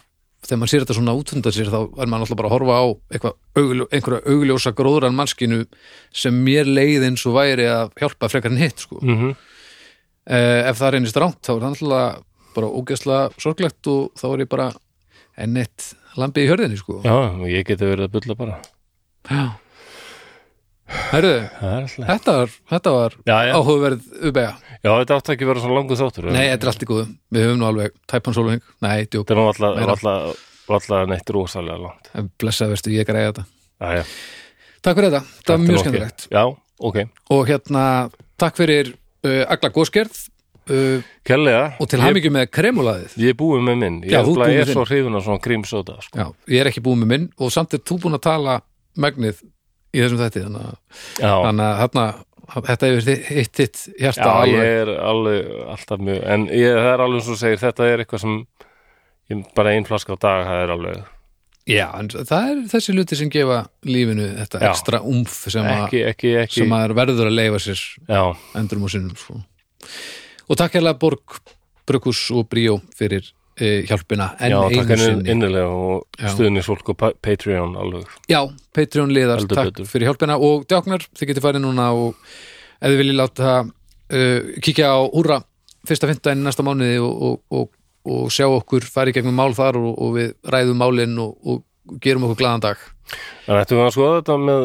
B: þegar maður sér þetta svona útfundar sér þá er maður alltaf bara að horfa á eitthvað, augljó, einhverja augljósa gróðran mannskinu sem mér leið eins og væri að hjálpa frekar en hitt sko.
A: Mm -hmm.
B: uh, ef það reynist rámt þá er það alltaf bara ógeðslega sorglegt og þá er ég bara ennett lambið í hörðinni sko
A: Já, og ég geti verið að bulla bara.
B: Já. Herru,
A: Það er alltaf.
B: þetta var, þetta var
A: Já, já.
B: áhugaverð ubega.
A: Já, þetta átti ekki að vera svona langu þáttur.
B: Nei, þetta er allt í góðum. Við höfum nú alveg tæpan sóluhing. Nei, djók.
A: Þetta er nú alltaf,
B: Meira.
A: alltaf, alltaf neitt rosalega langt.
B: En Blessað verstu, ég greiði þetta.
A: Já, já.
B: Takk fyrir þetta. Þetta var
A: Þetta
B: mjög
A: er ok.
B: skemmtilegt.
A: Já, ok.
B: Og hérna, takk fyrir uh, alla góðskerð uh,
A: Kjærlega.
B: og til hamingju með kremulaðið.
A: Ég, ég er búið með minn. Ég
B: Já,
A: er
B: þú ert
A: nefnilega-
B: búinn með
A: ég er svo hrifun af svona krimsóta, sko.
B: Já, ég er ekki búið með minn og samt er þú búin að tala megnið í þessum þætti. Þannig að-
A: Já,
B: þannig að hérna, þetta hefur þi- hitt þitt hjarta
A: Já, ég
B: alveg.
A: er alveg alltaf mjög, en ég, það er alveg eins og þú segir, þetta er eitthvað sem ég, bara ein flaska á dag, það er alveg
B: Já, en það er þessi luti sem gefa lífinu þetta
A: Já.
B: ekstra umf sem að
A: ekki, ekki, ekki
B: sem maður verður að leifa sér
A: Já,
B: endurum og sinnum sko. og takk hérlega Borg, Brukus og Bríó fyrir e, hjálpina enn
A: já, takk
B: einu
A: henni
B: sinni
A: innilega og
B: Já.
A: stuðnisfólk og pa- Patreon alveg
B: já, Patreon liðar,
A: Heldur
B: takk
A: betur.
B: fyrir hjálpina og djáknar, þið getið farið núna og ef þið viljið láta uh, kíkja á Úra fyrsta fymtudaginn næsta mánuði og, og, og, og sjá okkur farið gegnum mál þar og, og við ræðum málin og, og gerum okkur glaðan dag
A: En ættum við að skoða þetta með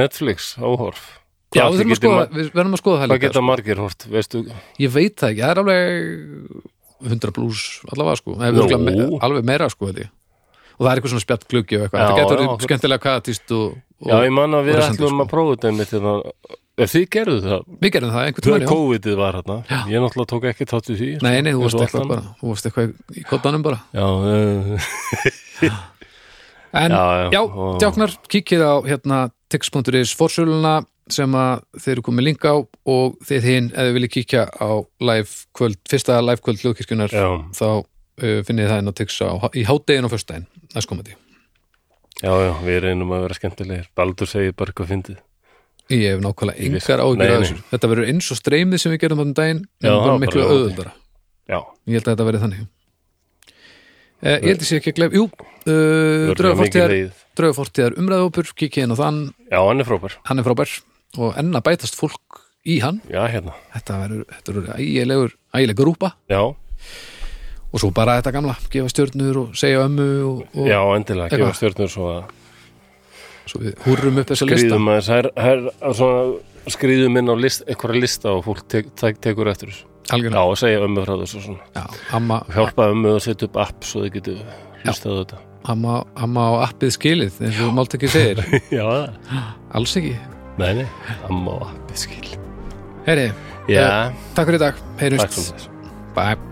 A: Netflix áhorf
B: já,
A: allt
B: við, þurfum að
A: getur
B: skoða,
A: ma-
B: við verðum að skoða það
A: Hvað
B: líka sko.
A: geta margir hort, veistu
B: Ég veit það ekki, það er alveg 100 pluss allavega sko Nei,
A: Nú.
B: örugglega me alveg meira sko held ég. og það er eitthvað svona spjall gluggi og eitthvað
A: Já,
B: þetta getur
A: já,
B: verið
A: akkurat.
B: skemmtilega katist og, og
A: Já, ég man að við
B: og resandi,
A: ætlum
B: sko.
A: að prófa þetta einmitt hérna. Ef þið gerðu það,
B: við gerum það einhvern
A: þegar
B: tímann já.
A: COVID-ið var hérna Ég náttúrulega tók ekki tátt í því sko,
B: Nei, nei, þú
A: eins
B: varst
A: og
B: eitthvað
A: allt
B: bara þú varst eitthvað í koddanum bara
A: annað. Já, uh,
B: en já,
A: Já, já,
B: já
A: og-
B: djáknar, kíkið á hérna tix.is fórsöluna sem að þeir eru komið link á og þið hinn ef þið viljið kíkja á live kvöld, fyrsta live kvöld hljóðkirkjunar
A: já,
B: þá uh, finnið þið það inn á tix á, í hádegin og föstudaginn, næst komandi
A: Já, já, við reynum að vera skemmtilegir. Baldur segir bara hvað fyndið.
B: Ég hef nákvæmlega
A: Ég vissi-
B: engar ágjur
A: Nei,
B: að
A: nei.
B: þessu Þetta verður eins og streymið sem við gerum þannig daginn en
A: Já, það
B: bara
A: var
B: miklu
A: bara
B: auðvöldara
A: Já,
B: Ég held að þetta verði þannig eh, Ég held að sé ekki að glef Jú, uh,
A: örugglega mikið
B: draugafortíðar
A: leið.
B: Draugafortíðar umræðópur, kikið inn á þann
A: Já, hann er frábær.
B: Hann er frábær og enn að bætast fólk í hann
A: Já, hérna.
B: Þetta verður, þetta verður ægilegur ægilegur rúpa
A: Já,
B: og svo bara þetta gamla, gefa stjörnur og segja ömmu og, og
A: já, endilega.
B: Eitthvað.
A: Gefa stjörnur svo að
B: svo við húrrum upp þessa lista
A: skrýðum aðeins. Her, her, að svona skrýðum inn á list, einhverja lista og fólk tek, tek, tekur eftir þessu. Já,
B: Algjörlega,
A: og segja ömmu frá þessu og svona.
B: já, amma,
A: Hjálpa ömmu að setja upp app svo þið getur hlustað á þetta.
B: amma, amma á appið skilið eins og mált ekki segir,
A: já, það.
B: alls ekki
A: Nei, nei, amma og appi skil.
B: Heri,
A: Já, Eh,
B: takk fyrir í dag, heyrjumst
A: takk fyrir þessu.
B: Bye.